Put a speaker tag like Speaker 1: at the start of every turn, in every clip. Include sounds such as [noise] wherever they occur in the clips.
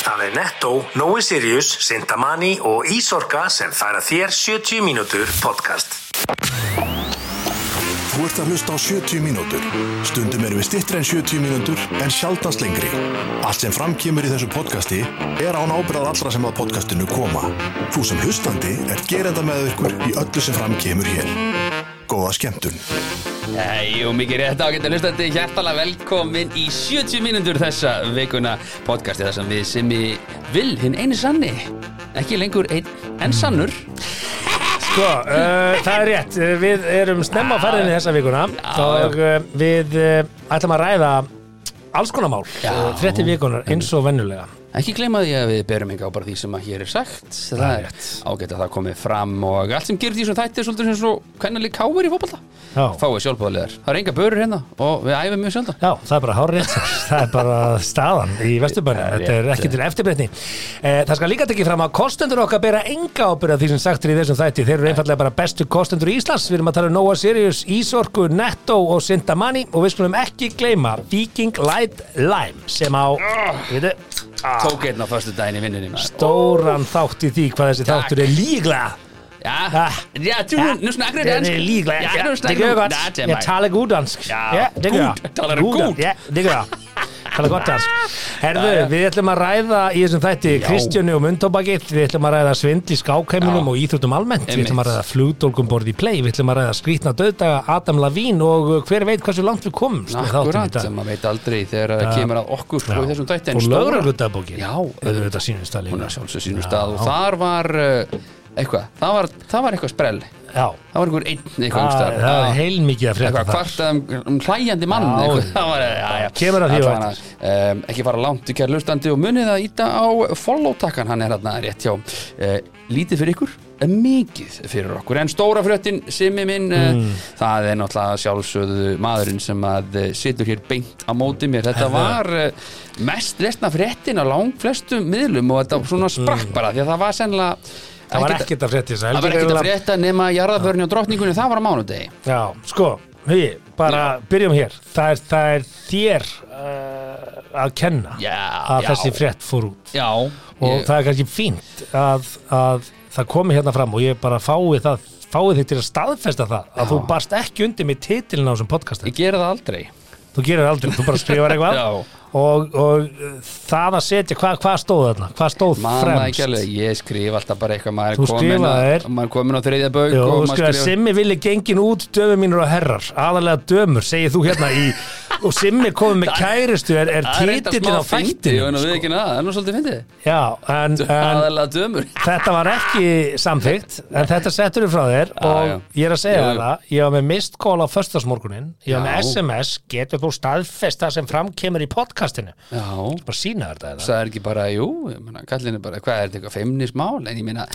Speaker 1: Það er Netto, Nói Sirius, Sintamani og Ísorka sem færa þér 70 mínútur podcast.
Speaker 2: Þú ert að hlusta á 70 mínútur. Stundum erum við stittri en 70 mínútur en sjaldast lengri. Allt sem framkýmur í þessu podcasti er án ábyrðað allra sem að podcastinu koma. Þú sem hlustandi er gerenda með ykkur í öllu sem framkýmur hér. Góða skemmtun.
Speaker 3: Nei, og mikið rétt ágættu hlustandi, hjertalega velkomin í 70 mínútur þessa vikuna podcasti þar sem við sem við vil hinn eini sanni, ekki lengur einn en sannur
Speaker 4: Sko, uh, það er rétt, Uh, við erum snemma á ferðinni þessa vikuna og uh, við uh, ætlum að ræða alls konar mál,
Speaker 3: Já.
Speaker 4: uh, 30 vikunar eins og vennulega.
Speaker 3: Ekki gleyma því að við berum enga á bara því sem að hér er sagt Það er ágætt að það komið fram og allt sem gerði því sem þætti er svolítið sem svo kvennalið káir í fótbolta
Speaker 4: Já.
Speaker 3: Fáið sjálfbóðaliðar, það eru enga börur hérna og við æfum mjög sjálfdan
Speaker 4: Já, það er bara hárið,
Speaker 3: [laughs]
Speaker 4: það er bara staðan í vesturbænum,
Speaker 3: Það er
Speaker 4: þetta er
Speaker 3: rétt.
Speaker 4: ekki til eftirbreytni. Eh, það skal líka tekið fram að kostendur okkar bera enga ábyrða því sem sagt er í þessum þætti, þeir eru einfallega bara bestu kostendur í Íslands, við erum að tala um Nóa Sirius, Ísorku, Netto og Sintamani og við skulum ekki gleyma Viking Light Lime sem á,
Speaker 3: Ah.
Speaker 4: við
Speaker 3: Tók einn á föstu daginn í vinninni maður.
Speaker 4: stóran þátt í því hvað þessi
Speaker 3: Takk.
Speaker 4: þáttur er líklega
Speaker 3: Já, já, þú,
Speaker 4: Ja.
Speaker 3: nú snakkar
Speaker 4: Det
Speaker 3: Ah. þetta
Speaker 4: er líklega
Speaker 3: Já,
Speaker 4: Det
Speaker 3: nú
Speaker 4: gør jeg
Speaker 3: snakkar
Speaker 4: godt Jeg taler god dansk
Speaker 3: Ja.
Speaker 4: Ja, det gør jeg
Speaker 3: God. Taler du
Speaker 4: God dan-
Speaker 3: god?
Speaker 4: Ja, det
Speaker 3: [laughs]
Speaker 4: gør jeg Talar gott dansk Herðu, við ætlum að ræða í þessum þætti Kristjánu og Mundtóbakitt Við ætlum að ræða svindl í skákheiminum
Speaker 3: Já.
Speaker 4: og íþjóttum almennt Við
Speaker 3: Einmitt.
Speaker 4: ætlum að ræða flugdólgum borð í play Við ætlum að ræða skrýtna döðdaga Adam Lavín og uh, hver veit hversu langt við komumst með þáttinn í
Speaker 3: Akkurat,
Speaker 4: dag.
Speaker 3: sem maður veit aldrei þegar það kemur að okkur
Speaker 4: Já.
Speaker 3: og í þessum dætti en
Speaker 4: Og
Speaker 3: stóra-
Speaker 4: lögregludagbókin
Speaker 3: Já,
Speaker 4: auðvitað sínum stað líka.
Speaker 3: hún er sjálfsög sínum
Speaker 4: Já.
Speaker 3: stað og þar var uh, eitthvað, það var, það var eitthvað sprell það
Speaker 4: Já,
Speaker 3: var einhver einn eitthvað um
Speaker 4: það
Speaker 3: stað
Speaker 4: það er heilmikið að frétta
Speaker 3: eitthvað
Speaker 4: þar.
Speaker 3: kvartað um, um hlæjandi mann
Speaker 4: Já,
Speaker 3: eitthvað,
Speaker 4: já.
Speaker 3: það var, já, já,
Speaker 4: Kemur að því á
Speaker 3: Allavega, um, ekki fara langt í kæra lustandi og munið að íta á follow-takkan hann er hérna rétt hjá uh, lítið fyrir ykkur en mikið fyrir okkur en stóra fröttin Simmi minn uh, það er náttúrulega sjálfsögðu maðurinn sem að uh, situr hér beint á móti mér þetta var uh, mest lesna fréttin á langflestum miðlum og þetta svona sprakk bara því að það Mm. var sennilega
Speaker 4: Það var ekkert að frétta þess að
Speaker 3: það var ekkert að frétta nema jarðaförni og drottningunni það var á mánudegi
Speaker 4: Já, sko, hugi, bara byrjum hér Það er, það er þér uh, að kenna
Speaker 3: Já,
Speaker 4: að
Speaker 3: já.
Speaker 4: þessi frétt fór út
Speaker 3: Já,
Speaker 4: og það er kannski fínt að, að það komi hérna fram og ég bara fái það fáið þig til að staðfesta það að þú barst ekki undir með titilin á þessum podcastin
Speaker 3: Ég gera það aldrei
Speaker 4: þú gerir það aldrei, þú bara skrifar eitthvað
Speaker 3: [laughs] Já.
Speaker 4: og, og uh, það að setja hvað hva stóð þarna, hvað stóð
Speaker 3: Man það ekki
Speaker 4: fremst
Speaker 3: alveg, ég skrif alltaf bara eitthvað maður
Speaker 4: Þú
Speaker 3: er komin,
Speaker 4: skrifaðir.
Speaker 3: að, maður er komin á þriðja bauk
Speaker 4: Jó,
Speaker 3: og
Speaker 4: þú
Speaker 3: maður
Speaker 4: skrifar Simmi villi gengin út dömur mínur og herrar, aðalega dömur segir þú hérna í,
Speaker 3: [laughs]
Speaker 4: og Simmi komið með kæristu, er, er
Speaker 3: Það er eitthvað
Speaker 4: titillin á
Speaker 3: smá fyndi og
Speaker 4: fættinu
Speaker 3: við
Speaker 4: sko.
Speaker 3: ekki það, það er nú svolítið fyndið
Speaker 4: já, en, en
Speaker 3: Aðalega dömur
Speaker 4: þetta var ekki samþygt, en þetta settur við frá þér og
Speaker 3: já.
Speaker 4: ég er að segja
Speaker 3: Já,
Speaker 4: þér
Speaker 3: já.
Speaker 4: það, ég var með mistkól á föstasmorgunin, ég var með
Speaker 3: Já.
Speaker 4: SMS getur þú staðfest það sem framkemur í podcastinu,
Speaker 3: Já,
Speaker 4: bara sína þér þetta
Speaker 3: það er ekki bara, jú, ég meina, kallin er bara, hvað er þetta eitthvað, feimnismál En ég meina,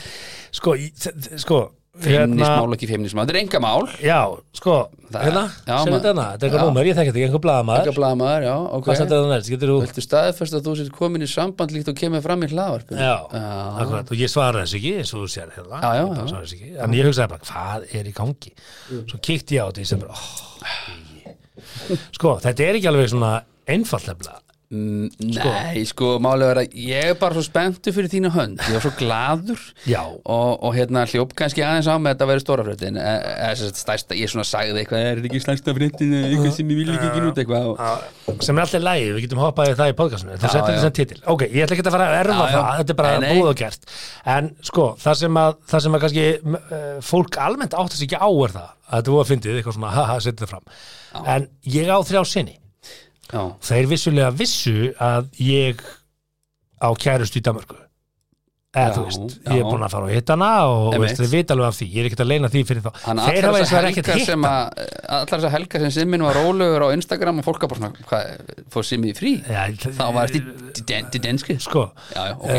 Speaker 4: sko, í- þ- þ- sko hérna-
Speaker 3: feimnismál, ekki feimnismál, þetta er enga mál
Speaker 4: Já, sko,
Speaker 3: Það-
Speaker 4: hérna,
Speaker 3: já,
Speaker 4: sem
Speaker 3: maður-
Speaker 4: þetta hana, þetta er
Speaker 3: já.
Speaker 4: eitthvað númer, ég þekki þetta ekki, einhver blaðamaður
Speaker 3: Enga blaðamaður, já, ok
Speaker 4: Hvað sendur það næst? Getur þú
Speaker 3: Viltu staðfest að þú sér komin í samband líkt og kemur fram í hlaðvarpinu
Speaker 4: Já, akkurat, og ég svaraði þessu ekki eins og þú sér hérna,
Speaker 3: Já, já,
Speaker 4: ég bara
Speaker 3: já. Mm.
Speaker 4: svaraði þessu ekki en ég hugsaði bara, hvað er í gangi svo kíkti ég á þetta, ég sem bara oh, eigi. sko, þetta er ekki alveg svona einfalt nefnilega
Speaker 3: Mm, Nei, sko, málega er að ég er bara svo spenntu fyrir þína hönd ég var svo gladur
Speaker 4: Já.
Speaker 3: og, og hérna hljóp kannski aðeins á með þetta að vera stóra fröndin stærsta, ég svona sagði eitthvað er þetta ekki stærsta fröndin eitthvað sem ég vil ekki ekki út eitthvað og,
Speaker 4: sem er alltaf lægi, við getum hoppaði það í podcastinu þú
Speaker 3: Já,
Speaker 4: settir
Speaker 3: já.
Speaker 4: þessan titil, ok, ég ætla ekki að fara að erfa
Speaker 3: Já, já.
Speaker 4: það, þetta er bara
Speaker 3: Nei, nei.
Speaker 4: búið og gert en sko, það sem að, það sem að kannski uh, fólk almennt áttast ekki á er það að þetta voru að fyndið, eitthvað svona, [laughs] haha, setja það fram en ég á þrjá sinni
Speaker 3: já,
Speaker 4: þeir vissulega vissu að ég á kærustu í Danmarku eða
Speaker 3: Já,
Speaker 4: þú veist,
Speaker 3: já.
Speaker 4: ég er búin að fara og hitta hana og þú
Speaker 3: Einmitt.
Speaker 4: veist, þeir vita alveg af því, ég er ekkert að leina því fyrir þá
Speaker 3: hann
Speaker 4: þeir hafa
Speaker 3: allar
Speaker 4: eins og
Speaker 3: þessar
Speaker 4: verið ekkert
Speaker 3: helgar
Speaker 4: hitt
Speaker 3: sem að allar þessar helgar sem Simmin var rólegur á Instagram og fólk að bara svona, hvað, fór Simmi í frí
Speaker 4: Já,
Speaker 3: þá var þetta í denski já,
Speaker 4: sko,
Speaker 3: já, ok,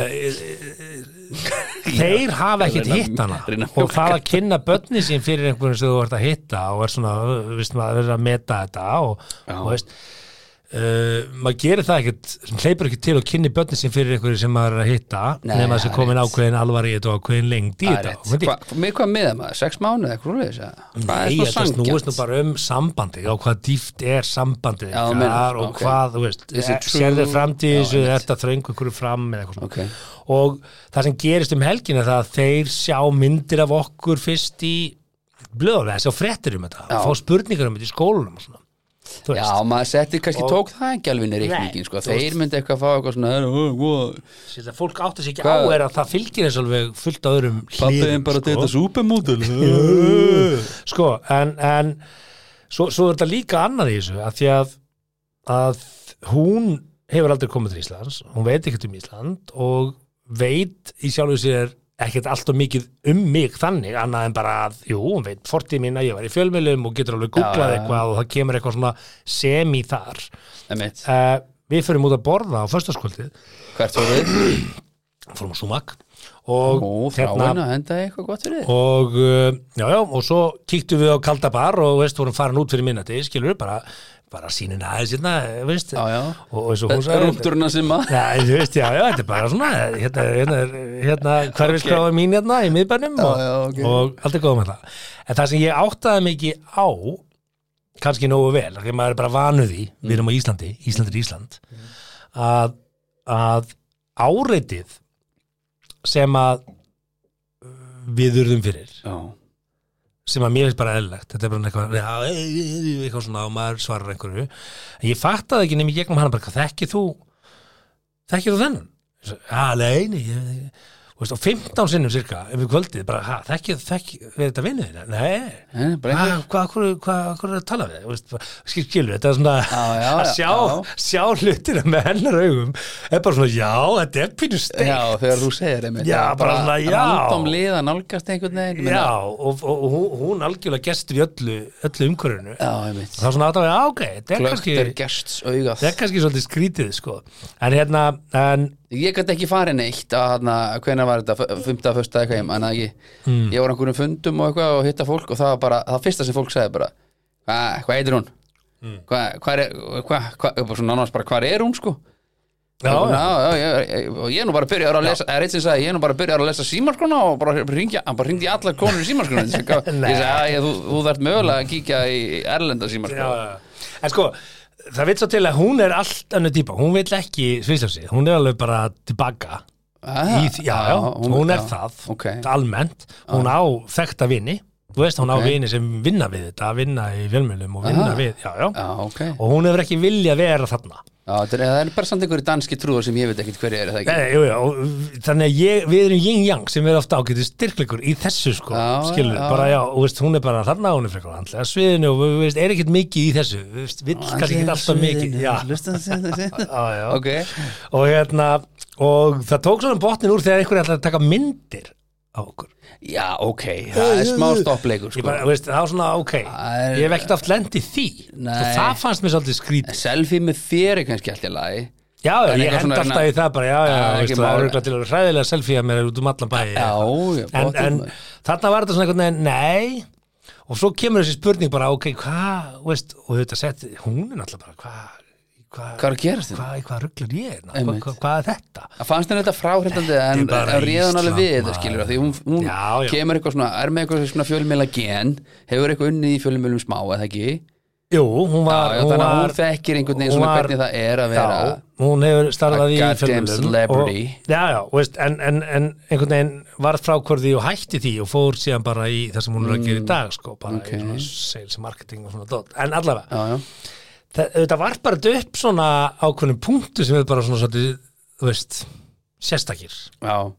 Speaker 4: þeir hafa ekkert
Speaker 3: reyna-
Speaker 4: hitt hana
Speaker 3: reyna að
Speaker 4: og það að kynna börni sín fyrir einhverjum sem þú ert að hitta og er svona, þú veist maður verður að meta þetta og,
Speaker 3: Já.
Speaker 4: og veist Uh, maður gerir það ekkert, sem hleypur ekki til og kynni börnin sem fyrir einhverju sem maður er að hitta
Speaker 3: Nei,
Speaker 4: nema þess
Speaker 3: það
Speaker 4: að
Speaker 3: er
Speaker 4: komin
Speaker 3: rétt.
Speaker 4: ákveðin alvari í þetta og ákveðin lengd í
Speaker 3: Það er
Speaker 4: þetta
Speaker 3: rétt.
Speaker 4: Og myndi-
Speaker 3: Hva, með hvað miða maður, sex mánuð eitthvað rúlega þess að
Speaker 4: Nei, þetta snúist nú bara um sambandi og hvað dýft er sambandi
Speaker 3: Já, þú meinar,
Speaker 4: og
Speaker 3: ok.
Speaker 4: hvað, þú veist,
Speaker 3: Is it true?
Speaker 4: sér þér
Speaker 3: Já,
Speaker 4: framtíðis eða
Speaker 3: einmitt.
Speaker 4: þetta þröngu hverju fram eða eitthvað svona
Speaker 3: Ok.
Speaker 4: og það sem gerist um helgin er það að þeir sjá myndir af okkur fyrst í blöðum, það sjá fréttir um þetta
Speaker 3: Já.
Speaker 4: og fá spurningar um þetta í skólunum og svona, þú
Speaker 3: Já,
Speaker 4: veist
Speaker 3: maður setti kannski
Speaker 4: Og-
Speaker 3: tók það ekki alveg inn í
Speaker 4: Nei,
Speaker 3: reikningin sko.
Speaker 4: þú
Speaker 3: Þeir
Speaker 4: veist.
Speaker 3: myndi eitthvað fá eitthvað svona "Herra, ó, ó,
Speaker 4: Sér það fólk átti sig ekki
Speaker 3: Hvað-
Speaker 4: á er að það fylgir eins og alveg fullt á öðrum
Speaker 3: Pappiðin bara
Speaker 4: sko.
Speaker 3: til þetta supermodel
Speaker 4: [laughs] sko, en, en svo, svo er þetta líka annað í þessu að því að, að hún hefur aldrei komið til Íslands hún veit ekkert um Ísland og veit í sjálfu sér ekkert allt og mikið um mig þannig annað en bara að, jú, hún veit fortíð mín að ég var í fjölmiðlum og getur alveg
Speaker 3: Já,
Speaker 4: googlað
Speaker 3: já, já.
Speaker 4: eitthvað og það kemur eitthvað svona sem í þar
Speaker 3: Einmitt.
Speaker 4: uh, við fyrir út að borða á föstaskvöldið
Speaker 3: Hvert voru þið?
Speaker 4: fórum á Sumak og hérna
Speaker 3: Ó, fráin að henda eitthvað gott fyrir þið
Speaker 4: og uh, já, já, og svo kíktum við á kalda bar og veist, vorum farin út fyrir minnati, skilur við bara, bara sínin aðeins hérna, veist
Speaker 3: Já, já.
Speaker 4: og og eins og hún
Speaker 3: Þetta er
Speaker 4: sagði
Speaker 3: rúpturna sem að
Speaker 4: Já, þú veist, já, já, þetta er bara svona hérna, hérna, er- hérna hverfiskráfa mín hérna í miðbænum og,
Speaker 3: já, ok.
Speaker 4: og allt er góð með það en það sem ég áttaði mikið á kannski nógu vel, þegar maður er bara vanuð í við erum á Íslandi, Ísland er Ísland að, að áreitið sem að uh, við urðum fyrir
Speaker 3: Já,
Speaker 4: sem að mér finnst bara eðlilegt þetta er bara eitthvað, já, e- e- e- eitthvað svona og maður svarar einhverju en ég fattaði ekki nefnir gegnum hana bara, hvað þekkir þú þekkir þú þennan Ég sagði, já, nei, nei ég, ég, þú veist, og 15 sinnum cirka, ef við kvöldið bara, ha, þekkir, þekkir, er þetta vinnu þína nei,
Speaker 3: Eh, bara
Speaker 4: Ha,
Speaker 3: einhver-
Speaker 4: hvað, hvað, hvað, hvað er að tala við Þú veist, bara, skil, skilur, þetta er svona [laughs]
Speaker 3: Já, já,
Speaker 4: Ah, að
Speaker 3: já,
Speaker 4: sjá, sjá hlutina með hennar augum er bara svona, já, þetta er pínu steik
Speaker 3: já þegar þú segir einmitt
Speaker 4: Já,
Speaker 3: það er
Speaker 4: bara svona, já.
Speaker 3: Random lið að nálgast einhvern veginn ég meina-
Speaker 4: Já, og, og, og hún- hún algjörlega gestur í öllu, öllu umhverfinu
Speaker 3: Já, einmitt
Speaker 4: þá svona aðtáði, já ok, þetta er
Speaker 3: Glögt
Speaker 4: kannski
Speaker 3: er gests augað
Speaker 4: þetta er kannski svolítið skrítið sko en hérna, en
Speaker 3: Ég gæti ekki farið neitt að hana, hvenær var þetta, fymta, fyrsta eitthvað ég, manna ekki,
Speaker 4: Hmm.
Speaker 3: ég var á einhverjum fundum og eitthvað og hitta fólk og það var bara, það fyrsta sem fólk sagði bara, "Hva- hvað heitir hún?
Speaker 4: Hmm.
Speaker 3: Hvað hva er, hvað, hva, hva, svona annars bara, hvað er hún sko?
Speaker 4: já,
Speaker 3: og,
Speaker 4: já,
Speaker 3: já, já, já, ég, og ég er nú bara að byrja að lesa, er eitt sem sagði, ég er nú bara að byrja að lesa símarskona og bara ringja, hann bara ringdi í allar konur í símarskona,
Speaker 4: [laughs]
Speaker 3: ég sagði,
Speaker 4: Nei.
Speaker 3: "Æ, þú, þú þarft mögulega að kíkja í erlenda
Speaker 4: já,
Speaker 3: símarskona.
Speaker 4: já. en sko það veit svo til að hún er allt önnur típa hún vil ekki svisljósi, hún er alveg bara tilbaka
Speaker 3: Ah,
Speaker 4: í, því- já, já, hún, er
Speaker 3: já,
Speaker 4: það
Speaker 3: ok.
Speaker 4: almennt, hún á þekta vini þú veist, hún
Speaker 3: Ok.
Speaker 4: á vini sem vinna við þetta vinna í fjölmjölum og vinna
Speaker 3: Aha.
Speaker 4: við já, já.
Speaker 3: Já, ok.
Speaker 4: og hún hefur ekki vilja vera þarna
Speaker 3: Já, þetta er- það er bara samt einhverju danski trúar sem ég veit ekkert hverju er er það ekki.
Speaker 4: Nei, nei, jú, jú, og þannig að ég, við erum yin-yang sem er ofta ágætið styrkleikur í þessu sko,
Speaker 3: Já,
Speaker 4: skilur,
Speaker 3: já.
Speaker 4: bara já, og veist, hún er bara þarna, hún er frekar handlega á sviðinu og við veist, er ekkert mikið í þessu, við veist, vill kannski ekkert alltaf mikið, já, já, já,
Speaker 3: Ok,
Speaker 4: og hérna, og það tók svona botnin úr þegar einhverju ætlaði að taka myndir á okkur,
Speaker 3: já, ok, það er smá stoppleikur
Speaker 4: ég
Speaker 3: sko.
Speaker 4: bara, veist, það var svona, ok,
Speaker 3: Það er-
Speaker 4: ég hef ekkert oft lendið því,
Speaker 3: Nei.
Speaker 4: og það fannst mér svolítið skrítið,
Speaker 3: Selfie með þér er kannski allt í lagi
Speaker 4: já, já,
Speaker 3: En
Speaker 4: ég
Speaker 3: eitthvað
Speaker 4: hend
Speaker 3: svona
Speaker 4: alltaf
Speaker 3: reyna-
Speaker 4: í það bara, já, já,
Speaker 3: Það er
Speaker 4: veist,
Speaker 3: ekki
Speaker 4: það
Speaker 3: mál.
Speaker 4: er örugglega til að vera hræðilega selfie að mér út um allan bæi,
Speaker 3: Já, ég
Speaker 4: en,
Speaker 3: bóttum
Speaker 4: en
Speaker 3: það.
Speaker 4: þarna var þetta svona einhvern veginn nei og svo kemur þessi spurning bara ok, hvað, veist, og þetta sett hún er náttúrulega bara, hvað hva,
Speaker 3: Hvað er að gerast þetta?
Speaker 4: hvað, hvað rugglar ég hérna? hvað,
Speaker 3: Einmitt.
Speaker 4: hvað, hvað er þetta?
Speaker 3: Það fannst henni þetta fráhrindandi en,
Speaker 4: Þetta er bara
Speaker 3: en réðan alveg við
Speaker 4: Ísland,
Speaker 3: þetta skilur
Speaker 4: maður.
Speaker 3: því hún, hún
Speaker 4: Já, já.
Speaker 3: kemur eitthvað svona, er með eitthvað svona fjölmjöla gen hefur eitthvað unnið í fjölmjölum smá eða ekki
Speaker 4: Jú, hún var,
Speaker 3: Já, já,
Speaker 4: hún
Speaker 3: þannig að
Speaker 4: var
Speaker 3: hún þekkir einhvern veginn
Speaker 4: hún
Speaker 3: svona
Speaker 4: var-
Speaker 3: hvernig það er að vera
Speaker 4: Já, hún hefur starfað
Speaker 3: a
Speaker 4: í
Speaker 3: goddamn
Speaker 4: fjölmiðlum
Speaker 3: celebrity.
Speaker 4: og, Já, já, og veist, en, en, en einhvern veginn varð frákvörði og hætti því og fór síðan bara í það sem hún er að gera í dag sko, bara
Speaker 3: Mm, ok.
Speaker 4: í svona sales and marketing og svona dot, en allavega
Speaker 3: Já, já,
Speaker 4: það, þetta var bara upp svona ákveðnum punktu sem er bara svona svolítið, þú veist, sérstakir
Speaker 3: já,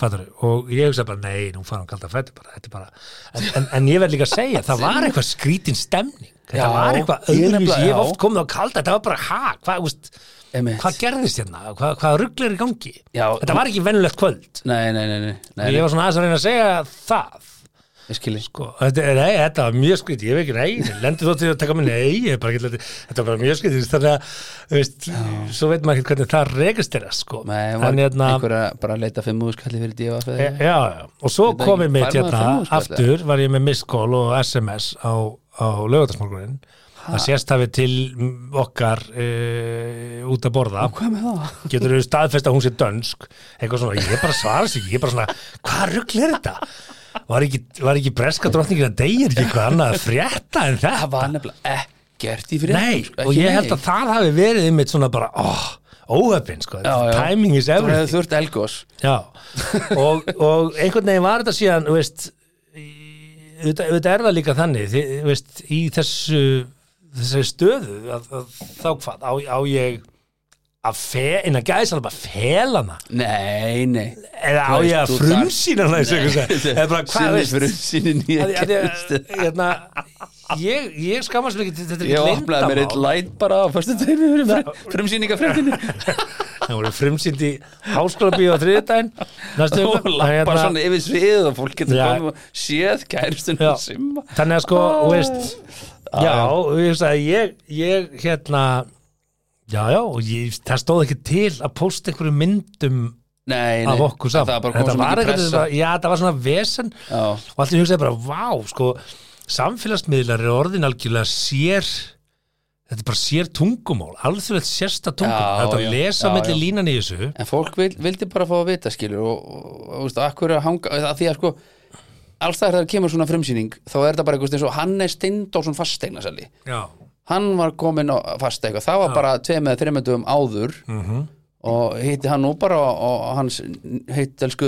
Speaker 4: fattar og ég hugsa bara, nei, nú fara hann kalda fættu bara, þetta er bara, en, en, en ég verð líka að segja, það var eitthvað skrítin stemning þetta
Speaker 3: Já,
Speaker 4: var eitthvað
Speaker 3: ég nefnilega-
Speaker 4: öðruvísi, ég hef
Speaker 3: já.
Speaker 4: oft komið á kalda þetta var bara, ha, hvað, úst,
Speaker 3: emitt
Speaker 4: hvað gerðist hérna, hvað, hvað rugglir í gangi
Speaker 3: Já,
Speaker 4: þetta var ekki venulegt kvöld
Speaker 3: Nei, nei, nei, nei, nei,
Speaker 4: ég var svona aðeins að reyna að segja það
Speaker 3: nei ég skil ég
Speaker 4: Sko, þetta, nei, þetta var mjög skrítið, ég hef ekki nei, lendur þótt til að taka mig nei, ég hef bara ekki lendur, þetta var bara mjög skrítið, þannig að, þú veist, svo veit maður ekki hvernig það rekast þeirra, sko.
Speaker 3: Nei, var
Speaker 4: þannig hérna,
Speaker 3: einhver að bara leita fimm úðskalli fyrir divaf eða
Speaker 4: e,
Speaker 3: eitthvað?
Speaker 4: já, já, og svo
Speaker 3: Veit maður
Speaker 4: komið
Speaker 3: ekki,
Speaker 4: mitt
Speaker 3: fær
Speaker 4: hérna,
Speaker 3: maður fimm þúsund kall,
Speaker 4: aftur var ég með misskól og SMS á, á lögatarsmorgunin að sérstafi til mm, okkar uh, út að borða
Speaker 3: Hvað með það?
Speaker 4: getur þau staðfest að hún sé dönsk eitthvað svona, ég bara svara sér ekki ég bara svona, hvað rugl er þetta var ekki, var ekki breska drottningin að deyja er ekki eitthvað annað að frétta en þetta
Speaker 3: Það var nefnilega ekkert í sko, fyrir
Speaker 4: nei, og ég held að það hafi verið einmitt svona bara, óh, óöfinn sko, timing is
Speaker 3: Þú
Speaker 4: everything
Speaker 3: hefði þurft elgós
Speaker 4: já, og, og einhvern veginn var þetta síðan, þú veist þetta er það líka þannig þið, þú veist, í þessu þessari stöðu að, að, þá hvað, á, á ég að fe, innan gæðis alveg að fela hana
Speaker 3: Nei, nei
Speaker 4: eða á ég
Speaker 3: Þú veist,
Speaker 4: að
Speaker 3: þú
Speaker 4: frumsýna hana þessu
Speaker 3: [laughs]
Speaker 4: einhvers
Speaker 3: Nei,
Speaker 4: veginn. eða bara hvað
Speaker 3: Sinni frumsýnin í
Speaker 4: að, að,
Speaker 3: ekki
Speaker 4: að, hérna, ég, ég skammast mér ekki þetta er
Speaker 3: Ég
Speaker 4: ekki
Speaker 3: opnaði mér eitt
Speaker 4: lindamál
Speaker 3: læt bara á fyrstu tegni fyrir frumsýningafréttinni [laughs]
Speaker 4: það voru frumsýnd í háskóla bíu á þriðdæn næstu
Speaker 3: og
Speaker 4: viku.
Speaker 3: lappar
Speaker 4: Hérna,
Speaker 3: svona yfir sviðið og fólk getur
Speaker 4: Já.
Speaker 3: komið og séð kæristun
Speaker 4: já,
Speaker 3: og simma
Speaker 4: þannig að sko
Speaker 3: Ah.
Speaker 4: þú veist, já, ég, veist að ég, ég hérna já já, og ég, það stóð ekki til að posta einhverju myndum
Speaker 3: Nei, nei
Speaker 4: af okkur saman
Speaker 3: Það var bara komið svo mikið
Speaker 4: einhvern
Speaker 3: pressa
Speaker 4: veginn- já, þetta var svona vesen
Speaker 3: Já.
Speaker 4: og allt í hugsaði bara, vá, sko samfélagsmiðlar er orðin algjörlega sér þetta er bara sér tungumál, alþjóðlega sérsta tungumál
Speaker 3: Já,
Speaker 4: þetta
Speaker 3: já,
Speaker 4: að lesa
Speaker 3: já,
Speaker 4: milli
Speaker 3: já.
Speaker 4: línan í þessu
Speaker 3: En fólk vil, vildi bara fá að vita skilur og, og, og veist, akkur að hanga að því að sko allstæðar þegar kemur svona frumsýning þá er þetta bara eitthvað eins og Hannes Stindórsson fasteigna sali
Speaker 4: já,
Speaker 3: hann var komin á fasta eitthvað það var bara tveim eða þreimendum áður
Speaker 4: Mhm.
Speaker 3: og hitti hann nú bara og, og hans heitt elsku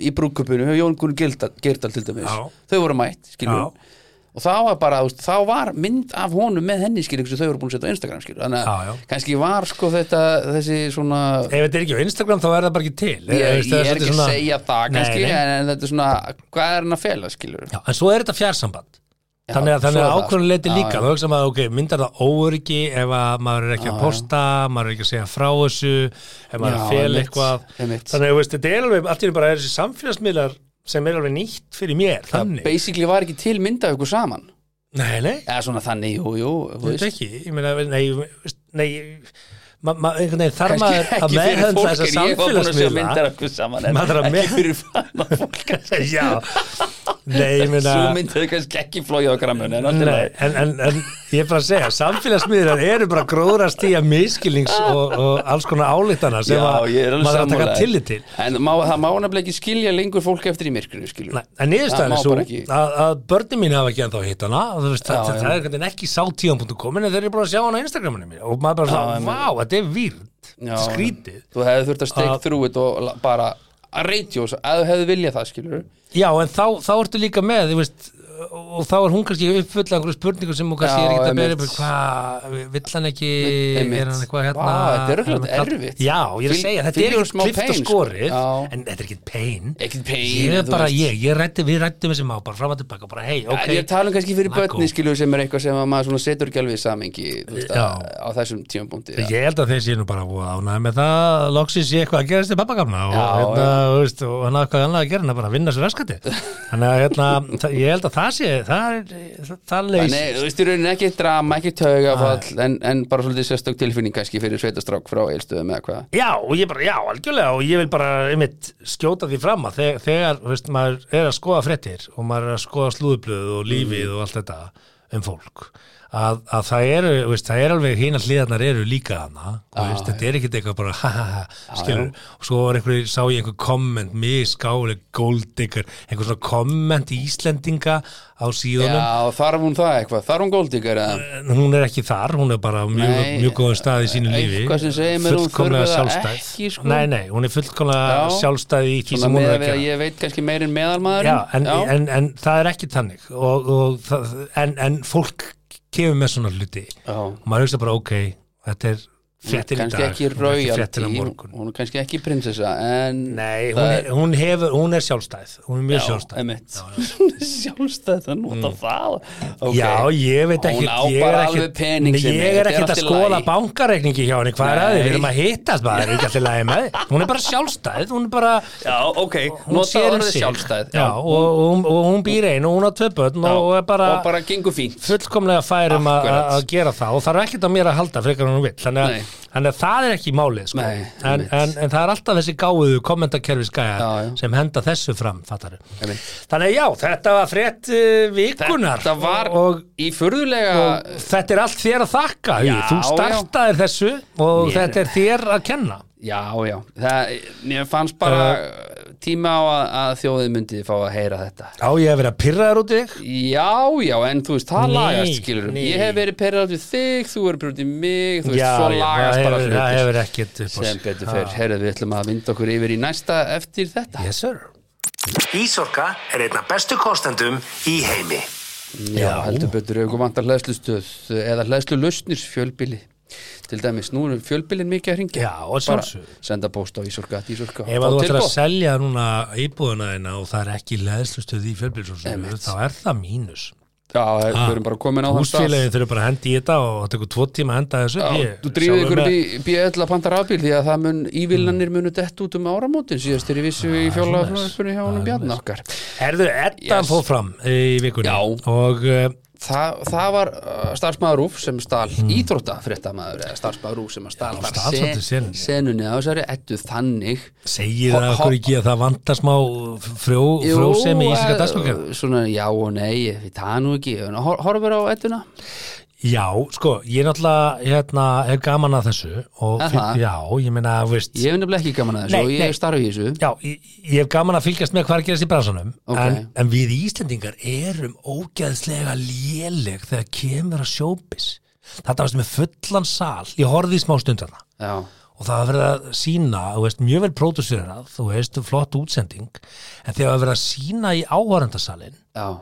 Speaker 3: í brúkupinu, Jón Gunn Gerdal til dæmis,
Speaker 4: Já.
Speaker 3: þau voru mætt skilur,
Speaker 4: Já.
Speaker 3: og það var bara þú veist, þá var mynd af honum með henni skilur sem þau voru búin að setja á Instagram skilur þannig
Speaker 4: Já, já.
Speaker 3: að kannski var sko þetta þessi svona
Speaker 4: ef þetta er ekki á Instagram þá er það bara ekki til
Speaker 3: Ég,
Speaker 4: Eh,
Speaker 3: ég,
Speaker 4: veist, það
Speaker 3: er ekki
Speaker 4: svolítið
Speaker 3: að
Speaker 4: svona-
Speaker 3: segja það kannski,
Speaker 4: nei, nei.
Speaker 3: En, en þetta er svona, hvað er hann að fela skilur?
Speaker 4: Já, en svo er þetta fjarsamband þannig að þannig
Speaker 3: svo er
Speaker 4: að
Speaker 3: það.
Speaker 4: ákvörðan leiti
Speaker 3: Já,
Speaker 4: líka
Speaker 3: já.
Speaker 4: þá hugsaðum að, ok, myndar það óöryggi ef að maður er ekki að posta maður er ekki að segja frá þessu ef maður er
Speaker 3: Já,
Speaker 4: að fel
Speaker 3: einmitt,
Speaker 4: eitthvað
Speaker 3: einmitt.
Speaker 4: þannig að þú veist, þetta er alveg, allt í einu bara er þessi samfélagsmiðlar sem er alveg nýtt fyrir mér þannig,
Speaker 3: basically var ekki til mynd af ykkur saman
Speaker 4: nei, nei,
Speaker 3: eða svona þannig, jú, jú þú
Speaker 4: þetta
Speaker 3: veist.
Speaker 4: er ekki ég meina, nei, veist, nei ma, ma, einhvern veginn þarf
Speaker 3: kannski
Speaker 4: maður að
Speaker 3: ekki fyrir
Speaker 4: meðhönda
Speaker 3: fólk
Speaker 4: þessa
Speaker 3: en ég var búin að segja
Speaker 4: samfélagsmiðla
Speaker 3: myndar af hverju saman en
Speaker 4: Maður er að
Speaker 3: ekki
Speaker 4: með-
Speaker 3: fyrir fann að
Speaker 4: [laughs]
Speaker 3: fólk
Speaker 4: já, nei, ég meina
Speaker 3: svo myndaðu kannski ekki flóið á grammun en alltaf
Speaker 4: Nei, en, en, en ég er bara að segja samfélagsmiðlar eru bara gróðrast í að miskilnings og, og alls konar álíktana sem að maður er að taka tillit til
Speaker 3: en má, það má nefnilega ekki skilja lengur fólk eftir í myrkrinu skilur
Speaker 4: Nei, en niðurstaðan
Speaker 3: Það
Speaker 4: er
Speaker 3: má
Speaker 4: svo
Speaker 3: bara ekki.
Speaker 4: að, að börnin mín hafa ekki ennþá hitt hana og þú veist,
Speaker 3: Já,
Speaker 4: það,
Speaker 3: já.
Speaker 4: það er einhvern veginn ekki sátíðan.com en þeir eru bara að sjá hana á Instagraminu mín og maður bara
Speaker 3: Já, já.
Speaker 4: svona, vá, þetta er výrt
Speaker 3: Já,
Speaker 4: skrítið
Speaker 3: þú hefði þurft að steik
Speaker 4: Að-
Speaker 3: þrúið og la- bara að reytjós að þú hefði viljað það skilur
Speaker 4: Já, en þá, þá ertu líka með, þú veist og þá er hún kannski uppfulla einhverju spurningu sem hún kannski
Speaker 3: Já,
Speaker 4: er ekkert að bera
Speaker 3: einmitt.
Speaker 4: upp hvað, vill hann ekki,
Speaker 3: Einmitt.
Speaker 4: er hann eitthvað hérna
Speaker 3: Vá, þetta er örugglega
Speaker 4: er hann að-
Speaker 3: erfitt.
Speaker 4: Já, ég er að
Speaker 3: Fylg-
Speaker 4: segja, þetta
Speaker 3: fylgir
Speaker 4: er
Speaker 3: smá
Speaker 4: ekkert klift
Speaker 3: pain,
Speaker 4: og
Speaker 3: sko.
Speaker 4: skorið
Speaker 3: Já.
Speaker 4: en þetta er ekkert pain
Speaker 3: Ekkert pain,
Speaker 4: Ég er
Speaker 3: þú
Speaker 4: bara
Speaker 3: veist.
Speaker 4: ég, ég rætti, við rættum þessi má bara fram að tilbaka, bara hei, ok
Speaker 3: okay. ég tala um kannski fyrir
Speaker 4: Lagó.
Speaker 3: börni skilur sem er eitthvað sem að maður svona setur ekki alveg í samengi
Speaker 4: Já.
Speaker 3: á þessum tímapunkti ja.
Speaker 4: Ég held að þeir séu nú bara búið ánæði með það loksins ég eitthvað að gerast í pappagamna og,
Speaker 3: Já,
Speaker 4: hérna, þú veist, og hann hafði eitthvað annað að gera en að bara vinna sér raskati
Speaker 3: [laughs]
Speaker 4: Þannig að hérna, það- ég held að það sé það er, það leys
Speaker 3: Nei, þú veist, í rauninni ekki drama, ekki taugafall en, en bara svolítið sérstök tilfinning kannski fyrir sveitastrák frá eilstöðum eða hvað
Speaker 4: Já, og ég bara, já, algjörlega og ég vil bara, einmitt, skjóta því fram að þegar, þegar þú veist, maður er að skoða fréttir og maður er að skoða slúðublöð og lífið og allt þetta um fólk að, að það eru, þú veist, það er alveg hína hliðarnar eru líka hana ah, veist, þetta er ekkit eitthvað bara, [laughs] ha ha ha skilur, og svo var einhverju, sá ég einhver komment miskáleg, golddigger einhver svona komment í Íslendinga á síðunum
Speaker 3: Já, þarf hún það eitthvað, þarf hún góldíkar eða
Speaker 4: En hún er ekki þar, hún er bara á mjög,
Speaker 3: Nei,
Speaker 4: mjög góðum stað í sínu lífi
Speaker 3: eitthvað sem segir mér að hún
Speaker 4: Fullkomlega
Speaker 3: þurfi það
Speaker 4: sjálfstæð.
Speaker 3: ekki, sko.
Speaker 4: Nei, nei, hún er fullkomlega
Speaker 3: Já.
Speaker 4: sjálfstæð í því
Speaker 3: svona
Speaker 4: sem hún
Speaker 3: með
Speaker 4: er
Speaker 3: að
Speaker 4: að
Speaker 3: við að
Speaker 4: gera
Speaker 3: ég veit kannski meir en meðalmaður
Speaker 4: Já, en, En, en það er ekki þannig og, og, það, en, en fólk kemur með svona hluti
Speaker 3: Já.
Speaker 4: og maður hugsa bara, ok, þetta er fréttin í dag
Speaker 3: kannski
Speaker 4: hún
Speaker 3: ekki
Speaker 4: er ekki
Speaker 3: raujaldi
Speaker 4: fréttin á
Speaker 3: hún,
Speaker 4: morgun
Speaker 3: hún er kannski ekki prinsessa en
Speaker 4: Nei, hún
Speaker 3: það
Speaker 4: er, hún, hefur, hún er sjálfstæð hún er mjög sjálfstæð
Speaker 3: [laughs] sjálfstæð sjálfstæð að nota það okay.
Speaker 4: Mm. Já, ég veit
Speaker 3: Hún
Speaker 4: ekki
Speaker 3: á
Speaker 4: Ég er
Speaker 3: bara alveg
Speaker 4: ekkit-
Speaker 3: pening
Speaker 4: Nei,
Speaker 3: sem
Speaker 4: ég
Speaker 3: er,
Speaker 4: er
Speaker 3: þetta er
Speaker 4: ekkit að
Speaker 3: allt í
Speaker 4: skoða
Speaker 3: lagi.
Speaker 4: bankareikningi hjá henni Hvað er að
Speaker 3: Nei.
Speaker 4: þið? Við erum að hittast bara er ekki allt í lagi með þig. Hún er bara sjálfstæð Hún er bara
Speaker 3: Já, ok,
Speaker 4: hún
Speaker 3: nota
Speaker 4: sér um
Speaker 3: orðið
Speaker 4: sig.
Speaker 3: sjálfstæð
Speaker 4: Já, og, og, hún- og hún býr einu og hún á tvö börn og, og er bara,
Speaker 3: og bara gengur fínt
Speaker 4: fullkomlega færum að
Speaker 3: Akkurat.
Speaker 4: að gera það og þarf ekkit á mér að halda frekar en hún vill þannig að
Speaker 3: Nei.
Speaker 4: Þannig að það er ekki málið sko.
Speaker 3: Nei,
Speaker 4: en,
Speaker 3: einmitt.
Speaker 4: en, en það er alltaf þessi gáðu kommentakerfis
Speaker 3: Já, já.
Speaker 4: sem henda þessu fram fattar.
Speaker 3: Einmitt.
Speaker 4: Þannig að já, þetta var frétt uh, vikunar
Speaker 3: Þetta var
Speaker 4: og,
Speaker 3: í furðulega
Speaker 4: og þetta er allt þér að þakka já,
Speaker 3: Já,
Speaker 4: Þú startaðir þessu og
Speaker 3: Mér-
Speaker 4: þetta er þér að kenna
Speaker 3: Já, já, það, ég fannst bara
Speaker 4: Eh.
Speaker 3: tíma á að, að þjóðið myndi fá að heyra þetta
Speaker 4: Já, ég hef verið að pyrra þér út í þig
Speaker 3: Já, já, en þú veist, það
Speaker 4: Nei,
Speaker 3: lagast skilur
Speaker 4: nei.
Speaker 3: Ég hef verið perrað við þig, þú verið perrað við mig Þú veist,
Speaker 4: Já,
Speaker 3: svo
Speaker 4: já,
Speaker 3: lagast
Speaker 4: það
Speaker 3: bara
Speaker 4: hefur- það hefur ekkert upp á
Speaker 3: sem
Speaker 4: sig.
Speaker 3: betur fer, heyrðu við ætlum að vinda okkur yfir í næsta eftir þetta
Speaker 4: Yes sir
Speaker 1: Ísorka er einna bestu kostendum í heimi.
Speaker 3: Já, heldur betur auðvitað vantar hlæðslustöð eða hlæðslu lausnir fjölbili til dæmis, nú er fjölbilin mikið að ringja
Speaker 4: Já, og sjálfsög.
Speaker 3: senda póst á Ísorka, Ísorka
Speaker 4: Ef að þú ætlar að selja núna íbúðuna þína og það er ekki leðslustöð í fjölbjörnsjónsölu
Speaker 3: Einmitt.
Speaker 4: þá er það mínus
Speaker 3: Já, við erum bara komin á þann stað
Speaker 4: Ah, Húsfélagið þurfa bara að hendi í þetta og það tekur tvo tíma að henda þessu
Speaker 3: Já,
Speaker 4: upp. Ég-
Speaker 3: þú drífið
Speaker 4: sjálfur
Speaker 3: ykkur
Speaker 4: með- Mm.
Speaker 3: upp í BL að panta rafbíl því að það mun ívillanir munu dett út um áramótin síðast þegar ég vissi
Speaker 4: Ah,
Speaker 3: í fjóla frumvarpunni hjá honum Bjarni okkar
Speaker 4: Herðu, Eddan
Speaker 3: Yes.
Speaker 4: fór fram í vikunni
Speaker 3: Já.
Speaker 4: og uh,
Speaker 3: Þa, það var uh, starfsmaður Rúf sem stal mm. íþrótta fréttamaður eða starfsmaður Rúf sem að stal bara
Speaker 4: stal svolítið senunni.
Speaker 3: senunni á þessari ettu þannig
Speaker 4: segir
Speaker 3: Ho-
Speaker 4: það
Speaker 3: ho-
Speaker 4: okkur ekki að það vantar smá frjó, frjósemi í íslenska
Speaker 3: eh,
Speaker 4: dagsbókar
Speaker 3: Svona já og nei, ég veit það nú ekki En hor- Horfur á ettuna?
Speaker 4: Já, sko, ég náttúrulega hérna, er gaman að þessu og
Speaker 3: Er
Speaker 4: fín-
Speaker 3: það?
Speaker 4: já, ég meina, þú veist
Speaker 3: Ég hef nefnilega ekki gaman að þessu
Speaker 4: Nei,
Speaker 3: og ég
Speaker 4: nei.
Speaker 3: er starf í þessu
Speaker 4: Já, ég, ég hef gaman að fylgjast með hvað er að gerast í bransanum
Speaker 3: Ok.
Speaker 4: en, en við Íslendingar erum ógeðslega léleg þegar kemur að sjópis Þetta varst með fullan sal Ég horfði í smá stundarna
Speaker 3: Já,
Speaker 4: og það var verið að sína, þú veist, mjög vel pródúsirað, þú veist, flott útsending en þegar var verið að sína í áhörundasalinn
Speaker 3: já,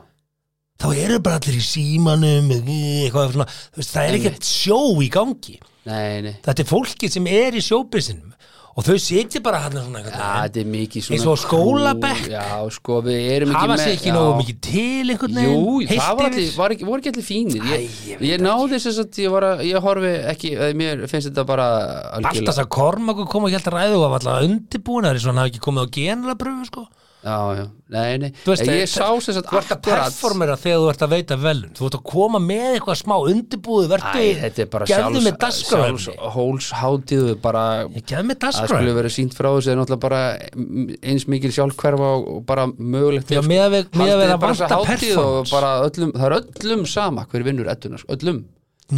Speaker 4: þá eru bara allir í símanum eh, eitthvað svona, þú veist, það er
Speaker 3: Einmitt.
Speaker 4: ekkert sjó í gangi
Speaker 3: nei, nei
Speaker 4: Þetta er fólkið sem er í sjópisinum og þau sitja bara hann svona einhvern veginn.
Speaker 3: Já, Ah, þetta er mikið svona
Speaker 4: Eins og á skólabekk.
Speaker 3: Já, sko, við erum ekki
Speaker 4: hafa sig ekki nógu
Speaker 3: já.
Speaker 4: mikið til einhvern veginn
Speaker 3: Jú,
Speaker 4: heilt
Speaker 3: það var
Speaker 4: yfir.
Speaker 3: allir, var ekki, voru ekki allir fínir Ég,
Speaker 4: Æ, ég
Speaker 3: ég, náði þess að ég, var að, ég horfi ekki, eða mér finnst þetta bara algjörlega-
Speaker 4: Alltaf þess að Kormakur kom og hjælta ræðu og var alltaf undirbúin eins og hann hafi ekki komið á genlega pröfu sko.
Speaker 3: Já, já, nei, nei Eh,
Speaker 4: Þú veist,
Speaker 3: Ég
Speaker 4: það-
Speaker 3: sá þess að
Speaker 4: Þú ert að performera þegar þú ert að veita velun Þú ert að koma með eitthvað smá undirbúið vertu,
Speaker 3: Æ, þetta er bara
Speaker 4: Gerðu með
Speaker 3: sjálfs, sjálfs
Speaker 4: dasgráðefni
Speaker 3: hólsháttíðu bara
Speaker 4: Gerðu með
Speaker 3: að skulle
Speaker 4: dasgráðefni
Speaker 3: vera sínt frá þessu er náttúrulega bara mm, eins mikil sjálfkverfa og og bara mögulegt
Speaker 4: Já,
Speaker 3: er, sko.
Speaker 4: miðað við- miðað við
Speaker 3: Haldið
Speaker 4: að
Speaker 3: bara þessa
Speaker 4: vanta
Speaker 3: hátíð
Speaker 4: performance.
Speaker 3: og bara öllum, það er öllum sama hver vinnur ettuna, sko, öllum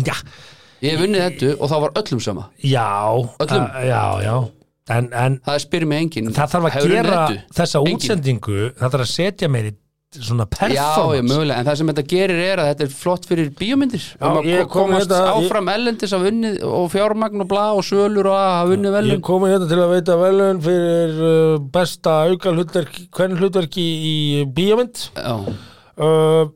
Speaker 4: Já,
Speaker 3: Ég vinnið ettu og það var öllum sama
Speaker 4: já,
Speaker 3: Öllum.
Speaker 4: að- já, já. En, en
Speaker 3: Það spyr mig enginn
Speaker 4: það þarf að
Speaker 3: hefurðu unnið
Speaker 4: gera
Speaker 3: Eddu?
Speaker 4: þessa
Speaker 3: Enginn.
Speaker 4: útsendingu Það þarf að setja meiri svona
Speaker 3: Já, ég
Speaker 4: performance
Speaker 3: mögulega, en það sem þetta gerir er að þetta er flott fyrir bíómyndir um að
Speaker 5: ég kom
Speaker 3: komast
Speaker 5: hérna- ég-
Speaker 3: áfram ellendis af unnið og fjármagn og bla og sölur og að hafa unnið
Speaker 5: Ég
Speaker 3: velun
Speaker 5: kom hérna til að veita velun fyrir uh, besta auka hlutverki, hvern hlutverki í bíómynd
Speaker 3: Já,
Speaker 5: uh,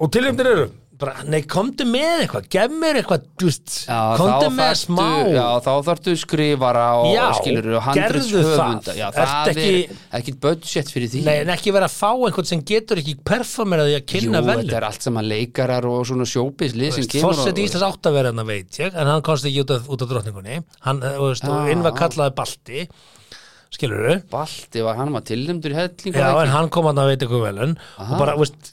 Speaker 5: og tilhjumdir eru
Speaker 4: bara, nei, komdu með eitthvað, gef mér eitthvað, þú veist,
Speaker 3: já
Speaker 4: komdu
Speaker 3: þá
Speaker 4: með
Speaker 3: þarftu-
Speaker 4: smá.
Speaker 3: Já, þá þarftu skrifara og
Speaker 4: Já,
Speaker 3: skilur og
Speaker 4: gerðu
Speaker 3: handrits höfunda
Speaker 4: það.
Speaker 3: Já,
Speaker 4: Ert
Speaker 3: það
Speaker 4: ekki-
Speaker 3: er ekkit budget fyrir því
Speaker 4: Nei, en ekki vera að fá einhvern sem getur ekki performeraði að
Speaker 3: Jú,
Speaker 4: kynna
Speaker 3: þetta
Speaker 4: velum.
Speaker 3: er allt saman leikarar og svona sjópislið sem kemur
Speaker 4: Fosset Íslands átt að vera hann veit ég, en hann komst ekki út af, út af drottningunni, hann, eh, þú veist, og
Speaker 3: Já.
Speaker 4: inn var kallaði Balti, skilur við,
Speaker 3: Balti var, hann var tilnæmdur í hellingu
Speaker 4: já,
Speaker 3: var
Speaker 4: en
Speaker 3: ekki?
Speaker 4: hann kom hann að veita eitthvað velun,
Speaker 3: Aha.
Speaker 4: og bara, þú veist,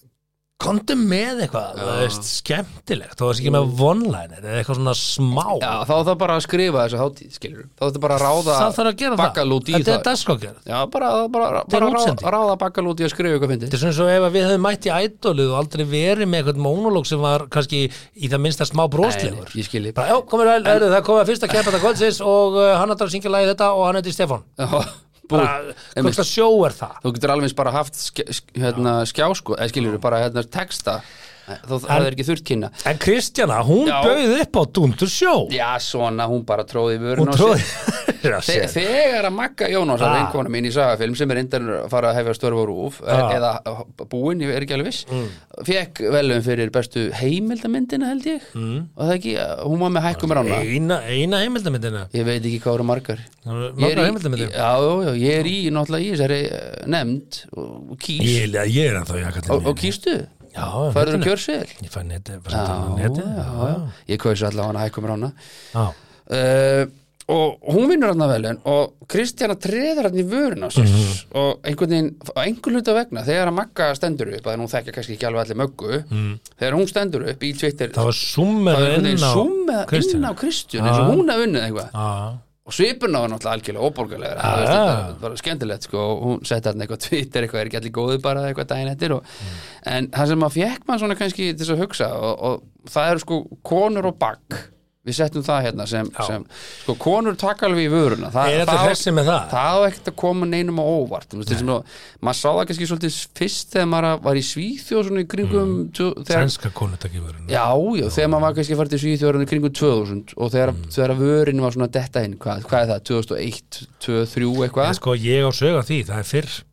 Speaker 4: komdu með eitthvað, þú veist, skemmtilegt, þú veist ekki með vonlænir, eða eitthvað svona smá.
Speaker 3: Já, þá þarf bara að skrifa þessu hátíð, skilur Þá þarf bara að ráða
Speaker 4: það þarf að gera það,
Speaker 3: bakkalút í
Speaker 4: þetta
Speaker 3: það.
Speaker 4: er dagskókjörð.
Speaker 3: Já, bara, bara, bara
Speaker 4: útsending.
Speaker 3: ráða, ráða bakkalúti að skrifa eitthvað fyndi
Speaker 4: Þetta er svona svo ef að við höfum mætt í ædolið og aldrei verið með eitthvað monológ sem var kannski í það minnsta smá bróstlegur.
Speaker 3: Nei, nei, ég skil ég.
Speaker 4: Bara, já, komur vel, er, það komið að fyrsta keppa þetta kvöldsins og uh, hann ætlar að syngja lagið þetta og hann heiti Stefán. Bara,
Speaker 3: Einmitt.
Speaker 4: hvort að sjó er það?
Speaker 3: Þú getur alveg eins bara haft ske, sk- hérna, skjá sko, eða skilur bara hérna, texta þú það er ekki þurft kynna
Speaker 4: En Kristjana, hún
Speaker 3: Já.
Speaker 4: bauð upp á Dúndur sjó.
Speaker 3: Já, svona, hún bara tróði í vörun
Speaker 4: Hún
Speaker 3: á
Speaker 4: tróði. [laughs]
Speaker 3: sér.
Speaker 4: Já,
Speaker 3: Þe,
Speaker 4: sér.
Speaker 3: Þegar að Magga Jónás að
Speaker 4: Ah.
Speaker 3: einkona mín í sagafilm sem er indan að fara að hefja störfa rúf e-
Speaker 4: Ah. Mm.
Speaker 3: eða búin, ég er ekki alveg viss fekk velum fyrir bestu heimildamyndina held ég
Speaker 4: Mm.
Speaker 3: og það ekki, hún var með hækkum rána
Speaker 4: Eina, eina heimildamindina.
Speaker 3: Ég veit ekki hvað eru margar Ég er
Speaker 4: Mörgur
Speaker 3: í-
Speaker 4: heimildamindina.
Speaker 3: Já, já, já, ég er í náttúrulega í þessari eh, nefnd og og kýs
Speaker 4: Ég, ég er ennþá í akademíu.
Speaker 3: og, og kýstu,
Speaker 4: Já,
Speaker 3: færður
Speaker 4: netinu.
Speaker 3: að kjörseðil
Speaker 4: Ég fæ neti,
Speaker 3: Já,
Speaker 4: neti,
Speaker 3: já, já. Ég kausi allavega hana hækkum rána
Speaker 4: já.
Speaker 3: uh, og hún vinnur hann að velun og Kristjana treður hann í vöruna mm
Speaker 4: Mhm.
Speaker 3: og einhvern veginn, á einhvern hluta vegna þegar að Magga stendur upp, að hún þekkja kannski ekki alveg allir möggu, þegar hún stendur upp í Twitter,
Speaker 4: Það var
Speaker 3: það er
Speaker 4: súmmið Mhm.
Speaker 3: einhvern
Speaker 4: inn
Speaker 3: veginn
Speaker 4: á Ah.
Speaker 3: súmið inn á Kristján eins og hún hafði unnið eitthvað
Speaker 4: Já.
Speaker 3: og svipurinn á hann náttúrulega algjörlega óborgarlega það
Speaker 4: Ah.
Speaker 3: veist, þetta var skemmtilegt sko og hún setti hann eitthvað Twitter eitthvað er ekki allir góðu bara eitthvað daginn eftir og,
Speaker 4: Mm.
Speaker 3: en það sem maður fekk maður svona kannski til þess að hugsa og, og það eru sko konur og bakk við settum það hérna sem, sem sko konur taka alveg í vöruna það,
Speaker 4: Er þetta
Speaker 3: það á-
Speaker 4: hressi með það?
Speaker 3: það á ekkert að koma neinum á óvart Þú veist, þess að maður sá það kannski svolítið fyrst þegar maður var í Svíþjóð svona í kringum mm. þegar
Speaker 4: Sænska konutakiðvörun
Speaker 3: Já, já, þegar maður var kannski farið til Svíþjóðurinn í kringum 2000 og þegar,
Speaker 4: Mm.
Speaker 3: þegar vörin var svona að detta inn, hvað, hvað er það, 2001, 2003 eitthvað,
Speaker 4: Sko, ég á sög af því, það er fyrr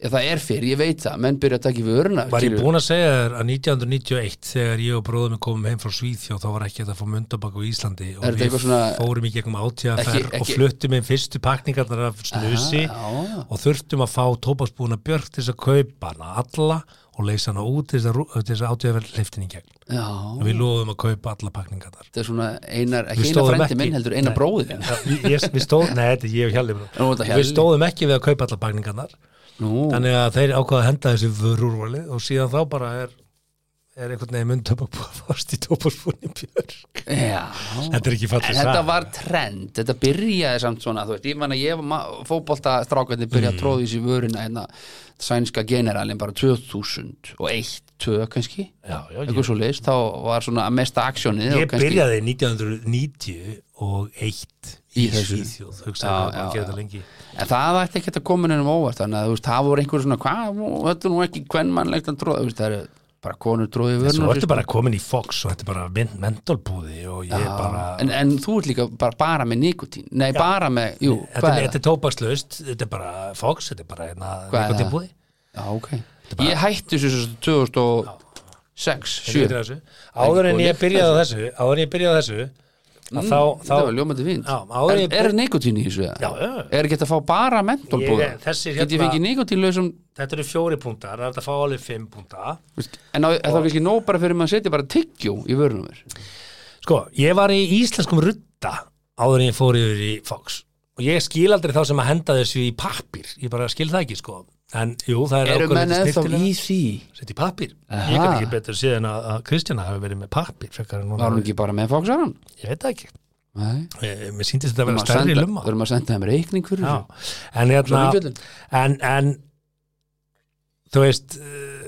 Speaker 3: Ég, það er fyrr, ég veit það, menn byrja að taka í vörina,
Speaker 4: Var ég
Speaker 3: skilurðu.
Speaker 4: búin að segja þér að 1991 þegar ég og bróðum komum heim frá Svíþjóð þá var ekki þetta að fá mundabak á Íslandi og
Speaker 3: Er þetta
Speaker 4: við
Speaker 3: eitthvað svona-
Speaker 4: fórum í gegnum
Speaker 3: Ekki-
Speaker 4: átíðaferð og
Speaker 3: ekki-
Speaker 4: fluttum einn fyrstu pakningarnar af snusi
Speaker 3: Já, já.
Speaker 4: og þurftum að fá tópaksbúna björk til þess að kaupa hana alla og leysa hana út til þess að, rú- til þess að átíðaferð hliftin í gegn
Speaker 3: já,
Speaker 4: og við loðum að kaupa alla pakningarnar
Speaker 3: þetta er svona einar,
Speaker 4: Við
Speaker 3: ekki eina
Speaker 4: stóðum
Speaker 3: frendi
Speaker 4: ekki-
Speaker 3: minn heldur,
Speaker 4: Nei.
Speaker 3: eina bróðið
Speaker 4: Já, ég- ég, við stóðum, nei, þetta er ég og Hjalli bróðir.
Speaker 3: Nú, þetta Hjalli.
Speaker 4: við stóðum ekki við að kaupa alla pakningarnar
Speaker 3: Nú,
Speaker 4: þannig að þeir ákvaða að henda þessu vörúrvali og síðan þá bara er, er einhvern veginn mundtöpak búið að fást í tóparsbúinni björn
Speaker 3: já.
Speaker 4: þetta er ekki
Speaker 3: En
Speaker 4: fallið
Speaker 3: þetta var trend, þetta byrjaði samt svona, þú veist, ég man að ég fótbolta strákarnir
Speaker 4: Mm.
Speaker 3: byrjaði að tróða í sér vörina hérna, sænska generalin bara 2001, 2 kannski,
Speaker 4: já, já,
Speaker 3: eitthvað svo leist, þá var svona mesta aksjónið og
Speaker 4: ég
Speaker 3: kannski-
Speaker 4: byrjaði 1990 og eitt
Speaker 3: Í
Speaker 4: í
Speaker 3: þessu.
Speaker 4: Svíþjóð
Speaker 3: Já,
Speaker 4: hugsaði að
Speaker 3: já,
Speaker 4: gera
Speaker 3: já.
Speaker 4: þetta lengi
Speaker 3: En það ætti ekki að koma nefnum óvart þannig að þú veist, það voru einhver svona hvað, nú, þetta er nú ekki kvennmannlegt að tróða, þú veist, það eru bara konur tróði vörnum
Speaker 4: svo ertu bara komin í Fox og þetta er bara mynd mentalbúði og ég er bara
Speaker 3: en, en þú ert líka bara, bara með nikotín nei, bara með, jú,
Speaker 4: þetta,
Speaker 3: hvað
Speaker 4: er-
Speaker 3: er
Speaker 4: þetta
Speaker 3: það?
Speaker 4: er tópakslaust, þetta er bara Fox þetta er bara hérna
Speaker 3: Hvað er það?
Speaker 4: nikotinbúði
Speaker 3: Já, ok Ég hætti þessu 2006,
Speaker 4: Ég
Speaker 3: 7
Speaker 4: veit þessu. áður en
Speaker 3: Og
Speaker 4: ég
Speaker 3: lykt
Speaker 4: byrjaði á þessu áður en ég byrjaði á þessu að þá, þá
Speaker 3: Mm, Þetta var ljómandi fínt
Speaker 4: Já, áður
Speaker 3: Er,
Speaker 4: ég-
Speaker 3: er nikotín í þessu?
Speaker 4: Já, já.
Speaker 3: Er ekki að fá bara mentólbúða?
Speaker 4: Ég- þessir
Speaker 3: Get ég
Speaker 4: hérna-
Speaker 3: fengið nikotínlausum
Speaker 4: þetta eru fjóri punktar, það er hægt að fá alveg fimm punkta
Speaker 3: En á- er þá kannski nóg bara fyrir maður að setja bara tyggjó í vörnum þér?
Speaker 4: sko, ég var í íslenskum rutta áður en ég fór yfir í Fox og ég skil aldrei þá sem að henda þessu í pappir ég bara skil það ekki sko en jú, það er
Speaker 3: Eru
Speaker 4: ákveðið
Speaker 3: menn eða
Speaker 4: snyrtilega.
Speaker 3: í því?
Speaker 4: setja í pappir,
Speaker 3: Aha.
Speaker 4: ég kann ekki betur síðan að, að Kristjana hafi verið með pappir frekar en hún
Speaker 3: Var hún
Speaker 4: hafi-
Speaker 3: ekki bara með fóksaran?
Speaker 4: ég veit það ekki,
Speaker 3: Nei
Speaker 4: Eh, mér síndist þetta að vera
Speaker 3: Við
Speaker 4: stærri
Speaker 3: senda-
Speaker 4: lumma
Speaker 3: Við erum að senda þeim reikning fyrir
Speaker 4: Já,
Speaker 3: þessu.
Speaker 4: en
Speaker 3: Svo
Speaker 4: hérna
Speaker 3: umfjöllun.
Speaker 4: en, en þú veist uh,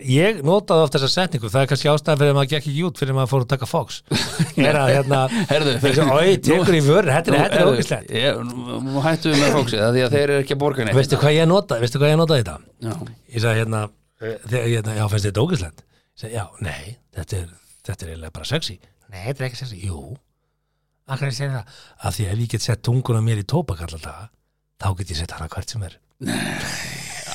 Speaker 4: ég notaði oft þessa setningu það er kannski ástæðan fyrir að maður gekk ekki út fyrir að maður fór að taka Fox er að hérna
Speaker 3: Herðu,
Speaker 4: Ói, tekur í vörur, þetta er- þetta er
Speaker 3: herðu,
Speaker 4: ógislegt
Speaker 3: ég- nú- Nú hættum við með fóksið af Því að þeir eru ekki að borga neitt
Speaker 4: Veistu hvað ég notaði, veistu hvað ég notaði þetta?
Speaker 3: Já.
Speaker 4: Ég sagði hérna, eh, þegar, hérna já, finnst þetta ógislegt? Ég sagði, já, nei, þetta er, þetta er eiginlega bara sexy. Nei, þetta er ekki sexy. Jú, akkur er ég segja það? Af því ef ég get sett tunguna mér í tóbak alltaf daga, þá get ég sett hana hvert sem er.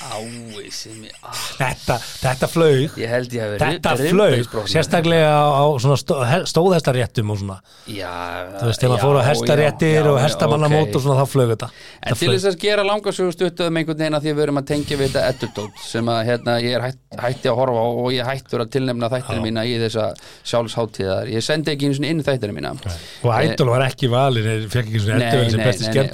Speaker 3: Ái, sem ég á,
Speaker 4: Þetta, þetta flög,
Speaker 3: Ég held ég hafi
Speaker 4: þetta
Speaker 3: ri-
Speaker 4: flög,
Speaker 3: rifbeinsbrotnað.
Speaker 4: sérstaklega á, á svona stó, he- stóðhestaréttum og svona.
Speaker 3: Já
Speaker 4: Þú veist, þegar maður fór á hestaréttir og hestamannamót og svona, þá flög þetta.
Speaker 3: En
Speaker 4: Þetta
Speaker 3: til
Speaker 4: flaug.
Speaker 3: þess að gera langarsögu stuttuðum einhvern veginn að því að við erum að tengja við þetta eddutótt sem að hérna, ég er hætt, hætti að horfa á og ég hættur að tilnefna þættinu mína í þessa sjálfsháttíðar. Ég sendi ekki einu sinni inn þættinu mína.
Speaker 4: Og Ædol var ekki valin, fekk ekki svona
Speaker 3: Nei,
Speaker 4: ertuvel sem
Speaker 3: nei,
Speaker 4: besti
Speaker 3: nei, nei, þetta- þetta-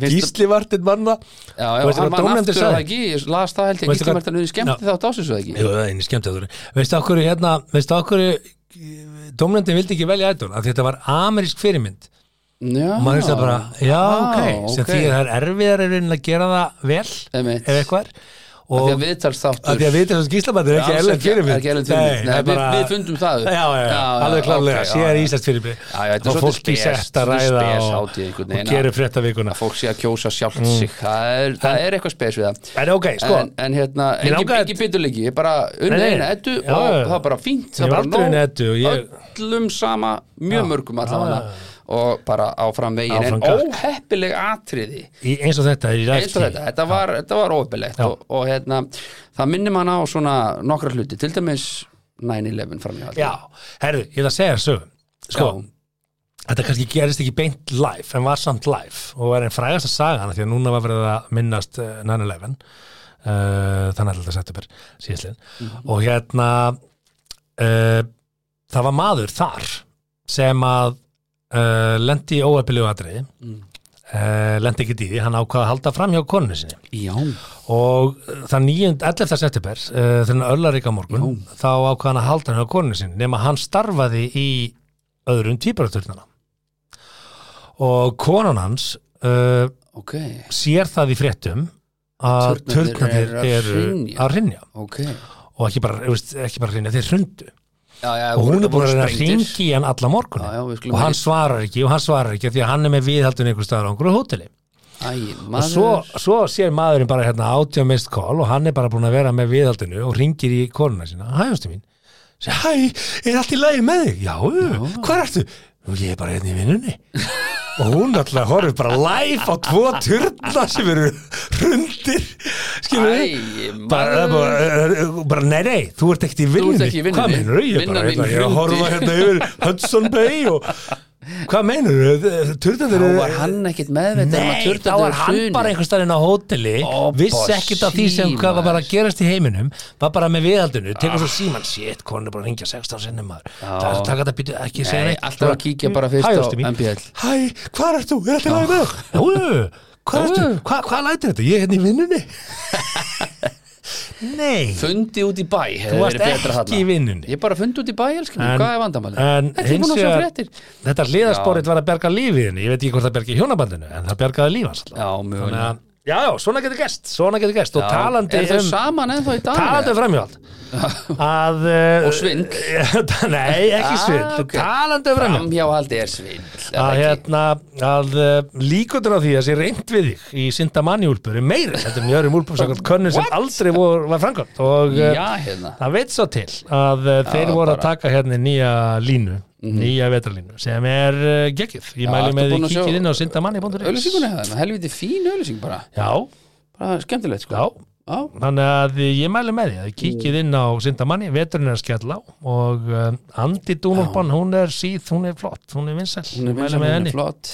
Speaker 4: skemmtuðoturinn.
Speaker 3: finnst-
Speaker 4: Gísli vartinn manna.
Speaker 3: Já,
Speaker 4: Og
Speaker 3: já,
Speaker 4: veistu hvað
Speaker 3: hann vann
Speaker 4: dómnefndin
Speaker 3: aftur
Speaker 4: sagði?
Speaker 3: að það ekki, ég las það held ég,
Speaker 4: Veistu
Speaker 3: Gísli
Speaker 4: hvað-
Speaker 3: Martinu skemmti
Speaker 4: Já.
Speaker 3: þátt ásins og ekki.
Speaker 4: Jú, það er einu skemmtæðurinn. Veistu okkur, hérna, veistu okkur, dómnefndin vildi ekki velja Idol, af því þetta var amerísk fyrirmynd.
Speaker 3: Já,
Speaker 4: Og maður hugsaði bara, já, ok, sem
Speaker 3: Ah, ok.
Speaker 4: því að það er erfiðar er að gera það vel,
Speaker 3: Einmitt.
Speaker 4: ef eitthvað er.
Speaker 3: Af
Speaker 4: Og
Speaker 3: því að viðtals
Speaker 4: af því að við þessum skýslamættir er ekki
Speaker 3: Alls
Speaker 4: erlend
Speaker 3: ekki-
Speaker 4: fyrirmynd.
Speaker 3: ekki erlend
Speaker 4: Nei,
Speaker 3: fyrirmynd. Nei,
Speaker 4: það er
Speaker 3: við-
Speaker 4: bara-
Speaker 3: við fundum það upp.
Speaker 4: Já, já, já,
Speaker 3: Já, já,
Speaker 4: alveg klálega,
Speaker 3: ok, já,
Speaker 4: síðan
Speaker 3: já.
Speaker 4: íslenskt fyrirmynd.
Speaker 3: Já, já, þetta er
Speaker 4: Og
Speaker 3: svolítið
Speaker 4: fólk í
Speaker 3: spes,
Speaker 4: sett að
Speaker 3: svolítið
Speaker 4: ræða
Speaker 3: spes
Speaker 4: og-
Speaker 3: hátíð einhvern
Speaker 4: og
Speaker 3: veginn að-
Speaker 4: gerir fréttavikuna.
Speaker 3: að fólk sé að kjósa sjálft
Speaker 4: Mm.
Speaker 3: sig það er, það er eitthvað spes við það
Speaker 4: En ok, sko.
Speaker 3: en, en hérna,
Speaker 4: Mér
Speaker 3: ekki,
Speaker 4: langaði-
Speaker 3: ekki bytulegi ég bara unna
Speaker 4: Nei, nei.
Speaker 3: eina eddu
Speaker 4: Já,
Speaker 3: og
Speaker 4: já.
Speaker 3: það er bara fínt það
Speaker 4: Ég
Speaker 3: er
Speaker 4: hef
Speaker 3: bara
Speaker 4: aldrei
Speaker 3: nóg.
Speaker 4: unnið eddu og ég-
Speaker 3: öllum sama, mjög mörgum allavega og bara áfram veginn
Speaker 4: Áfram
Speaker 3: en
Speaker 4: gakk.
Speaker 3: óheppileg atriði
Speaker 4: Í- Eins og þetta, í
Speaker 3: eins og
Speaker 4: ræðstíð.
Speaker 3: þetta, þetta var, þetta var óöfilegt og, og hérna, það minnir mann á svona nokkra hluti, til dæmis 9-11 framhjálf
Speaker 4: Já, herðu, ég ætla að segja þessu Sko,
Speaker 3: Já.
Speaker 4: þetta kannski gerist ekki beint live en var samt live og er einn frægast að saga hana því að núna var verið að minnast eh, 9-11 uh, þannig að þetta september síðslinn og eh, hérna uh, það var maður þar sem að uh, lendi í óeppilegu atriði mm. uh, lendi ekki í því, hann ákvað að halda fram hjá konunni sinni
Speaker 3: Já,
Speaker 4: og uh, þann 9. 11. september uh, þegar hann öllar á morgun þá ákvað hann að halda hann hjá konunni sinni nema hann starfaði í öðrum tvíburaturnana og konan hans uh,
Speaker 3: ok
Speaker 4: sér það í fréttum að
Speaker 3: Turnarnir
Speaker 4: törnarnir
Speaker 3: eru að
Speaker 4: eru
Speaker 3: hrynja.
Speaker 4: að hrynja
Speaker 3: Ok
Speaker 4: og ekki bara, þú veist, ekki bara hrynja, þeir hrundu
Speaker 3: já, já,
Speaker 4: og hún
Speaker 3: voru-
Speaker 4: er búin að reyna að
Speaker 3: sprengdir.
Speaker 4: ringi í hann alla morgun
Speaker 3: Já, já, við skulum
Speaker 4: og hann
Speaker 3: ekki-
Speaker 4: svarar ekki og hann svarar ekki af því að hann er með viðhaldun einhver staðar á einhverju hóteli
Speaker 3: Æ,
Speaker 4: og
Speaker 3: maður
Speaker 4: svo, svo sér maðurinn bara hérna átjá mist call og hann er bara búin að vera með viðhaldinu og ringir í konuna sína hæ, ástu mín Sér, hæ, er allt í lagi með þig? Já, hvað ertu? Nú, ég er bara hérna í vinnunni og hún alltaf horfir bara live á tvo turna sem eru rundir skilur við
Speaker 3: Æ,
Speaker 4: bara,
Speaker 3: maður.
Speaker 4: bara, bara, nei, nei, þú ert ekkert í
Speaker 3: ert
Speaker 4: vinnunni
Speaker 3: ekki í vinnunni.
Speaker 4: hvað meinur ég er
Speaker 3: Vinnan
Speaker 4: bara,
Speaker 3: mín
Speaker 4: hérna, ég er að horfa
Speaker 3: hrundi.
Speaker 4: hérna yfir
Speaker 3: [laughs]
Speaker 4: Hudson Bay og hvað meinur turnaður
Speaker 3: Þá var hann ekkit meðvitað um að
Speaker 4: Nei, þá
Speaker 3: turtandi
Speaker 4: var hann
Speaker 3: hrunið.
Speaker 4: bara einhver staðinn á hóteli
Speaker 3: Ó,
Speaker 4: vissi
Speaker 3: boss,
Speaker 4: ekkit af því sem hvað var
Speaker 3: símaður. Ah.
Speaker 4: bara að gerast í heiminum var bara með viðaldinu, tekur svo síman shit, konur er bara að ringja 16 sinnum maður það er að taka þetta býtu, ekki segja
Speaker 3: Nei,
Speaker 4: neitt "Mm,
Speaker 3: alltaf að kíkja bara fyrst
Speaker 4: Hæ,
Speaker 3: á
Speaker 4: ástin mín.
Speaker 3: MBL.
Speaker 4: Hæ, hvað er þú? Er alltaf lagi
Speaker 3: [laughs]
Speaker 4: með? þig? Jú, hvað er þú? Hvað, hvað lætir þetta? Ég er hérna í vinnunni
Speaker 3: [laughs]
Speaker 4: Nei
Speaker 3: Fundi út í bæ hefði
Speaker 4: varst
Speaker 3: verið betra
Speaker 4: ekki
Speaker 3: þarna.
Speaker 4: í vinnunni.
Speaker 3: Ég bara fundi út í bæ, elskan
Speaker 4: En-
Speaker 3: mér, hvað er vandamálið?
Speaker 4: en
Speaker 3: Ekki búin
Speaker 4: hins
Speaker 3: að sjá
Speaker 4: vegar-
Speaker 3: fréttir
Speaker 4: Þetta hliðarsporið var að berga lífiðinni, ég veit ekki hvort það bergi hjónabandinu en það bergaði líf hans alltaf
Speaker 3: Já, mjög
Speaker 4: Þannig að, já, já, svona getur gest, svona getur gest og talandi
Speaker 3: Er þau
Speaker 4: um,
Speaker 3: saman ennþá í dag?
Speaker 4: talandi um
Speaker 3: [laughs]
Speaker 4: framhjóld að, uh,
Speaker 3: Og svindl.
Speaker 4: [laughs] nei, ekki
Speaker 3: Ah,
Speaker 4: svindl,
Speaker 3: ok.
Speaker 4: talandi um framhjóld
Speaker 3: Framhjáhaldi er svindl er
Speaker 4: að,
Speaker 3: það ekki?
Speaker 4: hérna, að uh, líkundur á því að sé reynd við þig í Sindamanni úlpur er meiri, þetta er mjög örum úlpum sakvæmt könnum sem aldrei vor, var framkvæmt og uh,
Speaker 3: Já, hérna
Speaker 4: það veit svo til að uh, þeir voru að
Speaker 3: bara. Mhm.
Speaker 4: taka hérna nýja línu nýja vetralínu sem er uh, geggjöf, ég
Speaker 3: Já,
Speaker 4: mælu
Speaker 3: ertu
Speaker 4: með
Speaker 3: búin
Speaker 4: því
Speaker 3: að sjá
Speaker 4: kíkir inn á sindamanni.is
Speaker 3: Öllusinguna hefði, helviti fín öllusing bara
Speaker 4: já,
Speaker 3: Bara skemmtilegt, sko
Speaker 4: já
Speaker 3: Já,
Speaker 4: Þannig að ég mæli með því að kíkið inn á Sindamanni, veturinn er að skella á og um, Andi Dúnúlpan, hún er síð, hún er flott, hún er vinsæl
Speaker 3: hún er
Speaker 4: Mæli
Speaker 3: vinsæl,
Speaker 4: með
Speaker 3: hún
Speaker 4: henni
Speaker 3: er flott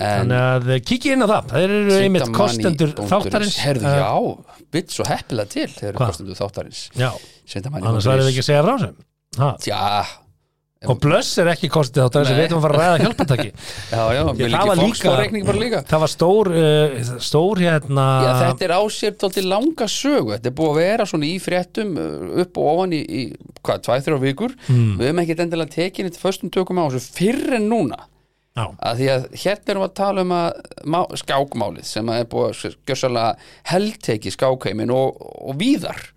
Speaker 3: En
Speaker 4: Þannig að eh, kíkið inn á það, þeir eru einmitt
Speaker 3: Sindamanni
Speaker 4: kostendur
Speaker 3: punktur is.
Speaker 4: þáttarins
Speaker 3: Herðu,
Speaker 4: Eh,
Speaker 3: já, bytt svo heppilega til Þeir eru
Speaker 4: Hvað?
Speaker 3: kostendur þáttarins
Speaker 4: já,
Speaker 3: Sindamanni
Speaker 4: annars verður við ekki að segja frá sem ha.
Speaker 3: Já,
Speaker 4: Og blöss er ekki kostið þáttarins, við
Speaker 3: Nei.
Speaker 4: veitum að fara að ræða hjálpataki
Speaker 3: já, já, mér
Speaker 4: það var
Speaker 3: líki
Speaker 4: líka-
Speaker 3: fókstórreikning bara líka
Speaker 4: Það var stór, uh, stór hérna
Speaker 3: Já, þetta er á sér tólti langa sögu Þetta er búið að vera svona í fréttum uh, upp og ofan í, í hvað, tvæ, þrjá vikur
Speaker 4: Hmm.
Speaker 3: Við höfum ekkert endilega tekinni til föstum tökum á þessu fyrr en núna
Speaker 4: Já.
Speaker 3: að Því að hérna erum við að tala um að má, skákmálið sem að er búið að gjössalega heldteki skákheimin og, og víðar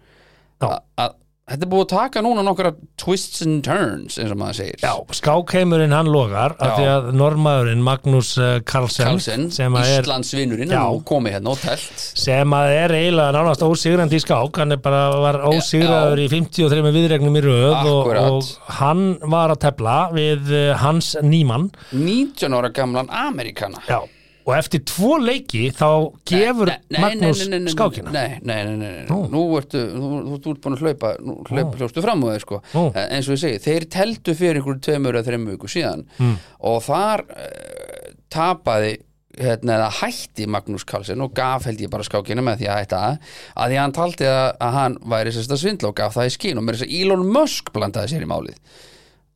Speaker 4: Já.
Speaker 3: að, að þetta er búið að taka núna nokkra twists and turns eins og maður segir
Speaker 4: Já, skákheimurinn hann logar af
Speaker 3: Já.
Speaker 4: því að normaðurinn Magnús eh, Carlsen,
Speaker 3: Carlsen,
Speaker 4: sem að er
Speaker 3: Íslandsvinurinn
Speaker 4: Já.
Speaker 3: er nú komið hérna og telt
Speaker 4: sem að er eiginlega nánast ósigrandi í skák hann er bara var ósigraður í 53 viðregnum í röð og,
Speaker 3: Akkurat.
Speaker 4: og hann var að tepla við eh, Hans Nýmann
Speaker 3: 19 ára gamlan Amerikana
Speaker 4: Já. og eftir tvo leiki þá gefur Magnús skákina
Speaker 3: Nei, nei, nei, nei, nei. Nú ertu, þú, þú, þú ert búin að hlaupa nú hlaup, hljóstu fram á þeir sko
Speaker 4: Nú.
Speaker 3: Eh, eins og ég segi, þeir teltu fyrir einhverjum tveimur eða þreimur viku síðan
Speaker 4: Hmm.
Speaker 3: og þar uh, tapaði hérna, eða hætti Magnús Karlsson og gaf held ég bara skákina með því að hætta að því að hann taldi að, að hann væri sérst að svindla og gaf það í skín og mér þess að Elon Musk blandaði sér í málið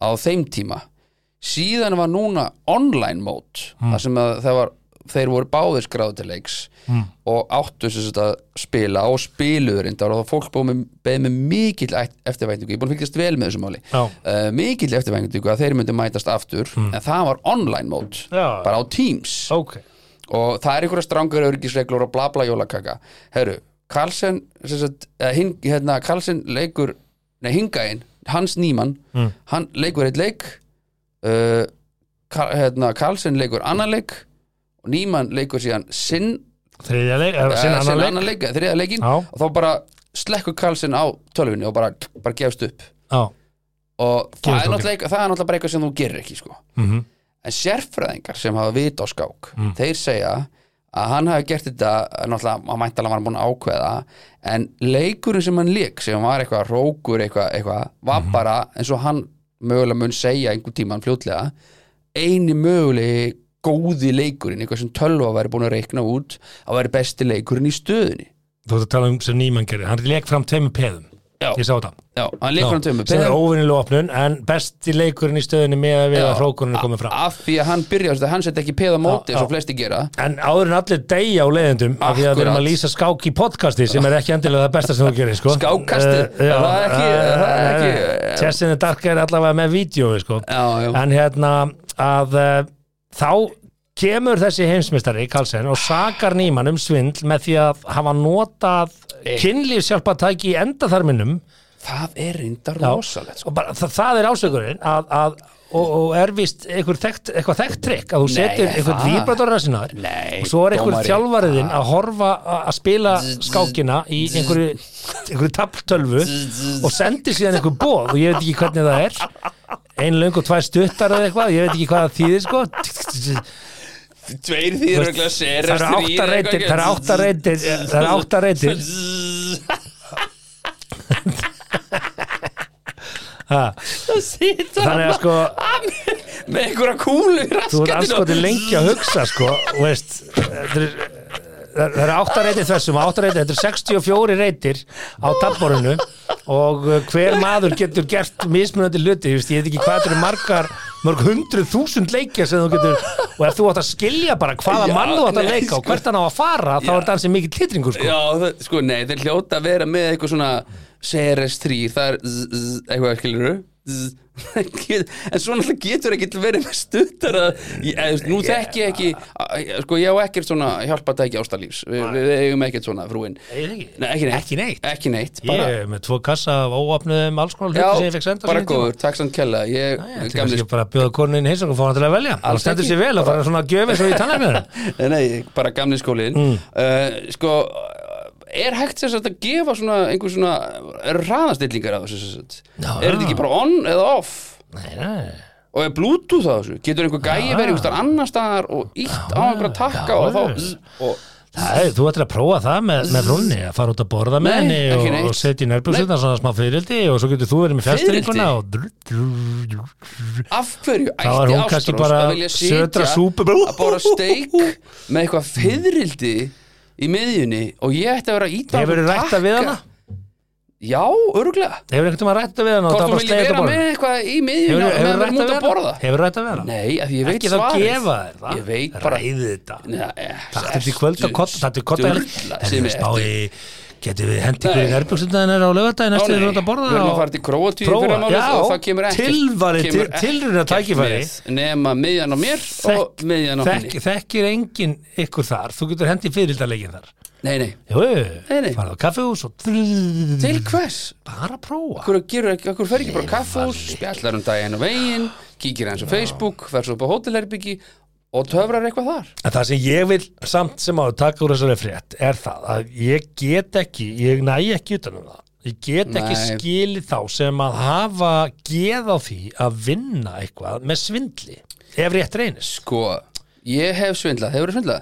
Speaker 3: á þeim tíma síðan var núna online mót
Speaker 4: Hmm.
Speaker 3: þar sem að það var þeir voru báðir skráðu til leiks
Speaker 4: Hmm.
Speaker 3: og áttu sem þetta spila og spiluður reyndar og fólk búið með, beðið með mikill ætt- eftirvæntingu, ég er búin að fylgjast vel með þessu máli
Speaker 4: Já. Hmm.
Speaker 3: uh, mikill eftirvæntingu að þeir myndu mætast aftur en það var online mót
Speaker 4: Já.
Speaker 3: bara á Teams
Speaker 4: ok,
Speaker 3: og það er einhverja strangar örgisreglur og bla bla jólakaka herru, Karlsen sem sagt, eh, hin, hérna, Karlsen leikur nei, hingaðin, Hans Nýmann
Speaker 4: Mm.
Speaker 3: hann leikur eitt leik uh, Kar, hérna, Karlsen leikur annan leik og Nýmann leikur síðan sinn,
Speaker 4: þriðja leik, eða sinna
Speaker 3: eh,
Speaker 4: annan leik
Speaker 3: annan leik, þriða leikin
Speaker 4: Já.
Speaker 3: og þá bara slekkur Karlsen á tölvunni og bara, bara gefst upp
Speaker 4: Já.
Speaker 3: og það
Speaker 4: Gefur
Speaker 3: er,
Speaker 4: þú
Speaker 3: náttúrulega, það er náttúrulega bara eitthvað sem þú gerir ekki sko.
Speaker 4: Mhm.
Speaker 3: en sérfræðingar sem hafa vit á skák
Speaker 4: Mm.
Speaker 3: þeir segja að hann hafi gert þetta eh, náttúrulega, hann mæntalega var hann búin að ákveða en leikurinn sem hann leik sem var eitthvað rókur, eitthvað, eitthvað var
Speaker 4: Mhm.
Speaker 3: bara, eins og hann mögulega mun segja einhvern tímann fljótlega eini mögulegi góði leikurinn eitthvað sem tölva væri búin að reikna út að væri besti leikurinn í stöðunni
Speaker 4: þú ert að tala um sem Nýmann gerir hann leik fram tveimur peðum
Speaker 3: Já.
Speaker 4: ég sá þetta
Speaker 3: Já, hann leikur hann tömur
Speaker 4: sem er óvinnileg opnun en besti leikurinn í stöðinni með að við að hrókunin er komið fram
Speaker 3: Af því að hann byrja, þess að hann setja ekki peða móti
Speaker 4: Já,
Speaker 3: eins og
Speaker 4: já.
Speaker 3: flesti gera
Speaker 4: En áður en allir deyja á leiðendum af því að við erum að
Speaker 3: Akkurat.
Speaker 4: lýsa skák í podcasti sem er ekki endilega það besta sem þú gerir sko.
Speaker 3: Skákkastið?
Speaker 4: Eh, já,
Speaker 3: Það er ekki-
Speaker 4: eh,
Speaker 3: það er ekki-
Speaker 4: eh, Chess in the Dark er allavega með vídeo sko.
Speaker 3: Já, já.
Speaker 4: en hérna að eh, þá kemur þessi heimsmystari Karlsson og sakar nýmann um svindl með því að hafa notað
Speaker 3: Eh.
Speaker 4: kynlíf sjálpa í endaþarminum
Speaker 3: Það er reyndar
Speaker 4: Já.
Speaker 3: rosalegt sko.
Speaker 4: og bara, það, það er ásökurinn að, að, og, og er vist einhver þekkt, eitthvað þekkt trikk að þú
Speaker 3: Nei,
Speaker 4: setir einhvern
Speaker 3: það-
Speaker 4: víbratorra sinnaður
Speaker 3: Nei,
Speaker 4: og svo er einhver
Speaker 3: dómari.
Speaker 4: þjálfariðin að horfa a- að spila skákina í einhverju, einhverju tapptölvu og sendir síðan einhver bóð og ég veit ekki hvernig það er ein löng og tvær stuttar eða eitthvað ég veit ekki hvað það þýðir sko
Speaker 3: Tveir því
Speaker 4: Þú veist, það eru átta reytir það eru átta reytir það
Speaker 3: [laughs]
Speaker 4: eru átta reytir Ha,
Speaker 3: Það situr
Speaker 4: þannig að sko
Speaker 3: með einhverja kúlu í
Speaker 4: þú ert
Speaker 3: raskatinu
Speaker 4: anskotin lengi að hugsa sko, og veist þetta er- það eru átta reytir þessum átta reytir, þetta eru 64 reytir á tabborinu og uh, hver maður getur gert mismunandi hluti, ég veist, ég veit ekki hvað þetta eru margar mörg hundruð þúsund leikja sem þú getur, og ef þú átt að skilja bara hvaða
Speaker 3: Já,
Speaker 4: mann þú átt að
Speaker 3: nei,
Speaker 4: leika og
Speaker 3: sko.
Speaker 4: hvert hann á að fara, þá
Speaker 3: Já.
Speaker 4: er þetta ansið mikið titringur sko,
Speaker 3: Já, það, sko, nei, þeir hljóta að vera með eitthvað svona CRS3, það er zzz, zzz, eitthvað, skilur [laughs] en svo náttúrulega getur ekki verið með stuttar að, ég, eða, þú veist, nú þekki ég ekki að- sko, ég á ekkert svona hjálpa þetta ekki ástalífs, við, við eigum ekkert svona frúin,
Speaker 4: Ég veit ekki.
Speaker 3: nei, ekki neitt
Speaker 4: Ekki neitt?
Speaker 3: ekki neitt, bara
Speaker 4: ég er með tvo kassa af óopnuðum alls konar hluti sem ég fekk senda á
Speaker 3: bara
Speaker 4: sínum tíma.
Speaker 3: góður, takk samt kella ég,
Speaker 4: Þetta er
Speaker 3: gamli,
Speaker 4: kannski bara að bjóða konuninn hins og fá hann til að velja og
Speaker 3: Alls
Speaker 4: stendur
Speaker 3: ekki.
Speaker 4: sér vel að fara svona að gjöfi svo í tannarnir
Speaker 3: Nei, Eh, nei, bara gamli skólin
Speaker 4: Mm.
Speaker 3: uh, Sko, er hægt þess að gefa svona einhver svona raðastillingar á þessu sem sagt?
Speaker 4: Já.
Speaker 3: Er þetta ekki bara on eða off?
Speaker 4: Nei, nei
Speaker 3: Og er bluetooth á þessu? Getur einhver gæi verið einhver staðar annar staðar og ítt á einhverja takka og
Speaker 4: Já.
Speaker 3: þá og,
Speaker 4: Nei, þú ættir að prófa það með, með frunni að fara út að borða með
Speaker 3: Nei,
Speaker 4: henni
Speaker 3: ekki
Speaker 4: og,
Speaker 3: neitt.
Speaker 4: og setja í nærbjörnsutna svona smá fyrildi og svo getur þú verið með fjastringuna og drr, drr, drr.
Speaker 3: Af hverju
Speaker 4: þá er
Speaker 3: ætti
Speaker 4: hún kannski
Speaker 3: Ástrós
Speaker 4: bara
Speaker 3: að vilja
Speaker 4: södra
Speaker 3: sitja
Speaker 4: súpu bara,
Speaker 3: að bóra steik með eitthvað fyririldi í miðjunni og ég ætti að vera að íta
Speaker 4: Hefur þú rætta við hana?
Speaker 3: Já, örgulega
Speaker 4: Hefur einhvern tímann rætta við hana og það
Speaker 3: Hvort hún
Speaker 4: bara
Speaker 3: vilja
Speaker 4: slegið
Speaker 3: vera
Speaker 4: að borða?
Speaker 3: með eitthvað í miðjunni
Speaker 4: Hefur
Speaker 3: og meðan
Speaker 4: þú rætta
Speaker 3: við erum út
Speaker 4: við
Speaker 3: að
Speaker 4: hana?
Speaker 3: borða
Speaker 4: Hefur rætta við hana?
Speaker 3: Nei, af því ég veit
Speaker 4: Ekki þá
Speaker 3: svarið
Speaker 4: gefa þér það
Speaker 3: Ég veit bara
Speaker 4: Ræði þetta
Speaker 3: Nei, eh,
Speaker 4: Þetta er kvöld að kotta Þetta er kotta
Speaker 3: Sturla
Speaker 4: En
Speaker 3: sem
Speaker 4: við
Speaker 3: er
Speaker 4: spái Getur við hendi ykkur í
Speaker 3: Nei.
Speaker 4: nærbjörnsutna hennar á lögadaginn eftir
Speaker 3: nei,
Speaker 4: við erum að borða
Speaker 3: Við erum
Speaker 4: og-
Speaker 3: að fara til Króatíu
Speaker 4: Prófa,
Speaker 3: fyrir málið
Speaker 4: já,
Speaker 3: og það kemur ekki
Speaker 4: tilvari- til- tilrauna tækifæri.
Speaker 3: Nefna miðjan á mér og miðjan á
Speaker 4: Þekk,
Speaker 3: henni
Speaker 4: þekkir enginn ykkur þar þú getur hendi fyririldaleggin þar
Speaker 3: Nei, nei,
Speaker 4: Jú,
Speaker 3: Nei, nei.
Speaker 4: farðu á kaffehús og bara
Speaker 3: til hvers?
Speaker 4: að prófa
Speaker 3: Akkur, gerur, akkur fer ekki bara á kaffús, spjallar um daginn og veginn kíkir hans á Facebook, fer svo upp á hótelherbyggi og töfrar eitthvað þar
Speaker 4: en það sem ég vil samt sem á að taka úr þessari frétt er það að ég get ekki ég næ ekki utanum það ég get ekki
Speaker 3: Nei.
Speaker 4: skilið þá sem að hafa geð á því að vinna eitthvað með svindli ef rétt reynist
Speaker 3: Sko, ég hef svindlað, hefur þú svindlað?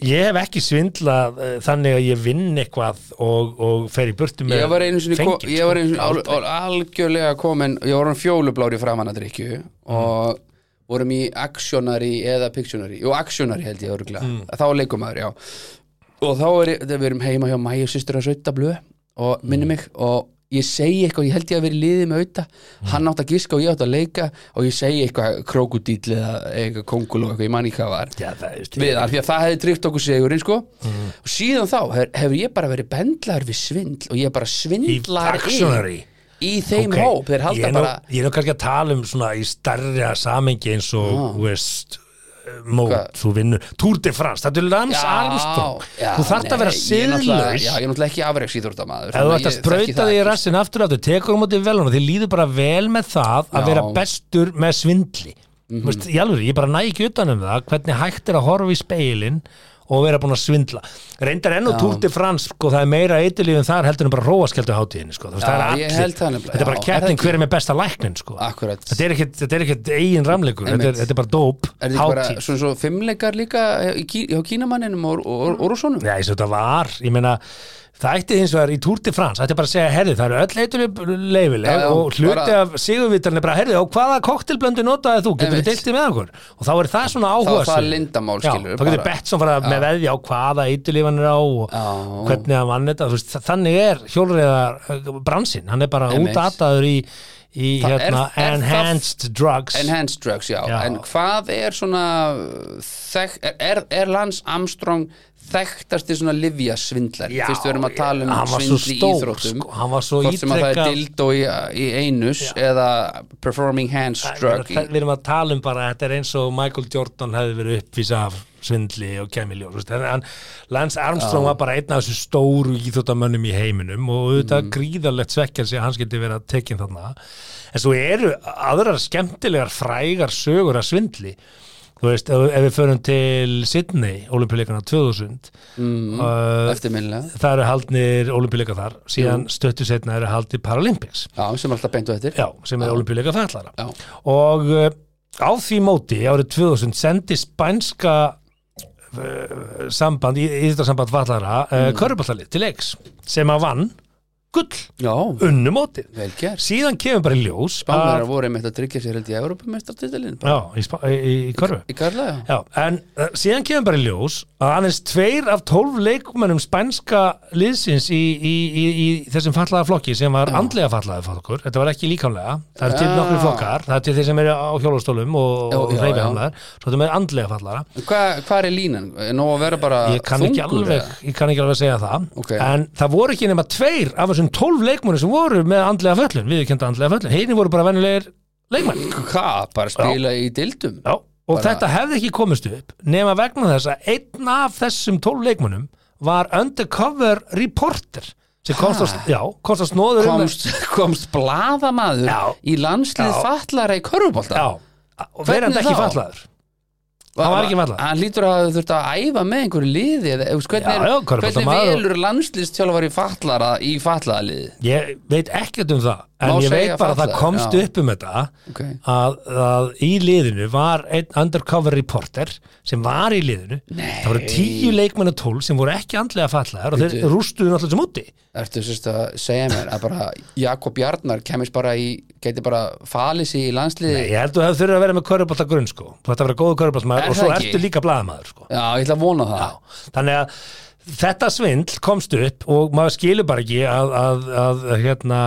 Speaker 4: ég hef ekki svindlað uh, þannig að ég vinn eitthvað og, og fer í burtu með
Speaker 3: ég var einu sinni,
Speaker 4: fengið,
Speaker 3: ko- ég var einu
Speaker 4: sko.
Speaker 3: sinni al, al, algjörlega komin ég var hann fjólublári framan að drikju
Speaker 4: Mm.
Speaker 3: og vorum í actionary eða pictionary, jú actionary held ég örgla,
Speaker 4: Mm.
Speaker 3: þá leikum maður, já og þá er, ég- þegar við erum heima hjá mæja systur að sauta blöð og
Speaker 4: Mm.
Speaker 3: minni mig og ég segi eitthvað, ég held ég að vera í liði með auða
Speaker 4: Mm.
Speaker 3: hann átt að giska og ég átt að leika og ég segi eitthvað krókudýll eða eitthvað kongul og eitthvað, ég man ekki hvað var
Speaker 4: Já, það, veist,
Speaker 3: við hann, því að það hefði tryggt okkur sigurinn sko. og síðan þá hef- hefur ég bara verið bendlar við svindl og ég bara svindlar inn
Speaker 4: actionary.
Speaker 3: í þeim
Speaker 4: Ok,
Speaker 3: hóp, þeir halda
Speaker 4: ég er nú,
Speaker 3: bara
Speaker 4: ég er nú kannski að tala um svona í starra samengi eins og
Speaker 3: Ah.
Speaker 4: þú veist eh,
Speaker 3: Hvað?
Speaker 4: mót, þú vinnur, Tour de France þetta er Lance Armstrong
Speaker 3: já,
Speaker 4: þú þarft
Speaker 3: nei,
Speaker 4: að vera
Speaker 3: ég er náttúrulega-
Speaker 4: siðlaus
Speaker 3: Já, ég er náttúrulega ekki afreiksíþórtamaður
Speaker 4: ef þú ætti að sprauta því í
Speaker 3: sko.
Speaker 4: rassin aftur og aftur tekur um átti velun og þið líður bara vel með það að
Speaker 3: Já. Mhm.
Speaker 4: vera bestur með svindli mm veist, í alveg, ég bara næ ekki utan um það hvernig hægt er að horfa í speilin og vera búin að svindla reyndar enn og Tour de France sko, það er meira eitilífum þar heldur en bara róaskeldu hátíðinni sko. Þú veist,
Speaker 3: Já,
Speaker 4: það er
Speaker 3: ég
Speaker 4: allir,
Speaker 3: held það nefnilega,
Speaker 4: þetta er bara
Speaker 3: já, er það
Speaker 4: keppning hver er með besta læknin sko.
Speaker 3: Akkurat.
Speaker 4: þetta er ekkit- þetta er ekkert eigin ramleikur þetta er,
Speaker 3: Einmitt.
Speaker 4: þetta er bara dóp,
Speaker 3: Er þetta ekki bara
Speaker 4: hátíð
Speaker 3: svona svo fimmleikar líka í Kí- hjá kínamanninum og, og, og, og rússonum?
Speaker 4: Já, eins og þetta var, ég meina Það ætti hins vegar í Tour de France, það ætti bara að segja, herði, það eru öll eitur leifileg
Speaker 3: Já, já,
Speaker 4: og hluti
Speaker 3: bara-
Speaker 4: af sigurvitarnir bara, herði, og hvaða koktelblöndu notaði þú, getur við
Speaker 3: Einmitt.
Speaker 4: deiltið með okkur? Og þá er það svona
Speaker 3: Þá
Speaker 4: áhuga
Speaker 3: er það lindamál,
Speaker 4: Já,
Speaker 3: skilur
Speaker 4: þá getur Betsson fara með veðja á hvaða eiturlífan er á og
Speaker 3: Já.
Speaker 4: hvernig hann vann þetta, þú veist, þannig er hjólreiðar eh, bransinn, hann er bara
Speaker 3: Einmitt.
Speaker 4: útataður í, í
Speaker 3: Það er-
Speaker 4: hérna,
Speaker 3: er það-
Speaker 4: enhanced drugs.
Speaker 3: Enhanced drugs, já.
Speaker 4: Já.
Speaker 3: En hvað er svona þek, er- er, er Lance Armstrong þekktasti svona livja svindlar?
Speaker 4: Já,
Speaker 3: Fyrst við erum að tala um
Speaker 4: hann var svo
Speaker 3: svindl í
Speaker 4: stór,
Speaker 3: íþróttum
Speaker 4: sko, hann var svo
Speaker 3: Hvort sem að það er
Speaker 4: ítrekað-
Speaker 3: dildo í, í einus eða performing hands drug í,
Speaker 4: Við við erum að tala um bara að þetta er eins og Michael Jordan hefði verið uppvísa af svindli og kemiljón Lance Armstrong var bara einn af þessu stóru íþjóttamönnum í heiminum og auðvitað
Speaker 3: Mhm.
Speaker 4: gríðarlegt svekkjansi að hans geti verið að tekinn þarna en svo eru aðrar skemmtilegar frægar sögur af svindli þú veist, ef, ef við förum til Sydney, olimpíuleikana 2000 mm.
Speaker 3: eftirminnilega.
Speaker 4: það eru haldnir olimpíuleika þar síðan stöttu setna eru haldið Paralympics
Speaker 3: Já, sem er alltaf beintu eftir.
Speaker 4: Já, sem er olimpíuleika fallara
Speaker 3: Já.
Speaker 4: og uh, á því móti árið 2000 sendi spænska uh, samband, íþjóðarsamband fallara uh, mm. til leiks sem að vann gull
Speaker 3: Já,
Speaker 4: unnu mótið
Speaker 3: vel gert.
Speaker 4: síðan kemur bara í ljós
Speaker 3: Spánverðar
Speaker 4: að-
Speaker 3: voru einmitt að tryggja sér held í Európa-mestartitilin.
Speaker 4: Já, í, Spa- í, í, í körfu
Speaker 3: Í Karla, já.
Speaker 4: Já, en uh, síðan kemur bara í ljós að aðeins tveir af tólf leikmennum spænska liðsins í, í, í, í þessum fallaða flokki sem var andlega fallaði flokkur, þetta var ekki líkamlega það er til
Speaker 3: Já.
Speaker 4: nokkru flokkar, það er til þeir sem eru á hjólastólum og,
Speaker 3: Já,
Speaker 4: og
Speaker 3: já,
Speaker 4: reyfihamlaðar svo þetta með andlega fallara
Speaker 3: En Hvað hva er línan? Nó að vera bara
Speaker 4: ég kann, ekki
Speaker 3: þungur,
Speaker 4: alveg,
Speaker 3: eða?
Speaker 4: ég kann ekki alveg segja það
Speaker 3: Ok.
Speaker 4: en það voru ekki nema tveir af þessum tólf leikmennum sem voru með andlega föllun viðurkenda andlega föllun, heinni voru bara venjulegir leikmenn
Speaker 3: Hvað? Bara spila í dildum?
Speaker 4: Já, og
Speaker 3: Bara-
Speaker 4: þetta hefði ekki komist upp nema vegna þess að einn af þessum tólf leikmunum var undercover reporter sem komst að, já, komst um- að snóður
Speaker 3: komst, komst blaðamaður
Speaker 4: Já.
Speaker 3: í landslið
Speaker 4: Já.
Speaker 3: fallara í körfubólta
Speaker 4: já, og verðandi
Speaker 3: Hvernig
Speaker 4: ekki
Speaker 3: þá?
Speaker 4: fallaður hann var ekki fallaður.
Speaker 3: hann lítur að þurft að æfa með einhverju liði eða, þú
Speaker 4: Já,
Speaker 3: veist, hvernig,
Speaker 4: já,
Speaker 3: er, hvernig
Speaker 4: körfuboltamaður og-
Speaker 3: velur landslistjálfari fallara í fallaraliði
Speaker 4: ég veit ekkert um það en
Speaker 3: Má
Speaker 4: ég veit
Speaker 3: segja
Speaker 4: bara að það
Speaker 3: fallaður,
Speaker 4: komst
Speaker 3: já.
Speaker 4: upp um þetta
Speaker 3: Ok.
Speaker 4: að, að í liðinu var einn undercover reporter sem var í liðinu Nei. það voru tíu leikmenn og tólf sem voru ekki andlega fallaður og þeir
Speaker 3: Bíddu.
Speaker 4: rústuðu náttúrulega sem úti
Speaker 3: ertu sérst að segja mér að bara Jakob Jarnar kemist bara í geti bara falið sig í landsliði
Speaker 4: ég held að þú hefur þurfið að vera með körubálta grunn sko. þú ætti að vera góðu
Speaker 3: Er
Speaker 4: körubáltmaður og
Speaker 3: það
Speaker 4: svo
Speaker 3: ekki?
Speaker 4: ertu líka blaðamaður sko.
Speaker 3: já, ég ætla að vona það já.
Speaker 4: þannig að þetta svindl komst upp og maður skilur bara ekki að, að, að hérna,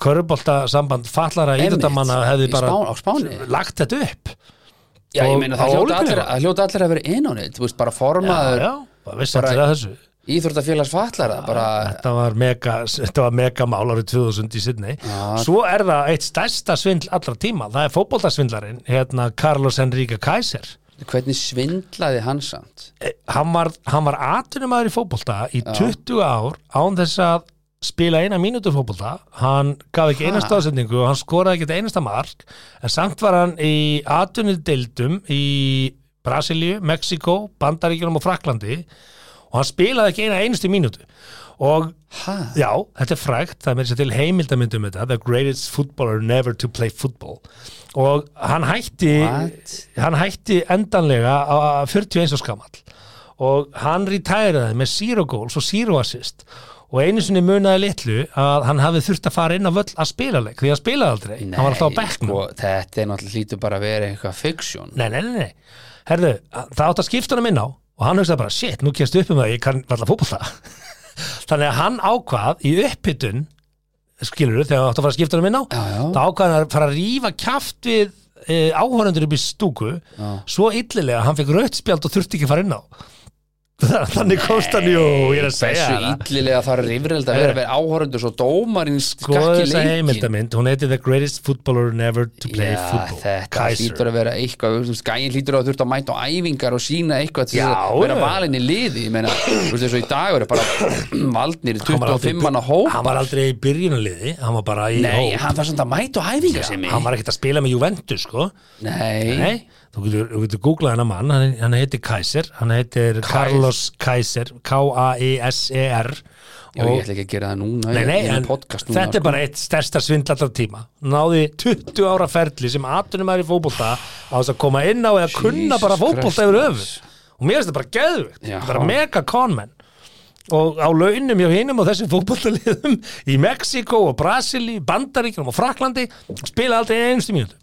Speaker 4: körubólta samband fallara
Speaker 3: Einmitt.
Speaker 4: íþjóttamanna hefði
Speaker 3: Í
Speaker 4: bara
Speaker 3: Spán- á Spáni.
Speaker 4: lagt þetta upp
Speaker 3: ég
Speaker 4: Og-
Speaker 3: meina
Speaker 4: á
Speaker 3: það hljóta
Speaker 4: Ólympíuleikana?
Speaker 3: allir, að hljóta allir að vera inn á neitt þú veist, bara formaður
Speaker 4: já, bara vissi allir
Speaker 3: bara-
Speaker 4: að þessu
Speaker 3: íþróttafélags fallara bara,
Speaker 4: þetta var, mega, þetta var mega mál árið 2000 í Sydney svo er það eitt stærsta svindl allra tíma það er fótboltasvindlarinn hérna Carlos Enrique Kaiser
Speaker 3: hvernig svindlaði hans samt
Speaker 4: Eh, hann var, hann var atunumæður í fótbolta í 20 ár án þess að spila eina mínútur fótbolta hann gaf ekki einasta ásendingu og hann skoraði ekki einasta mark en samt var hann í atunudeildum í Brasilíu, Mexiko, Bandaríkjunum og Fraklandi og hann spilaði ekki eina einustu mínútu og
Speaker 3: ha?
Speaker 4: Já, þetta er frægt, það er mér sér til heimildamyndum um þetta, the greatest footballer never to play football og hann hætti
Speaker 3: What?
Speaker 4: hann hætti endanlega á 41 og skamall og hann retæraði með zero goals og zero assist og einu sinni munaði litlu að hann hafði þurft að fara inn á völl að spila leik því að spilaði aldrei, hann var alltaf á bekknum
Speaker 3: sko, þetta er náttúrulega hlýtur bara að vera eitthvað fiksjón
Speaker 4: Nei, nei, nei, nei. Herðu, það átt að skipta hann inn á og hann hugsaði bara, shit, nú kemst upp um það, ég kann varla fótbolta. [laughs] Þannig að hann ákvað í upphittun, skilur þegar það átt að fara að skipta hann inn á,
Speaker 3: Já, já.
Speaker 4: þá ákvað hann að fara að rífa kjaft við e, áhörundur upp í stúku, svo illilega, að hann fekk rautt spjald og þurfti ekki að fara inn á. [laughs] Þannig komst hann, jú, ég er að segja
Speaker 3: Þessu
Speaker 4: það.
Speaker 3: illilega þarf rifrildi að vera að vera áhorundur svo dómarinn
Speaker 4: Sko
Speaker 3: skakki
Speaker 4: þessa
Speaker 3: leikin
Speaker 4: heimildamind, hún heiti The Greatest Footballer Never to Play
Speaker 3: Já,
Speaker 4: Football.
Speaker 3: þetta
Speaker 4: Kaiser.
Speaker 3: hlýtur að vera eitthvað þú veist, Gæin hlýtur að þurft að mæta á æfingar og sína eitthvað til þess
Speaker 4: Já,
Speaker 3: að vera
Speaker 4: já.
Speaker 3: valinn í liði Ég meina, þú veist þessu í dag eru bara [clears throat] valdnir í
Speaker 4: Hann var aldrei-
Speaker 3: 25 manna hóp
Speaker 4: Hann var aldrei í byrjunaliði, hann var bara í
Speaker 3: Nei,
Speaker 4: hóp.
Speaker 3: hann var samt að mæta á æfingar sem
Speaker 4: hann var ekkert að spila með Juventus sko
Speaker 3: Nei,
Speaker 4: Nei, þú getur, þú getur googlað hennar mann hann, hann heitir Kaiser, hann heitir Carlos Kaiser, K-A-I-S-E-R
Speaker 3: já, ég ætla ekki að gera það núna
Speaker 4: Nei,
Speaker 3: ég-
Speaker 4: nei,
Speaker 3: ég er með
Speaker 4: en
Speaker 3: podcast núna,
Speaker 4: þetta er
Speaker 3: sko.
Speaker 4: bara eitt stærsta svindl allra tíma Náði 20 ára ferli sem atunum er í fótbolta á þess að koma inn á eða kunna
Speaker 3: Jesus
Speaker 4: bara fótbolta
Speaker 3: Christ,
Speaker 4: yfir
Speaker 3: maður.
Speaker 4: öfur og mér finnst þetta bara geðvikt,
Speaker 3: Já.
Speaker 4: bara mega conman og á launum hjá hinum og þessum [laughs] fótballtaliðum í Mexiko og Brasili, Bandaríkjum og Fraklandi spila aldrei einstu mínútu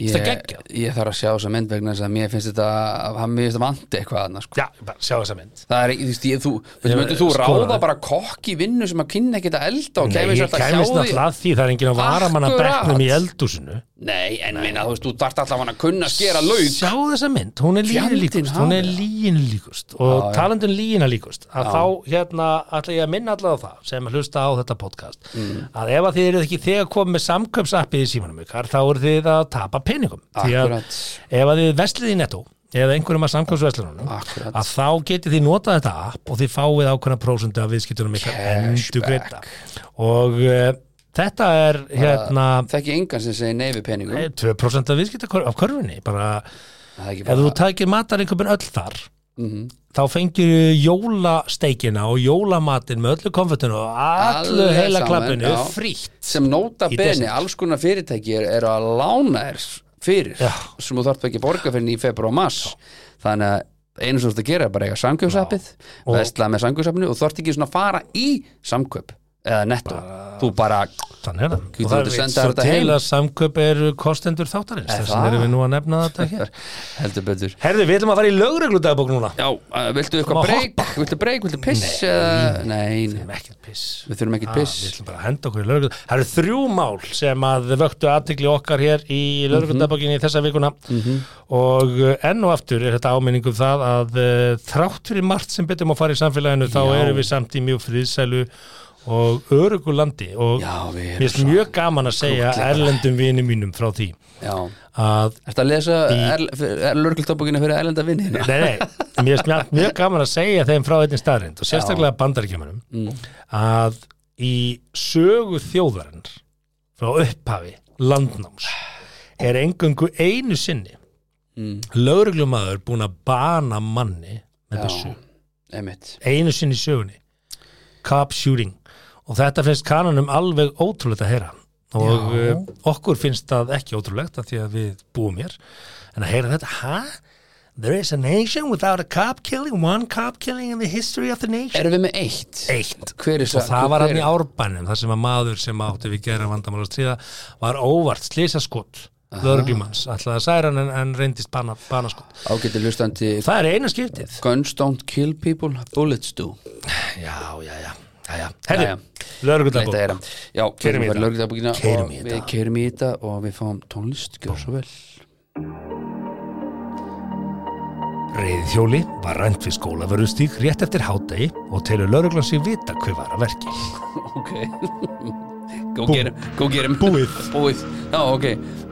Speaker 3: ég,
Speaker 4: Þetta er geggjað.
Speaker 3: ég þarf að sjá þessa mynd vegna þess að mér finnst þetta að mér finnst þetta vandi eitthvað annars sko.
Speaker 4: Já, bara sjá þessa mynd
Speaker 3: það er ekki, þú veist, ég, þú, veistu,
Speaker 4: Ég-
Speaker 3: myndir þú
Speaker 4: sko,
Speaker 3: ráða
Speaker 4: það-
Speaker 3: bara kokk í vinnu sem að kynna ekkit að elda og
Speaker 4: Nei,
Speaker 3: kemur sér
Speaker 4: ég
Speaker 3: alltaf hjá
Speaker 4: kæmist
Speaker 3: því
Speaker 4: náttúrulega að því það er enginn að varamann að
Speaker 3: Akkurat.
Speaker 4: bekknum í eldúsinu
Speaker 3: nei, en minna, þú veist, þú dart alltaf hann að kunna skera lauk
Speaker 4: Sjá þessa mynd, hún er líin
Speaker 3: Fjandinn
Speaker 4: líkust Hún er
Speaker 3: hafi það.
Speaker 4: líin líkust Og
Speaker 3: já.
Speaker 4: talandi um líina líkust Að
Speaker 3: Já.
Speaker 4: þá hérna ætla ég að minna allavega á það Sem að hlusta á þetta podcast
Speaker 3: Mm.
Speaker 4: Að ef að þið eru ekki þegar komið með samköpsappið í símanum ykkar Þá eru þið að tapa peningum Því að
Speaker 3: Akkurat.
Speaker 4: ef að þið veslið í netto Eða einhverjum að samköpsveslunum
Speaker 3: Akkurat.
Speaker 4: Að þá getið þið notað þetta app Og þið fáið ákveðna prósundu af viðskiptunum ykkar Endur greita Og uh, þetta er hérna
Speaker 3: þekki engan sem segir nei við peningum
Speaker 4: eh, 2% af viðskipta af körfunni bara
Speaker 3: það er ekki
Speaker 4: Ef
Speaker 3: bara
Speaker 4: þú tækir matarinköpun öll þar þá fengir jólasteikina og jólamatinn með öllu konfettinu og allu
Speaker 3: Alveg
Speaker 4: heila
Speaker 3: saman,
Speaker 4: klappinu
Speaker 3: já.
Speaker 4: frítt
Speaker 3: sem nota
Speaker 4: Í
Speaker 3: beni,
Speaker 4: desember.
Speaker 3: alls konar fyrirtæki er, er að lána þér fyrir
Speaker 4: Já.
Speaker 3: sem þú þarf ekki að borga fyrir í februar og mars þannig að einu sem þú ert að gera er bara eiga samkjöfsappið
Speaker 4: Og-
Speaker 3: vesla með samkjöfsappinu og þú þarf ekki svona að fara í samkjöp eða netto, þú bara
Speaker 4: Þannig er það
Speaker 3: Getur
Speaker 4: Og það er
Speaker 3: þú
Speaker 4: vitt
Speaker 3: senda
Speaker 4: svo
Speaker 3: þetta
Speaker 4: til
Speaker 3: heim?
Speaker 4: að samköp eru kostendur þáttarins
Speaker 3: Er
Speaker 4: þess vegna
Speaker 3: það?
Speaker 4: erum við nú að nefna þetta hér
Speaker 3: heldur betur
Speaker 4: Herðu, við ætlum að fara í lögregludagbók núna
Speaker 3: Já, uh,
Speaker 4: Má
Speaker 3: viltu eitthvað breyk, viltu breyk, viltu piss eða, nei, nei,
Speaker 4: Ekkert piss
Speaker 3: við
Speaker 4: Ah,
Speaker 3: þurfum ekkert
Speaker 4: við
Speaker 3: piss
Speaker 4: ætlum bara að henda okkur í lögreglu Það eru þrjú mál sem að vöktu aðtikli okkar hér í
Speaker 3: Mhm.
Speaker 4: lögreglundabokkinni í þessa vikuna og eh, enn og aftur er þetta áminning um það að eh, þrátt fyrir margt sem betur má fara í samfélaginu þá
Speaker 3: Já.
Speaker 4: erum við samt í mjög friðsælu og örugulandi og
Speaker 3: Já, við erum
Speaker 4: mér finnst
Speaker 3: svo
Speaker 4: mjög gaman að segja
Speaker 3: krúttlegar.
Speaker 4: erlendum vini mínum frá því
Speaker 3: Já,
Speaker 4: að
Speaker 3: ertu að lesa lörgultabókina fyrir erlenda vinni
Speaker 4: Nei, nei, mér finnst mjög- mjög gaman að segja þeim frá einnig staðrind og sérstaklega bandaríkjumunum
Speaker 3: Mm.
Speaker 4: að í sögu þjóðarinn frá upphafi landnáms er engungu einu sinni
Speaker 3: Mm.
Speaker 4: lögreglumadur búin að bana manni með
Speaker 3: Já,
Speaker 4: þessu,
Speaker 3: emitt
Speaker 4: einu sinni í sögunni cop shooting og þetta finnst kananum alveg ótrúlegt að heyra og Já. okkur finnst það ekki ótrúlegt að því að við búum hér en að heyra þetta, hæ? There is a nation without a cop killing, one cop killing in the history of the nation.
Speaker 3: Erum við með eitt?
Speaker 4: Eitt.
Speaker 3: Hver er
Speaker 4: Og það var hann í
Speaker 3: hver-
Speaker 4: árbænum, þar sem að maður sem átti við gera vandamál að stríða var óvart slisaskott, lögreglumanns, ætlaði að særa hann en, en reyndist bana, banaskott.
Speaker 3: Ágæti hlustandi
Speaker 4: Það er eina skiptið.
Speaker 3: Guns don't kill people, bullets do
Speaker 4: Já, já, já. já, já.
Speaker 3: Jæja.
Speaker 4: Herri,
Speaker 3: Þetta er
Speaker 4: lögregludagbók.
Speaker 3: hann Já,
Speaker 4: Keyrum í þetta.
Speaker 3: lörgultabókina
Speaker 4: Keyrum
Speaker 3: og
Speaker 4: í
Speaker 3: við
Speaker 4: þetta.
Speaker 3: keirum í þetta og við fáum tónlist Gjör svo vel
Speaker 4: Reyðhjóli var rænt við skólavörðustík rétt eftir hádegi og telur lögreglan sig vita hver var að verki.
Speaker 3: Ok Go get him, go get him
Speaker 4: Búið.
Speaker 3: Búið Já, ok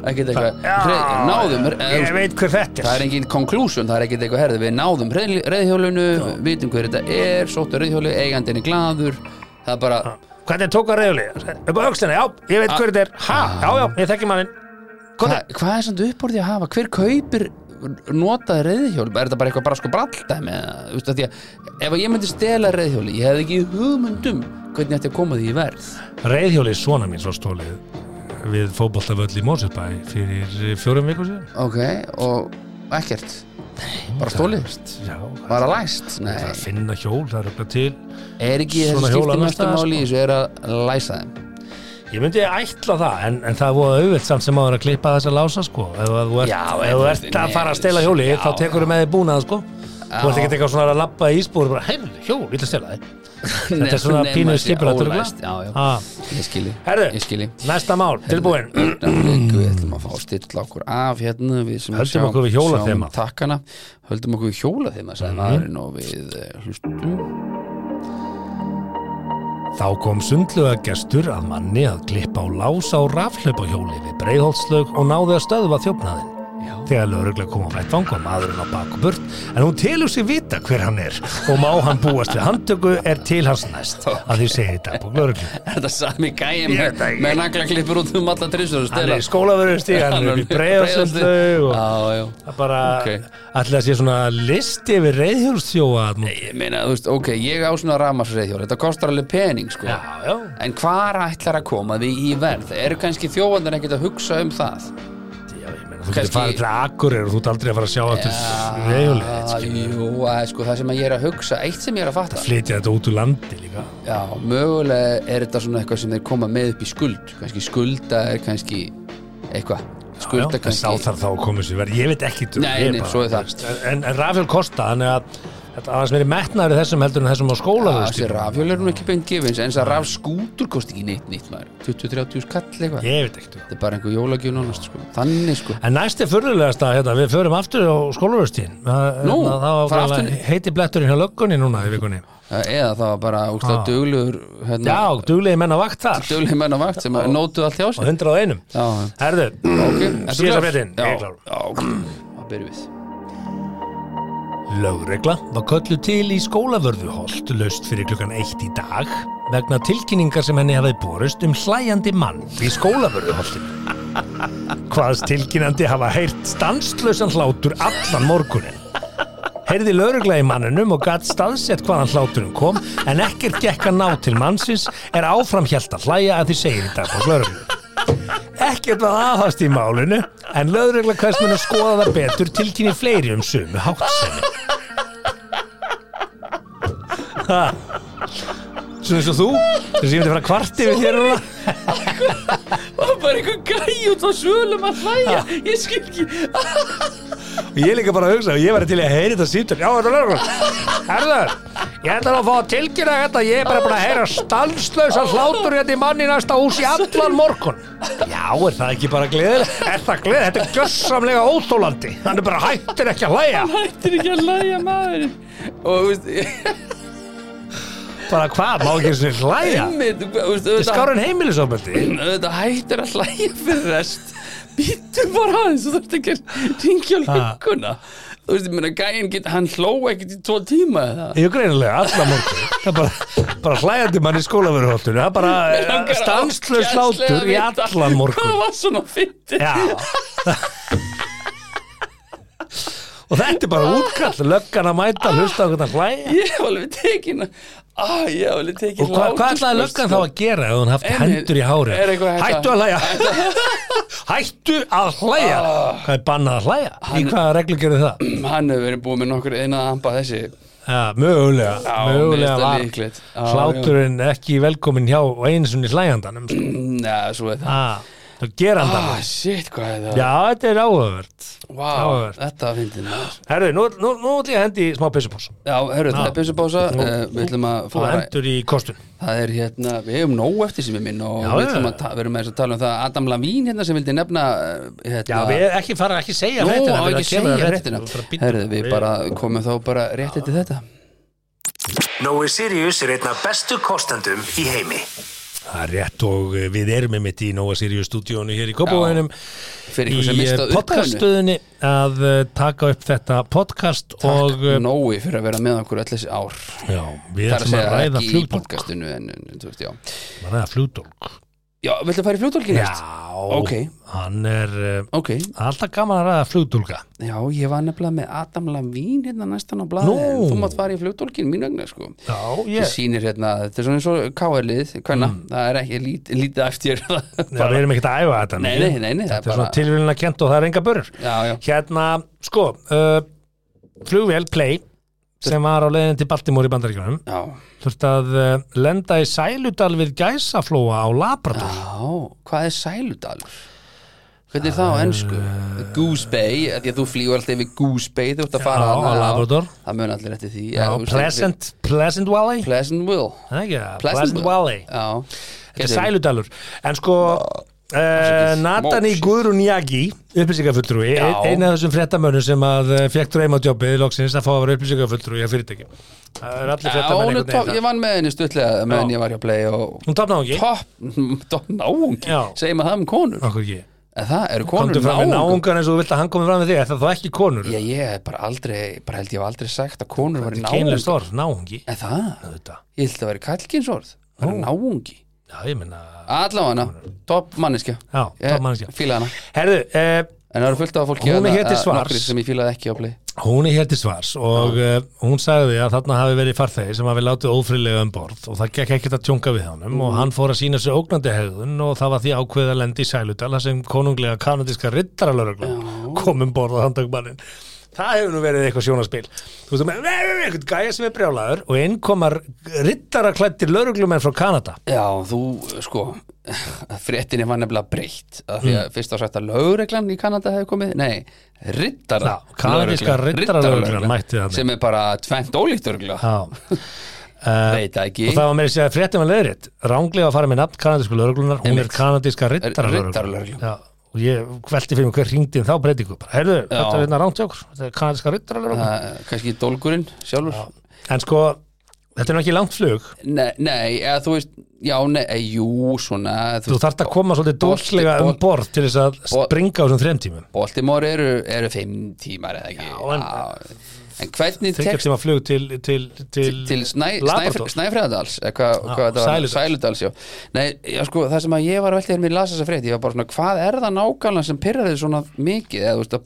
Speaker 3: Ekkert eitthvað Hreið- Náðum eh,
Speaker 4: Ég veit hver þetta
Speaker 3: Það
Speaker 4: er.
Speaker 3: er engin konklusjón, það er ekkert eitthvað herði Við náðum reyðhjólinu, vitum hver þetta er Sóttu reyðhjóli, eigandinn er glaður Það er bara,
Speaker 4: Hvernig tók að reyðhjóli? Upp á aukslina, já,
Speaker 3: Ah.
Speaker 4: ég veit hver þetta er. Ha, já, já, ég þekki mannin.
Speaker 3: Hva, hvað er samt upp úr því að hafa? Hver kaupir notaði reyðhjóli? Er þetta bara eitthvað bara sko bralldæmi? eða, Þú veist að því að ef ég myndi stela reyðhjóli, ég hefði ekki hugmyndum hvernig ætti að koma því í verð.
Speaker 4: Reyðhjóli svona mín svo stólið við fótboltavöll í Mósutbæ fyrir fjórum vikur sér.
Speaker 3: Ok, og ekkert. Bara stólið?
Speaker 4: Já,
Speaker 3: Bara læst? Nei.
Speaker 4: það finna hjól, það er öll til.
Speaker 3: Er ekki
Speaker 4: Svona sko.
Speaker 3: þessi
Speaker 4: hjól
Speaker 3: skipti
Speaker 4: annars
Speaker 3: mestu
Speaker 4: staðar,
Speaker 3: máli í þessu er að læsa þeim?
Speaker 4: Ég myndi ætla það, en, en það er voða auðvilt samt sem áður að klippa þessa lása, sko. Ef að þú ert,
Speaker 3: Já,
Speaker 4: ef þú ert
Speaker 3: nei,
Speaker 4: að fara að stela hjóli,
Speaker 3: já,
Speaker 4: þá tekur þú með þig búnað, sko. Þú ert ekki eitthvað svona að lappa í ísbúr og bara, heyrðu, hjól, ég ætla að stela þig. Þetta er svona
Speaker 3: Nema
Speaker 4: pínu
Speaker 3: þessi
Speaker 4: skipulagt,
Speaker 3: ólæst,
Speaker 4: örugglega.
Speaker 3: Já, já,
Speaker 4: Ah,
Speaker 3: ég skilji.
Speaker 4: Herðu.
Speaker 3: Ég skilji.
Speaker 4: næsta mál, tilbúin.
Speaker 3: Ragnar, Við ætlum að fá að stilla okkur af hérna Við sem
Speaker 4: Höldum okkur við Mhm. hjólaþema.
Speaker 3: sjáum takkana Höldum okkur við hjólaþema sagði maðurinn og við eh, hlustum [laughs]
Speaker 4: Þá kom sundluga gestur að manni að klippa á lása og rafhlaupahjóli við breiðholtslaug og náði að stöðva þjófnaðinn.
Speaker 3: Já.
Speaker 4: Þegar lögregla kom á vettfang og maðurinn á bak og burt, en hún telur sér vita hver hann er og má hann búast við handtöku er til hans næst, að því segir þetta búk lögreglu.
Speaker 3: Er Þetta sami gæja með, með naglaklippur út um alla trissur og
Speaker 4: Hann
Speaker 3: stela
Speaker 4: er í
Speaker 3: [laughs]
Speaker 4: skólaverðustík, hann er upp í breiðholtslaug og
Speaker 3: Já, já
Speaker 4: það bara
Speaker 3: Ok.
Speaker 4: allir að sé svona listi yfir reyðhjólstjóa.
Speaker 3: Ég meina, þú veist, ok, ég á svona rafmarsreithjól Þetta kostar alveg pening, sko
Speaker 4: Já, já.
Speaker 3: En hvar ætlar að koma því í verð? Eru kannski þjófandir ekkert að hugsa um það?
Speaker 4: Já, ég meina, þú getur
Speaker 3: Kannski-
Speaker 4: farið til Akureyri og þú ert aldrei að fara að sjá þetta vegulega
Speaker 3: Ah, Jú, að, sko, það sem að ég er að hugsa eitt sem ég er að fatta
Speaker 4: flytja þetta út úr landi líka
Speaker 3: Já, mögulega er þetta svona eitthvað sem þeir koma með upp í skuld kannski skulda er kannski eitthvað
Speaker 4: Já, en
Speaker 3: skulda Sko, kannski
Speaker 4: sá þar þá komið sér verið, ég veit ekki
Speaker 3: Nei, nei, svo er það.
Speaker 4: en, en rafjöl kosta, þannig að þetta aðeins verið metnaður í þessum heldur en þessum á skóla
Speaker 3: Já, þessi rafhjól er nú ekki beint gefins en þess að rafskútur kosti ekki neitt neitt maður 20-30 kall eitthvað
Speaker 4: ég veit ekki
Speaker 3: þetta er bara einhver jólagjöf nánast sko. þannig
Speaker 4: [laughs]
Speaker 3: sko
Speaker 4: En næst er fyrirlegast að hérna, við förum aftur á hérna, skólaröstíðin
Speaker 3: Nú, fara
Speaker 4: Það
Speaker 3: aftur?
Speaker 4: heiti bletturinn hjá löggunni núna í vikunni
Speaker 3: Eh, eða það var bara úrstað
Speaker 4: Ah.
Speaker 3: duglugur hérna,
Speaker 4: Já, duglegi menn að vakt þar
Speaker 3: duglugur menn á vakt sem að nótuð allt hjá
Speaker 4: og
Speaker 3: sér
Speaker 4: hundrað einum
Speaker 3: Já, já.
Speaker 4: Herðu,
Speaker 3: ok, ertu
Speaker 4: síðasta
Speaker 3: klár?
Speaker 4: fréttin, ég
Speaker 3: Já,
Speaker 4: er klár.
Speaker 3: já, ok, [clears throat] það byrjum við
Speaker 4: Lögregla var köllu til í skólavörðuholt laust fyrir klukkan eitt í dag vegna tilkynningar sem henni hafði borist um hlæjandi mann í skólavörðuholtinu. Hvaðs tilkynandi hafa heyrt stanslausan hlátur allan morgunin. Heyrði lögregla í mannunum og gatt staðsett hvaðan hláturinn kom en ekkert gekk að ná til mannsins er áframhjælt að hlæja að því segir í dag á lögreglu ekkert var aðhast í málinu en löðregla hversmenn að skoða það betur tilkynni fleiri um sömu háttsemi Ha. Svona eins og þú sem ég myndi fara kvarti við þér núna
Speaker 3: Það var bara einhver gæj út á svölum að hlæja Ég skil ekki
Speaker 4: og ég líka bara að hugsa ég væri til í að heyri þetta símtöl já, þetta er lögregla Herður, ég ætla að fá að tilkynna þetta ég er bara búin að heyra stanslausa hlátur hérna í manni í næsta hús í allan morgun já, er það ekki bara gleðileg er það gleðileg, þetta er gjössamlega óþólandi hann er bara hættir ekki að hlæja
Speaker 3: Hættir ekki að hlæja maður Og þú veist [laughs] ég-
Speaker 4: bara hvað, má ekki svona hlæja
Speaker 3: einmitt, þú veist, auðvitað-
Speaker 4: skárin heimilisofbeldi
Speaker 3: Auðvitað hættir að hlæja fyrir rest Býttu bara aðeins Þú þarft ekki að ringja lögguna Þú veist, ég meina gæin get Hann hló ekkert í tvo tíma eða
Speaker 4: Jú, greinilega, allan morgun Það er bara, bara hlæjandi mann í skólaveruholtinu Það er
Speaker 3: Mig langar
Speaker 4: bara
Speaker 3: að
Speaker 4: stanslöð
Speaker 3: ógeðslega
Speaker 4: slátur Eh, í
Speaker 3: vita
Speaker 4: allan morgun
Speaker 3: Hvað var svona fyndið
Speaker 4: Já Og þetta er bara útkall Löggan að mæta, hlusta á hvernig að hlæja
Speaker 3: Ég hef alveg tekin ah, Ég hef alveg tekin
Speaker 4: Og hvað hva
Speaker 3: hlátur-
Speaker 4: ætlaði löggan þá að gera ef hún hafði
Speaker 3: En-
Speaker 4: hendur í hári
Speaker 3: er eitthvað hægt að-
Speaker 4: Hættu að hlæja [laughs] Hættu að hlæja
Speaker 3: Ah.
Speaker 4: Hvað er bannað að hlæja? Í hvaða reglu gerir það?
Speaker 3: Hann hefur verið búið með nokkur eina amba þessi
Speaker 4: Já, mögulega,
Speaker 3: Já,
Speaker 4: mögulega
Speaker 3: mér finnst það
Speaker 4: var
Speaker 3: líklegt. Já,
Speaker 4: hláturinn ekki velkomin hjá einsunni slæjandanum sko.
Speaker 3: Nei, svo er það
Speaker 4: ah, og gerandanum
Speaker 3: Ah, shit, hvað er það?
Speaker 4: Já, þetta er áhugavert
Speaker 3: Vá,
Speaker 4: áhugavert.
Speaker 3: þetta finnir maður
Speaker 4: Herru, nú, nú, nú ætlum ég að hendi í smá pissupós
Speaker 3: Já, herru, það
Speaker 4: Já.
Speaker 3: er byssubása uh, Við ætlum að
Speaker 4: og
Speaker 3: fara
Speaker 4: endur í kostun
Speaker 3: Það er hérna, við hefum nóg eftir sem við minn og
Speaker 4: Já,
Speaker 3: við
Speaker 4: já.
Speaker 3: ætlum að ta- við erum með þess að tala um það Adam Lavín hérna sem vildi nefna eh,
Speaker 4: Já,
Speaker 3: hérna,
Speaker 4: við ekki fara ekki segja
Speaker 3: Nú,
Speaker 4: fréttina,
Speaker 3: á
Speaker 4: við erum að
Speaker 3: ekki að
Speaker 4: kemur að
Speaker 3: segja
Speaker 4: fréttina, við
Speaker 3: réttina
Speaker 4: erum bara að bídda.
Speaker 3: Herðu, við bara komum þá bara rétt eftir þetta
Speaker 1: Nói Sirius er einn af bestu kostendum í heimi.
Speaker 4: Það er rétt og eh, við erum með mitt í Nóa Sirius stúdíónu hér í Kópavöginum í
Speaker 3: Fyrir ykkur
Speaker 4: eh,
Speaker 3: sem mistað upphæðinu
Speaker 4: podcaststöðinni að eh, taka upp þetta podcast og eh,
Speaker 3: Nói fyrir að vera með okkur öll þessi ár
Speaker 4: já, við ætlum
Speaker 3: Það er að
Speaker 4: að
Speaker 3: segja
Speaker 4: ræða
Speaker 3: ekki í
Speaker 4: flugdólk
Speaker 3: podcastinu en, en, þú veist, já.
Speaker 4: að ræða flugdólk
Speaker 3: já, viltu fara í fljótólkinu?
Speaker 4: Já,
Speaker 3: Ok.
Speaker 4: hann er eh,
Speaker 3: Ok,
Speaker 4: alltaf gaman að ræða flugdúlka
Speaker 3: já, ég var nefnilega með Adam Lavín hérna næstan á blaði
Speaker 4: Nú.
Speaker 3: Þú mátt fara í fljótólkinu mín vegna, sko
Speaker 4: Já,
Speaker 3: Það sýnir hérna, þetta er svona eins og KR-lið, hvernig,
Speaker 4: Mm.
Speaker 3: það er ekki lít, lítið eftir [laughs]
Speaker 4: Bara við erum ekkert að æfa þetta
Speaker 3: Nei,
Speaker 4: mikið.
Speaker 3: nei, nei, nei, það
Speaker 4: Þetta
Speaker 3: er
Speaker 4: er svona
Speaker 3: bara-
Speaker 4: tilvílina kent og það er enga börur
Speaker 3: Já, já,
Speaker 4: Hérna, sko uh, Flugvél Play sem var á leiðin til Baltimore í bandaríkjunum
Speaker 3: já
Speaker 4: þurft að uh, lenda í sæludal við gæsaflóa á Labrador
Speaker 3: Já, hvað er sæludalur? Hvernig er það
Speaker 4: Uh,
Speaker 3: á ennsku? Goose Bay, af því að þú flýgur alltaf yfir Goose Bay þú ert að fara
Speaker 4: Já,
Speaker 3: þarna,
Speaker 4: á Labrador.
Speaker 3: Það mun allir eftir því
Speaker 4: Já,
Speaker 3: þú veist,
Speaker 4: Pleasant, Pleasant Valley
Speaker 3: Pleasantville
Speaker 4: Það ekki, Pleasant Valley
Speaker 3: Já,
Speaker 4: Þetta er sæludalur En sko Uh,
Speaker 3: Afsakið.
Speaker 4: Natani
Speaker 3: Móks.
Speaker 4: Guðrún Jagi upplýsingafulltrúi,
Speaker 3: Já.
Speaker 4: eina af þessum frettamönnum sem að eh, fekk dreima jobbið loksins að fá að vera upplýsingafulltrúi að fyrirtæki það er allir
Speaker 3: Já, hún
Speaker 4: frettamenn
Speaker 3: er
Speaker 4: einhvern
Speaker 3: topp, ég
Speaker 4: veginn
Speaker 3: vann með henni stuttlega meðan
Speaker 4: Já.
Speaker 3: ég var hjá Play og
Speaker 4: hún topnaði ekki,
Speaker 3: topp, [laughs] topp náungi
Speaker 4: Já.
Speaker 3: segjum að það um konur
Speaker 4: okkur ekki
Speaker 3: en það eru
Speaker 4: komdu
Speaker 3: konur
Speaker 4: fram með
Speaker 3: náungar
Speaker 4: náungan eins og þú vilt að hann komi fram með þig er það þá ekki konur,
Speaker 3: Já, ég hef bara aldrei, bara held ég hef aldrei sagt að konur var í náungi
Speaker 4: kynlega orð, náungi
Speaker 3: En það,
Speaker 4: Þetta.
Speaker 3: ég held að vera kallkynsorð Bara náungi
Speaker 4: já, ég menna,
Speaker 3: Allavega hana, topp manneskja
Speaker 4: já,
Speaker 3: Ég
Speaker 4: topmannskja
Speaker 3: Fíla hana
Speaker 4: herðu, eh,
Speaker 3: En það eru fullt af fólki
Speaker 4: Hún er
Speaker 3: þarna,
Speaker 4: hér til
Speaker 3: að-
Speaker 4: svars.
Speaker 3: nokkrir sem ég fílaði ekki á play
Speaker 4: Hún er hér til svars og uh, hún sagði að þarna hafi verið farþegi sem hafi látið ófriðlega um borð og það gekk ekkert að tjónka við honum og hann fór að sína sér ógnandi hegðun og það var því ákveðið að lendi í Sæludal þar sem konunglega kanadíska rittaralörugla komum um borð á handtökumannin það hefur nú verið eitthvað sjónaspil þú veist, með eitthvað gæja sem er brjálaður og inn komar rittaraklættir lauruglumenn frá Kanada
Speaker 3: Já, þú, sko, [laughs] fréttinni var nefnilega breytt að því
Speaker 4: Mm.
Speaker 3: að fyrst á sætt að lögreglan í Kanada hefði komið, nei, rittara
Speaker 4: Já, kanadíska riddaralögreglan mætti þarna.
Speaker 3: sem er bara tvent ólíkt örgla
Speaker 4: Já.
Speaker 3: veit það ekki
Speaker 4: og það var meira að segja að fréttum að leiðrétt ránglega að fara með nafn kanadísku lauruglunar hún er
Speaker 3: Einmitt.
Speaker 4: kanadíska
Speaker 3: Riddaralögreglan.
Speaker 4: rittaralöglunar og ég velti fyrir mig hver ringdi þá breytingu bara, heyrðu, þetta er hérna rangt hjá okkur þetta er kanadíska rittaralöglunar
Speaker 3: Það er kannski dólgurinn sjálfur
Speaker 4: en sko, þetta er nú ekki langt flug
Speaker 3: nei, nei, eða þú veist já, nei, e, jú, svona
Speaker 4: þú þarft að koma svolítið dórslega um
Speaker 3: bolti-
Speaker 4: borð til þess að
Speaker 3: bol-
Speaker 4: springa á þessum þrem tímum
Speaker 3: Baltimore eru, eru fimm tímar eða ekki
Speaker 4: Já, en-
Speaker 3: en, en hvernig
Speaker 4: þryggja
Speaker 3: tekst
Speaker 4: tíma flug til, til, til,
Speaker 3: til snæ,
Speaker 4: Labrador.
Speaker 3: snæ, Snæfriðadals eða hvað-
Speaker 4: Já,
Speaker 3: hvað þetta var,
Speaker 4: Sæludals.
Speaker 3: Sæludals já. Nei, já, sko, það sem að ég var að velta þér mér lasa þess að frétt, ég var bara svona hvað er það nákvæmlega sem pyrrar þið svona mikið eða þú veist að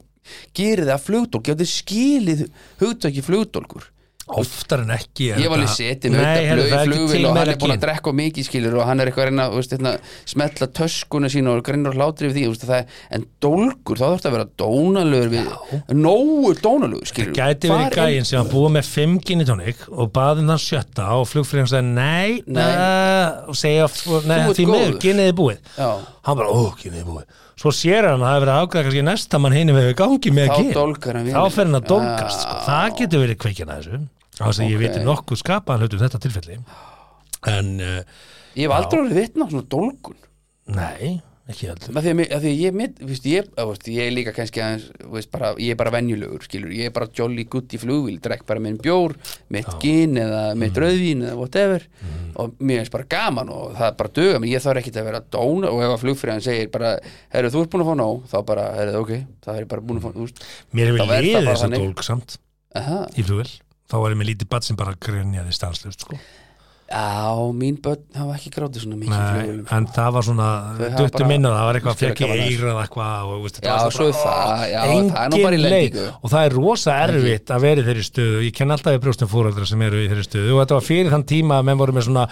Speaker 3: gerir það flugdólk getur skilið hugtöki flugdólkur
Speaker 4: oftar en ekki er
Speaker 3: ég var alveg
Speaker 4: þetta-
Speaker 3: setið með
Speaker 4: Nei, heyrðu,
Speaker 3: auðvitað
Speaker 4: það er
Speaker 3: blöð
Speaker 4: ekki
Speaker 3: í flugvil
Speaker 4: til
Speaker 3: og
Speaker 4: meira
Speaker 3: hann er búin
Speaker 4: kyn.
Speaker 3: að drekka of mikið skilur og hann er eitthvað að reyna þú veist, hérna, smetla töskuna sína og grinnur hlátri við því þú veist, það, er- en dólgur, þá þarf að vera dónalögur við, nógu dónalögur skilur
Speaker 4: Gæti verið gæinn sem var búið með 5 ginitónik og baðum þann sjötta og flugfríðan sagði nei,
Speaker 3: Nei.
Speaker 4: nei, og segja oft, nei,
Speaker 3: Þú ert
Speaker 4: því miður,
Speaker 3: góður.
Speaker 4: giniði búið
Speaker 3: Já.
Speaker 4: hann bara, ó, giniði búið svo sér hann að það hefur verið ágræða kannski næsta mann hinum hefur gangi með
Speaker 3: Þá
Speaker 4: gin
Speaker 3: dólgar hann við.
Speaker 4: þá fer hann að dólgast, sko.
Speaker 3: Já.
Speaker 4: það getur verið kveikin að þessu á þess að ég veit um nokkuð skapaðan hlutum þetta tilfelli en, uh,
Speaker 3: ég hef aldrei verið vitna á svona dólgun
Speaker 4: nei, ekki heldur
Speaker 3: af því að, mig- af því að ég, mitt, viðst, ég, að, veist, ég er líka kannski aðeins, viðst, bara, ég er bara venjulegur skilur, ég er bara jolly good í flugvíl drekk bara minn bjór, mitt gin eða
Speaker 4: Mhm.
Speaker 3: mitt rauðvín eða whatever og mér finnst bara gaman og það er bara döga mér, ég þarf ekkit að vera dóna og ef að flugfræðan segir bara, herru þú ert búin að fá ná þá bara, herru ok, það er ég bara búin að fá þú veist,
Speaker 4: mér
Speaker 3: Þá
Speaker 4: hefur
Speaker 3: er það
Speaker 4: liðið
Speaker 3: bara
Speaker 4: þess að
Speaker 3: þannig.
Speaker 4: dólg samt
Speaker 3: aha,
Speaker 4: í flugvel þá var ég með lítið bat sem bara grenjaði stanslust sko.
Speaker 3: á mín börn hafa ekki grátið svona mikið í
Speaker 4: Nei,
Speaker 3: flugvélum
Speaker 4: en það var svona
Speaker 3: Þau hafa
Speaker 4: duttum
Speaker 3: bara-
Speaker 4: inn og það var eitthvað
Speaker 3: Skilja
Speaker 4: fekk ég
Speaker 3: gaman aðeins.
Speaker 4: eirað eitthvað og veist, þetta
Speaker 3: Já,
Speaker 4: var
Speaker 3: svo er það, já, það er nú bara í lendingu
Speaker 4: og það er rosa erfitt að vera í þeirri stöðu ég ken alltaf í brjóstum fóröldra sem eru í þeirri stöðu og þetta var fyrir þann tíma að menn voru með svona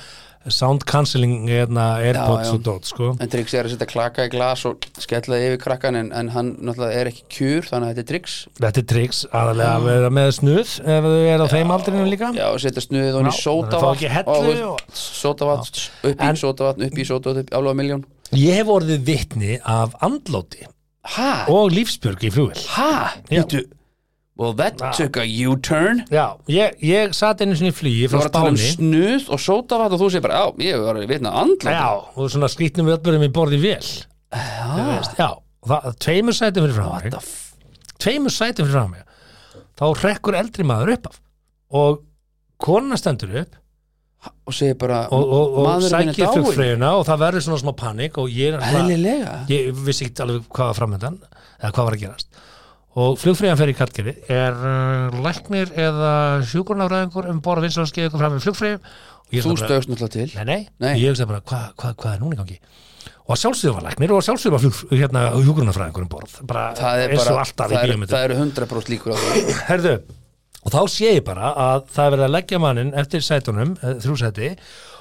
Speaker 4: sound cancelling hérna, airpods
Speaker 3: já.
Speaker 4: og dot sko.
Speaker 3: En Tryggs er að setja klaka í glas og skella yfir krakkan en, en hann náttúrulega er ekki kjur þannig að þetta er Tryggs
Speaker 4: þetta er tricks aðalega að vera með snuð ef þau eru á þeim aldrinum líka
Speaker 3: Já, og setja snuðið hún í
Speaker 4: Já,
Speaker 3: sótavatn
Speaker 4: fá ekki hellu
Speaker 3: og, veist,
Speaker 4: og-
Speaker 3: Sótavatn, upp í
Speaker 4: En-
Speaker 3: sótavatn, upp í sótavatn upp, Álfa miljón
Speaker 4: ég hef orðið vitni af andlóti
Speaker 3: Ha?
Speaker 4: og lífsbjörg í flugvel
Speaker 3: Ha?
Speaker 4: Já.
Speaker 3: Bíddu. Well, that took a U-turn
Speaker 4: já, ég, ég sat einu sinni í flugi
Speaker 3: Þú
Speaker 4: frá
Speaker 3: var að tala um
Speaker 4: Spáni
Speaker 3: snuð og sótavatn og þú segir bara, já, ég var að vitna andla
Speaker 4: Já, og svona skrýtnum öllbörðum í borði vel Þú veist, Já, og það, tveimur sætum fyrir fram mig Tveimur sætum fyrir fram mig Þá hrekkur eldri maður upp af Og kona stendur upp
Speaker 3: og segir bara,
Speaker 4: Og, og, og
Speaker 3: maður minn er
Speaker 4: sækir
Speaker 3: dáin
Speaker 4: flugfreyjuna Og það verður svona smá panik Og ég, er náttúrulega-
Speaker 3: Eðlilega
Speaker 4: ég vissi ekki alveg hvað var framöndan Eða hvað var að gerast Og flugfreyjan fer í kallgeri Er uh, læknir eða sjúkurnafræðingur Um borð vinsalanskið ykkur fram með flugfreyjum Og ég
Speaker 3: Þú
Speaker 4: svona bara-
Speaker 3: stöðst náttúrulega til
Speaker 4: nei, nei,
Speaker 3: Nei.
Speaker 4: ég hugsaði bara, hvað hva, hva er núna í gangi og að sjálfsögðu var læknir og að sjálfsögðu var flug, hérna, hjúgrunafræðingur um borð bara,
Speaker 3: Það er
Speaker 4: eins og
Speaker 3: bara,
Speaker 4: alltaf
Speaker 3: það
Speaker 4: í
Speaker 3: eru
Speaker 4: bíómyndum
Speaker 3: það eru 100% líkur á því
Speaker 4: herðu, og þá sé ég bara að það er verið að leggja mannin eftir sætunum eh, þrjú sæti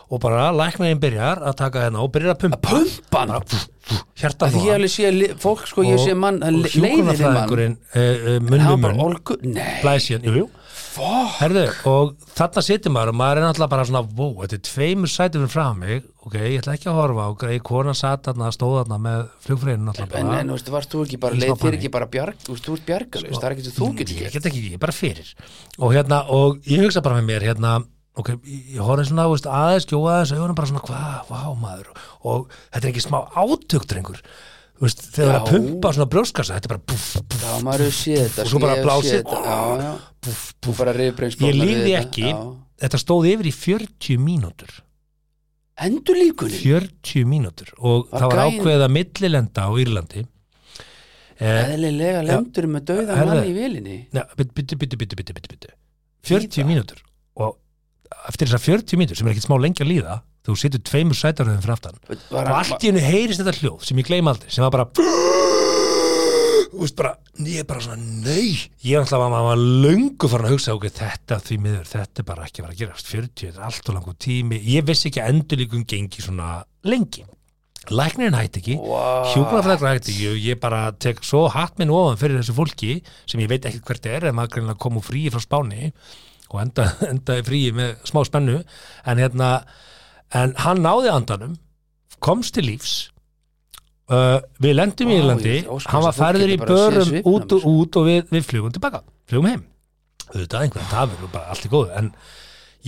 Speaker 4: og bara læknirinn byrjar að taka hérna og byrjar að pumpa
Speaker 3: Pumpan
Speaker 4: hjarta
Speaker 3: Af Því ég alveg sé li- fólk sko, ég sé mann leiðinni mann,
Speaker 4: hjúgrunafræðingurinn
Speaker 3: en
Speaker 4: munnum
Speaker 3: hann bara
Speaker 4: munn
Speaker 3: olgu, nei
Speaker 4: eh, blæs hérna, jú, jú
Speaker 3: fuck.
Speaker 4: Herðu, og þarna situr maður og maður er náttúrulega bara svona, wow, þetta er tveimur sætum frá mig, ok, ég ætla ekki að horfa og greið konan satt þarna, stóð þarna með flugfræðinu náttúrulega
Speaker 3: En,
Speaker 4: bara.
Speaker 3: en þú veist, varst þú ekki bara,
Speaker 4: Í smá
Speaker 3: leið þér
Speaker 4: panik.
Speaker 3: ekki bara bjarg, þú veist, þú ert bjargalist, það er ekki sem þú getur
Speaker 4: Mm, ég
Speaker 3: gert
Speaker 4: get ekki, ég er bara fyrir og hérna, og ég hugsa bara með mér hérna, ok, ég ég horfði svona veist, aðeins, gjóða aðeins augunum bara svona hvað, vá maður, og þetta er ekki smá átök, drengur, þú veist þegar það er að
Speaker 3: Já.
Speaker 4: pumpa svona brjóskassa, þetta er bara búf, búf,
Speaker 3: Já, maður hefur séð þetta sko,
Speaker 4: Og svo bara
Speaker 3: ég hef
Speaker 4: blásið.
Speaker 3: séð þetta, Já, já,
Speaker 4: búf,
Speaker 3: þú
Speaker 4: búf
Speaker 3: bara reyðbreynsbóna
Speaker 4: ég lífði ekki, þetta stóð yfir í 40 mínútur
Speaker 3: Endur líkunni,
Speaker 4: 40 mínútur og
Speaker 3: Var
Speaker 4: það var
Speaker 3: gæinn-
Speaker 4: ákveðið að millilenda á Írlandi eh,
Speaker 3: eðlilega lendur með dauða
Speaker 4: Herðu.
Speaker 3: mann í vilinni
Speaker 4: neða, byttu, byttu, byttu, byttu, byttu, byttu 40 mínútur og eftir þessar 40 mínútur sem er ekkit smá lengi að líða þú situr tveimur sætaröðum fyrir aftan
Speaker 3: Var
Speaker 4: og
Speaker 3: hann-
Speaker 4: allt í hennu heyrist þetta hljóð sem ég gleym aldrei sem var bara Þú veist bara, ég er bara svona, nei ég er alltaf að maður var löngu farin að hugsa ok, þetta því miður, þetta er bara ekki að fara að gerast 40, þetta er allt og langur tími ég vissi ekki að endurlíkum gengi svona lengi læknirinn hætti ekki wow. hjúkrafræðar hætti ekki og ég bara tek svo hatt minn ofan fyrir þessu fólki sem ég veit ekki hvert er en maður greinlega kom úr fríi frá Spáni og enda, endaði [laughs] fríi með smá spennu en hérna en hann náði andanum komst til lífs uh, við lendum í
Speaker 3: Vá,
Speaker 4: Írlandi
Speaker 3: ég óska
Speaker 4: hann var
Speaker 3: þess að fólk
Speaker 4: færður í
Speaker 3: geti bara séð
Speaker 4: börum
Speaker 3: svipinn á
Speaker 4: út og
Speaker 3: mér.
Speaker 4: út og við, við flugum tilbaka flugum heim auðvitað einhverjum tafur og bara allt í góðu en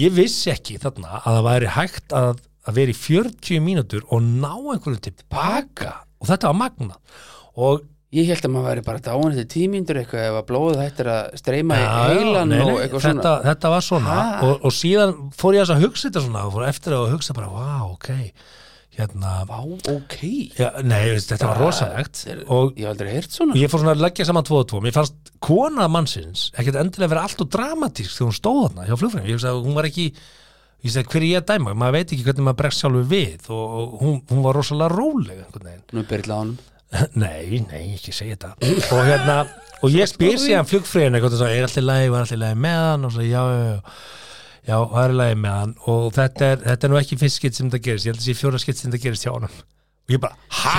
Speaker 4: ég vissi ekki þarna að það væri hægt að, að vera í 40 mínútur og ná einhverjum tilbaka og þetta var magna og
Speaker 3: Ég held að maður væri bara dáin þetta tímyndur eitthvað ef að blóðið hættir að streyma í
Speaker 4: Já,
Speaker 3: heilan
Speaker 4: nei, nei,
Speaker 3: og eitthvað
Speaker 4: þetta,
Speaker 3: svona
Speaker 4: þetta var svona
Speaker 3: Ha?
Speaker 4: og, og síðan fór ég aðeins að hugsa þetta svona og fór eftir að hugsa bara, vá, ok hérna,
Speaker 3: Vá, ok
Speaker 4: já, nei, veist, þetta
Speaker 3: Ah,
Speaker 4: var rosalegt
Speaker 3: er,
Speaker 4: og
Speaker 3: Ég hef aldrei heyrt svona
Speaker 4: ég fór svona að leggja saman tvo og tvo mér fannst kona mannsins ekkert endilega vera allt og dramatísk þegar hún stóð þarna hjá flugfræðinu, ég hugsa að hún var ekki ég segi hver er ég að dæma, maður veit ekki hvernig maður bregst sjálfur við og, og hún, hún var rosalega róleg einhvern veginn [laughs]
Speaker 3: Nú byrðla honum
Speaker 4: Nei, nei, ekki segja þetta Og hérna, og ég spyr síðan flugfrýðin eitthvað og svo, er allir lagi, var allir lagi með hann og svo, já, já, já Já, það er lagi með hann og þetta er, þetta er nú ekki fyrst skitt sem þetta gerist, ég held að sé fjóra skitt sem þetta gerist hjá honum og ég bara, hæ,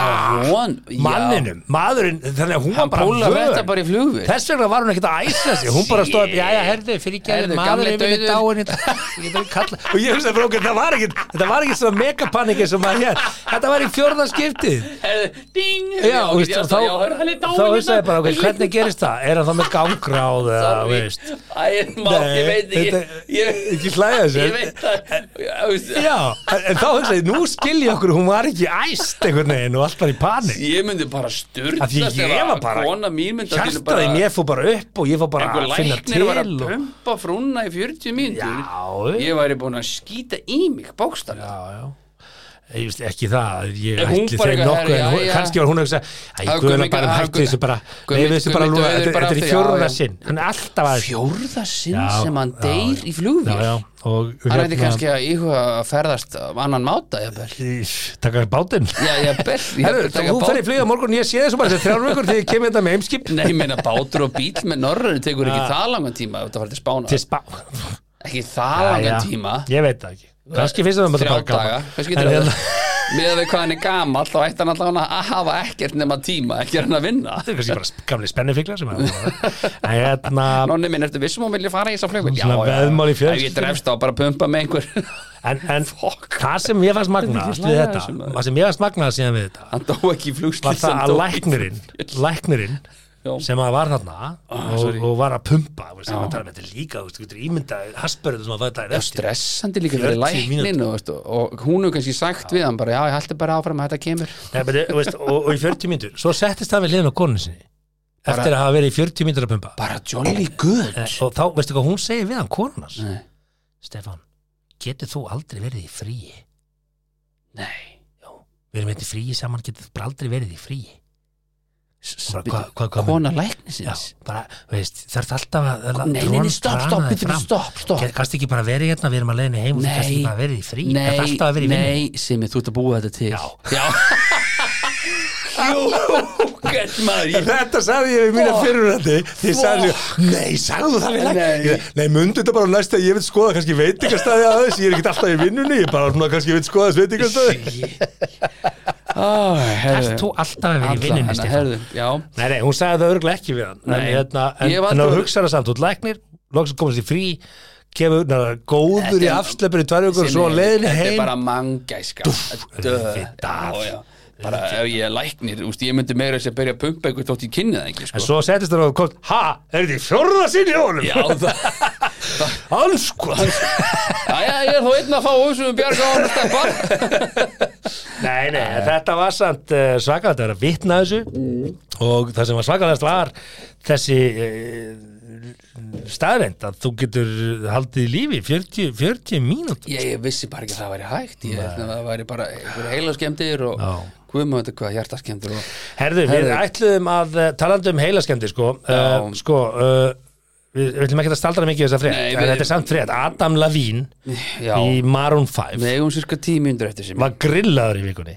Speaker 3: Von, já. [laughs]
Speaker 4: manninum, maðurinn þannig að hún
Speaker 3: Hann
Speaker 4: var
Speaker 3: púlar
Speaker 4: bara
Speaker 3: þetta bara í flugvél.
Speaker 4: Þess vegna var hún ekkert að æsa sig, hún bara stóð já, já, herðu, fyrir
Speaker 3: Heyrðu,
Speaker 4: gerðu,
Speaker 3: gamli
Speaker 4: maðurinn minni
Speaker 3: dauður. [laughs]
Speaker 4: dáin í dag." Ég get ekki kallað- og ég hugsaði frókir, það var ekkert þetta var ekkert svona megapanik eins og maður hér þetta var í fjórða skiptið
Speaker 3: Ding
Speaker 4: Já, þú veist, og þá, þá
Speaker 3: hérna.
Speaker 4: hugsaði ég bara, ok, hvernig gerist það? Er hann þá með gangráð eða, þú veist?
Speaker 3: Æ, má, ég veit ekki
Speaker 4: þetta-
Speaker 3: Ég,
Speaker 4: ekki hlæja þessu.
Speaker 3: ég veit það Já, þú veist,
Speaker 4: Já, en- en þá hugsaði ég, nú skil ég okkur, hún var ekki æst einhvern veginn og allt var í panik.
Speaker 3: Ég myndi bara
Speaker 4: Af
Speaker 3: styrtast
Speaker 4: því ég var bara,
Speaker 3: Kona mín myndi allt í einu
Speaker 4: hjartaði mér fór bara upp og ég fór bara
Speaker 3: einhver
Speaker 4: að finna
Speaker 3: læknir
Speaker 4: til.
Speaker 3: var að Hm?
Speaker 4: og-
Speaker 3: pumpa frúnna í 40 mínútur
Speaker 4: Já.
Speaker 3: ég væri búin að skýta í mig bókstaflega
Speaker 4: Já, já. Ég veist ekki það, ég
Speaker 3: En hún
Speaker 4: ætli
Speaker 3: bara
Speaker 4: þeim
Speaker 3: eitthvað,
Speaker 4: nokkuð, en
Speaker 3: já,
Speaker 4: hún-
Speaker 3: já.
Speaker 4: kannski var hún að hugsa, æ,
Speaker 3: Það var
Speaker 4: guðna
Speaker 3: Gummi-
Speaker 4: bara um
Speaker 3: hann-
Speaker 4: hættu þessu bara,
Speaker 3: Gummi-
Speaker 4: nei, veistu bara
Speaker 3: Gummi
Speaker 4: lúna,
Speaker 3: dauður
Speaker 4: þetta
Speaker 3: bara
Speaker 4: þetta er í
Speaker 3: aftur, já,
Speaker 4: fjórða
Speaker 3: já.
Speaker 4: sinn, hann er alltaf að þessu.
Speaker 3: fjórða sinn
Speaker 4: Já,
Speaker 3: sem hann
Speaker 4: já,
Speaker 3: deyr
Speaker 4: já.
Speaker 3: í flugvél
Speaker 4: Já, Hérna- já, og
Speaker 3: hann ætti kannski að íhuga að ferðast á annan máta jafnvel.
Speaker 4: Í- taka bátinn
Speaker 3: já, ég bel
Speaker 4: Herru, þú fer í flugja morgun, ég sé þessu bara þetta þrjár vikur þegar ég kemur þetta með heimskip
Speaker 3: Nei, ég meina bátur og bíl með norröðu tekur ekki það langan tíma ef þetta farið til spána
Speaker 4: Ah. til spá
Speaker 3: ekki það
Speaker 4: Já, já,
Speaker 3: langan tíma
Speaker 4: ég veit það ekki, kannski finnst það um
Speaker 3: þrjá daga kannski
Speaker 4: En
Speaker 3: þrjá
Speaker 4: hérna-
Speaker 3: með að við hvað hann er gamall þá ætti hann allavega að hafa ekkert nema tíma ekki er hann að vinna
Speaker 4: þetta er kannski bara sp- gamli spennifíklar
Speaker 3: [laughs]
Speaker 4: sem er en hérna
Speaker 3: Nonni minn, ertu vissum og vilja fara í þess að flugvill?
Speaker 4: Svona veðmál í
Speaker 3: Ef ég
Speaker 4: fjölskyldunni.
Speaker 3: drefst á bara að pumpa með einhver [laughs]
Speaker 4: en, en
Speaker 3: Fuck.
Speaker 4: það sem ég fannst magnast við
Speaker 3: hlæja
Speaker 4: þetta
Speaker 3: þessu, maður.
Speaker 4: það sem ég fannst magnast síðan við þetta
Speaker 3: Hann dó ekki í
Speaker 4: var
Speaker 3: flugslýs
Speaker 4: það að læknirinn læknirinn
Speaker 3: Já. Ah,
Speaker 4: sem að var þarna og,
Speaker 3: sorry.
Speaker 4: og var að pumpa þú veist, sem að tala með þetta líka, þú veist, þú getur ímyndað hasbörðu sem að það er eftir
Speaker 3: Stressandi líka fyrir
Speaker 4: 40
Speaker 3: læknin
Speaker 4: mínútur.
Speaker 3: og, veist, og og hún hefur kannski sagt við hann bara Já, ég haldi bara áfram að þetta kemur
Speaker 4: Nei, beti, veist, og, og í 40 myndur svo settist hann við hliðin á konu sinni
Speaker 3: Bara-
Speaker 4: eftir að hafa verið í 40 myndur að pumpa
Speaker 3: Bara jolly good
Speaker 4: Eh, og þá, veistu hvað hún segir við hann konunars
Speaker 3: Nei,
Speaker 4: Stefan, getur þú aldrei verið í fríi
Speaker 3: nei
Speaker 4: við erum eitthvað í fríi saman, getur þú bara aldrei verið í fríi
Speaker 3: S-
Speaker 4: Bara,
Speaker 3: bíddu,
Speaker 4: hvað- hvað- hvað-
Speaker 3: Kona
Speaker 4: já,
Speaker 3: læknisins
Speaker 4: bara, veist, þarf alltaf að að-
Speaker 3: Nei, nei, nei, stopp, stopp,
Speaker 4: drana þig
Speaker 3: byrju,
Speaker 4: fram.
Speaker 3: stopp, stopp
Speaker 4: Get- kannst ekki bara verið hérna, við erum að leiðinu heim og þú
Speaker 3: Nei.
Speaker 4: kannst ekki bara verið í fríi kannst alltaf að verið í
Speaker 3: Nei,
Speaker 4: vinnu
Speaker 3: nei, Simi, þú ert að búa þetta til
Speaker 4: Já.
Speaker 3: Já Jú, gett maður ég-
Speaker 4: Þetta sagði ég við mína fyrirrætti Ég sagði, nei, sagðu það við
Speaker 3: Nei.
Speaker 4: lækni Nei, mundu þetta bara næst að ég vil skoða kannski veitingastæði að þess, ég er ekkert alltaf í vinnunni ég bara svona kannski vil skoða þess veitingastæði
Speaker 3: [laughs] Æ, herðu.
Speaker 4: Þú alltaf að vera í
Speaker 3: Alla
Speaker 4: vinnunni,
Speaker 3: hana,
Speaker 4: Stefán
Speaker 3: herðu, já
Speaker 4: Nei, nei, hún sagði það örgulega ekki við hann En,
Speaker 3: Nei.
Speaker 4: hérna, en,
Speaker 3: Ég hef
Speaker 4: en
Speaker 3: aldrei-
Speaker 4: að hugsa það samt, þú ert læknir loksum komast í frí, kemur na, góður
Speaker 3: Þetta
Speaker 4: í
Speaker 3: er-
Speaker 4: afsleppur í tvær vikur og
Speaker 3: Sem
Speaker 4: svo
Speaker 3: er-
Speaker 4: leiðinu
Speaker 3: Þetta er
Speaker 4: heim
Speaker 3: bara manngæska Döð.
Speaker 4: auðvitað.
Speaker 3: Já, já. bara ef ég er læknir úst, ég myndi meira þess að byrja að pumpa einhvern þótt ég kynni það ekki
Speaker 4: En
Speaker 3: sko.
Speaker 4: svo settist það og komst, ha, er þetta í fjórða sinni honum?
Speaker 3: já, það,
Speaker 4: [laughs] Alls hvað?
Speaker 3: [laughs] já, já, ég er þó einn að fá úsum bjarga á hann [laughs] steppa
Speaker 4: Nei, nei, þetta var samt uh, svakalegt að vera að vitna að þessu
Speaker 3: Mm.
Speaker 4: og það sem var svakalegast var þessi uh, staðrend að þú getur haldið í lífi 40, 40 mínútur
Speaker 3: ég, ég vissi bara ekki að það væri hægt ég held að það væri bara einhver heila skemmtir og
Speaker 4: Já.
Speaker 3: guðmum þetta hvað hjarta skemmtir og
Speaker 4: Herðu, við
Speaker 3: Herðu.
Speaker 4: ætluðum að eh, talandi um heilaskendi sko, uh,
Speaker 3: Já.
Speaker 4: sko uh, við, við ætlum ekki að staldra mikið þessa frétt,
Speaker 3: Nei,
Speaker 4: en
Speaker 3: við-
Speaker 4: þetta er samt frétt Adam Lavín
Speaker 3: já,
Speaker 4: í Maroon 5
Speaker 3: við eigum cirka tímyndur eftir sem
Speaker 4: var grillaður í vikunni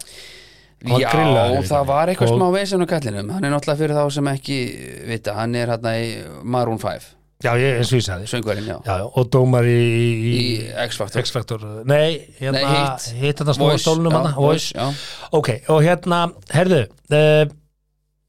Speaker 4: var
Speaker 3: Já,
Speaker 4: grillaður í
Speaker 3: það
Speaker 4: vikunni.
Speaker 3: var eitthvað
Speaker 4: Og-
Speaker 3: smá vesen á kallinum hann er náttúrulega fyrir þá sem ekki vita, hann er hérna í Maroon 5
Speaker 4: já, ég, eins og ég sagði
Speaker 3: söngvarinn, já,
Speaker 4: já, já, og dómar í, í,
Speaker 3: í X-Factor
Speaker 4: X-Factor Nei, hérna,
Speaker 3: Nei, hitt.
Speaker 4: hitt þetta snúa
Speaker 3: Voice,
Speaker 4: stólnum
Speaker 3: já,
Speaker 4: hana,
Speaker 3: Voice,
Speaker 4: voice
Speaker 3: já.
Speaker 4: Ok, og hérna, herðu uh,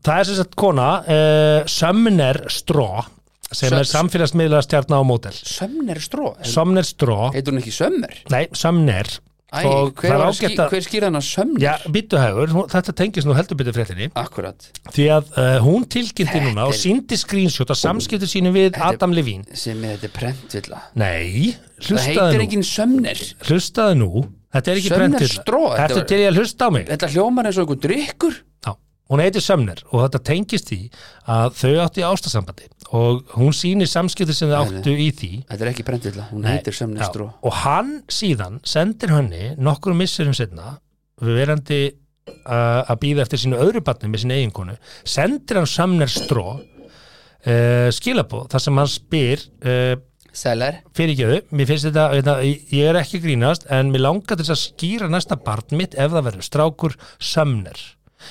Speaker 4: Það er sem sagt kona uh, Sumner Straw sem
Speaker 3: Sö-
Speaker 4: er samfélagsmiðlega stjarna á mótel
Speaker 3: Sömner stró,
Speaker 4: Sumner Straw,
Speaker 3: heitur hún ekki Sömmer
Speaker 4: nei, Sumner
Speaker 3: Æ,
Speaker 4: Og
Speaker 3: hver,
Speaker 4: það er
Speaker 3: var
Speaker 4: ágætt
Speaker 3: ský-
Speaker 4: að-
Speaker 3: hver skýr hann að Sömner?
Speaker 4: Já, býttu hefur, hún- þetta tengist nú heldur byrðu fréttinni
Speaker 3: Akkurat,
Speaker 4: því að uh, hún tilkynnti núna
Speaker 3: Þetta
Speaker 4: og
Speaker 3: er-
Speaker 4: síndi screenshot að samskipti sínum við
Speaker 3: er-
Speaker 4: Adam Levine
Speaker 3: sem er þetta prentvilla
Speaker 4: Nei,
Speaker 3: Það heitir
Speaker 4: hlustaðu nú,
Speaker 3: engin Sömner
Speaker 4: hlustaðu nú Þetta er ekki
Speaker 3: Sumner
Speaker 4: brentið
Speaker 3: Straw, þetta
Speaker 4: Þetta
Speaker 3: var-
Speaker 4: til ég að hlusta á mig
Speaker 3: Þetta hljómar eins og einhver drikkur
Speaker 4: Já, hún heitir Sömner og þetta tengist því að þau áttu í ástasambandi og hún sýnir samskipti sem þau áttu í því
Speaker 3: Þetta er ekki prentvilla, hún
Speaker 4: Nei,
Speaker 3: heitir Sömner
Speaker 4: já,
Speaker 3: stró
Speaker 4: og hann síðan sendir henni nokkur missurum setna verandi uh, að býða eftir sínu öðru batni með sínu eiginkonu sendir hann Sömner stró uh, skilabóð þar sem hann spyr uh,
Speaker 3: Seller
Speaker 4: fyrirgeðu, mér finnst þetta, þetta ég er ekki að grínast en mér langar til þess að skýra næsta barn mitt ef það verður strákur sömner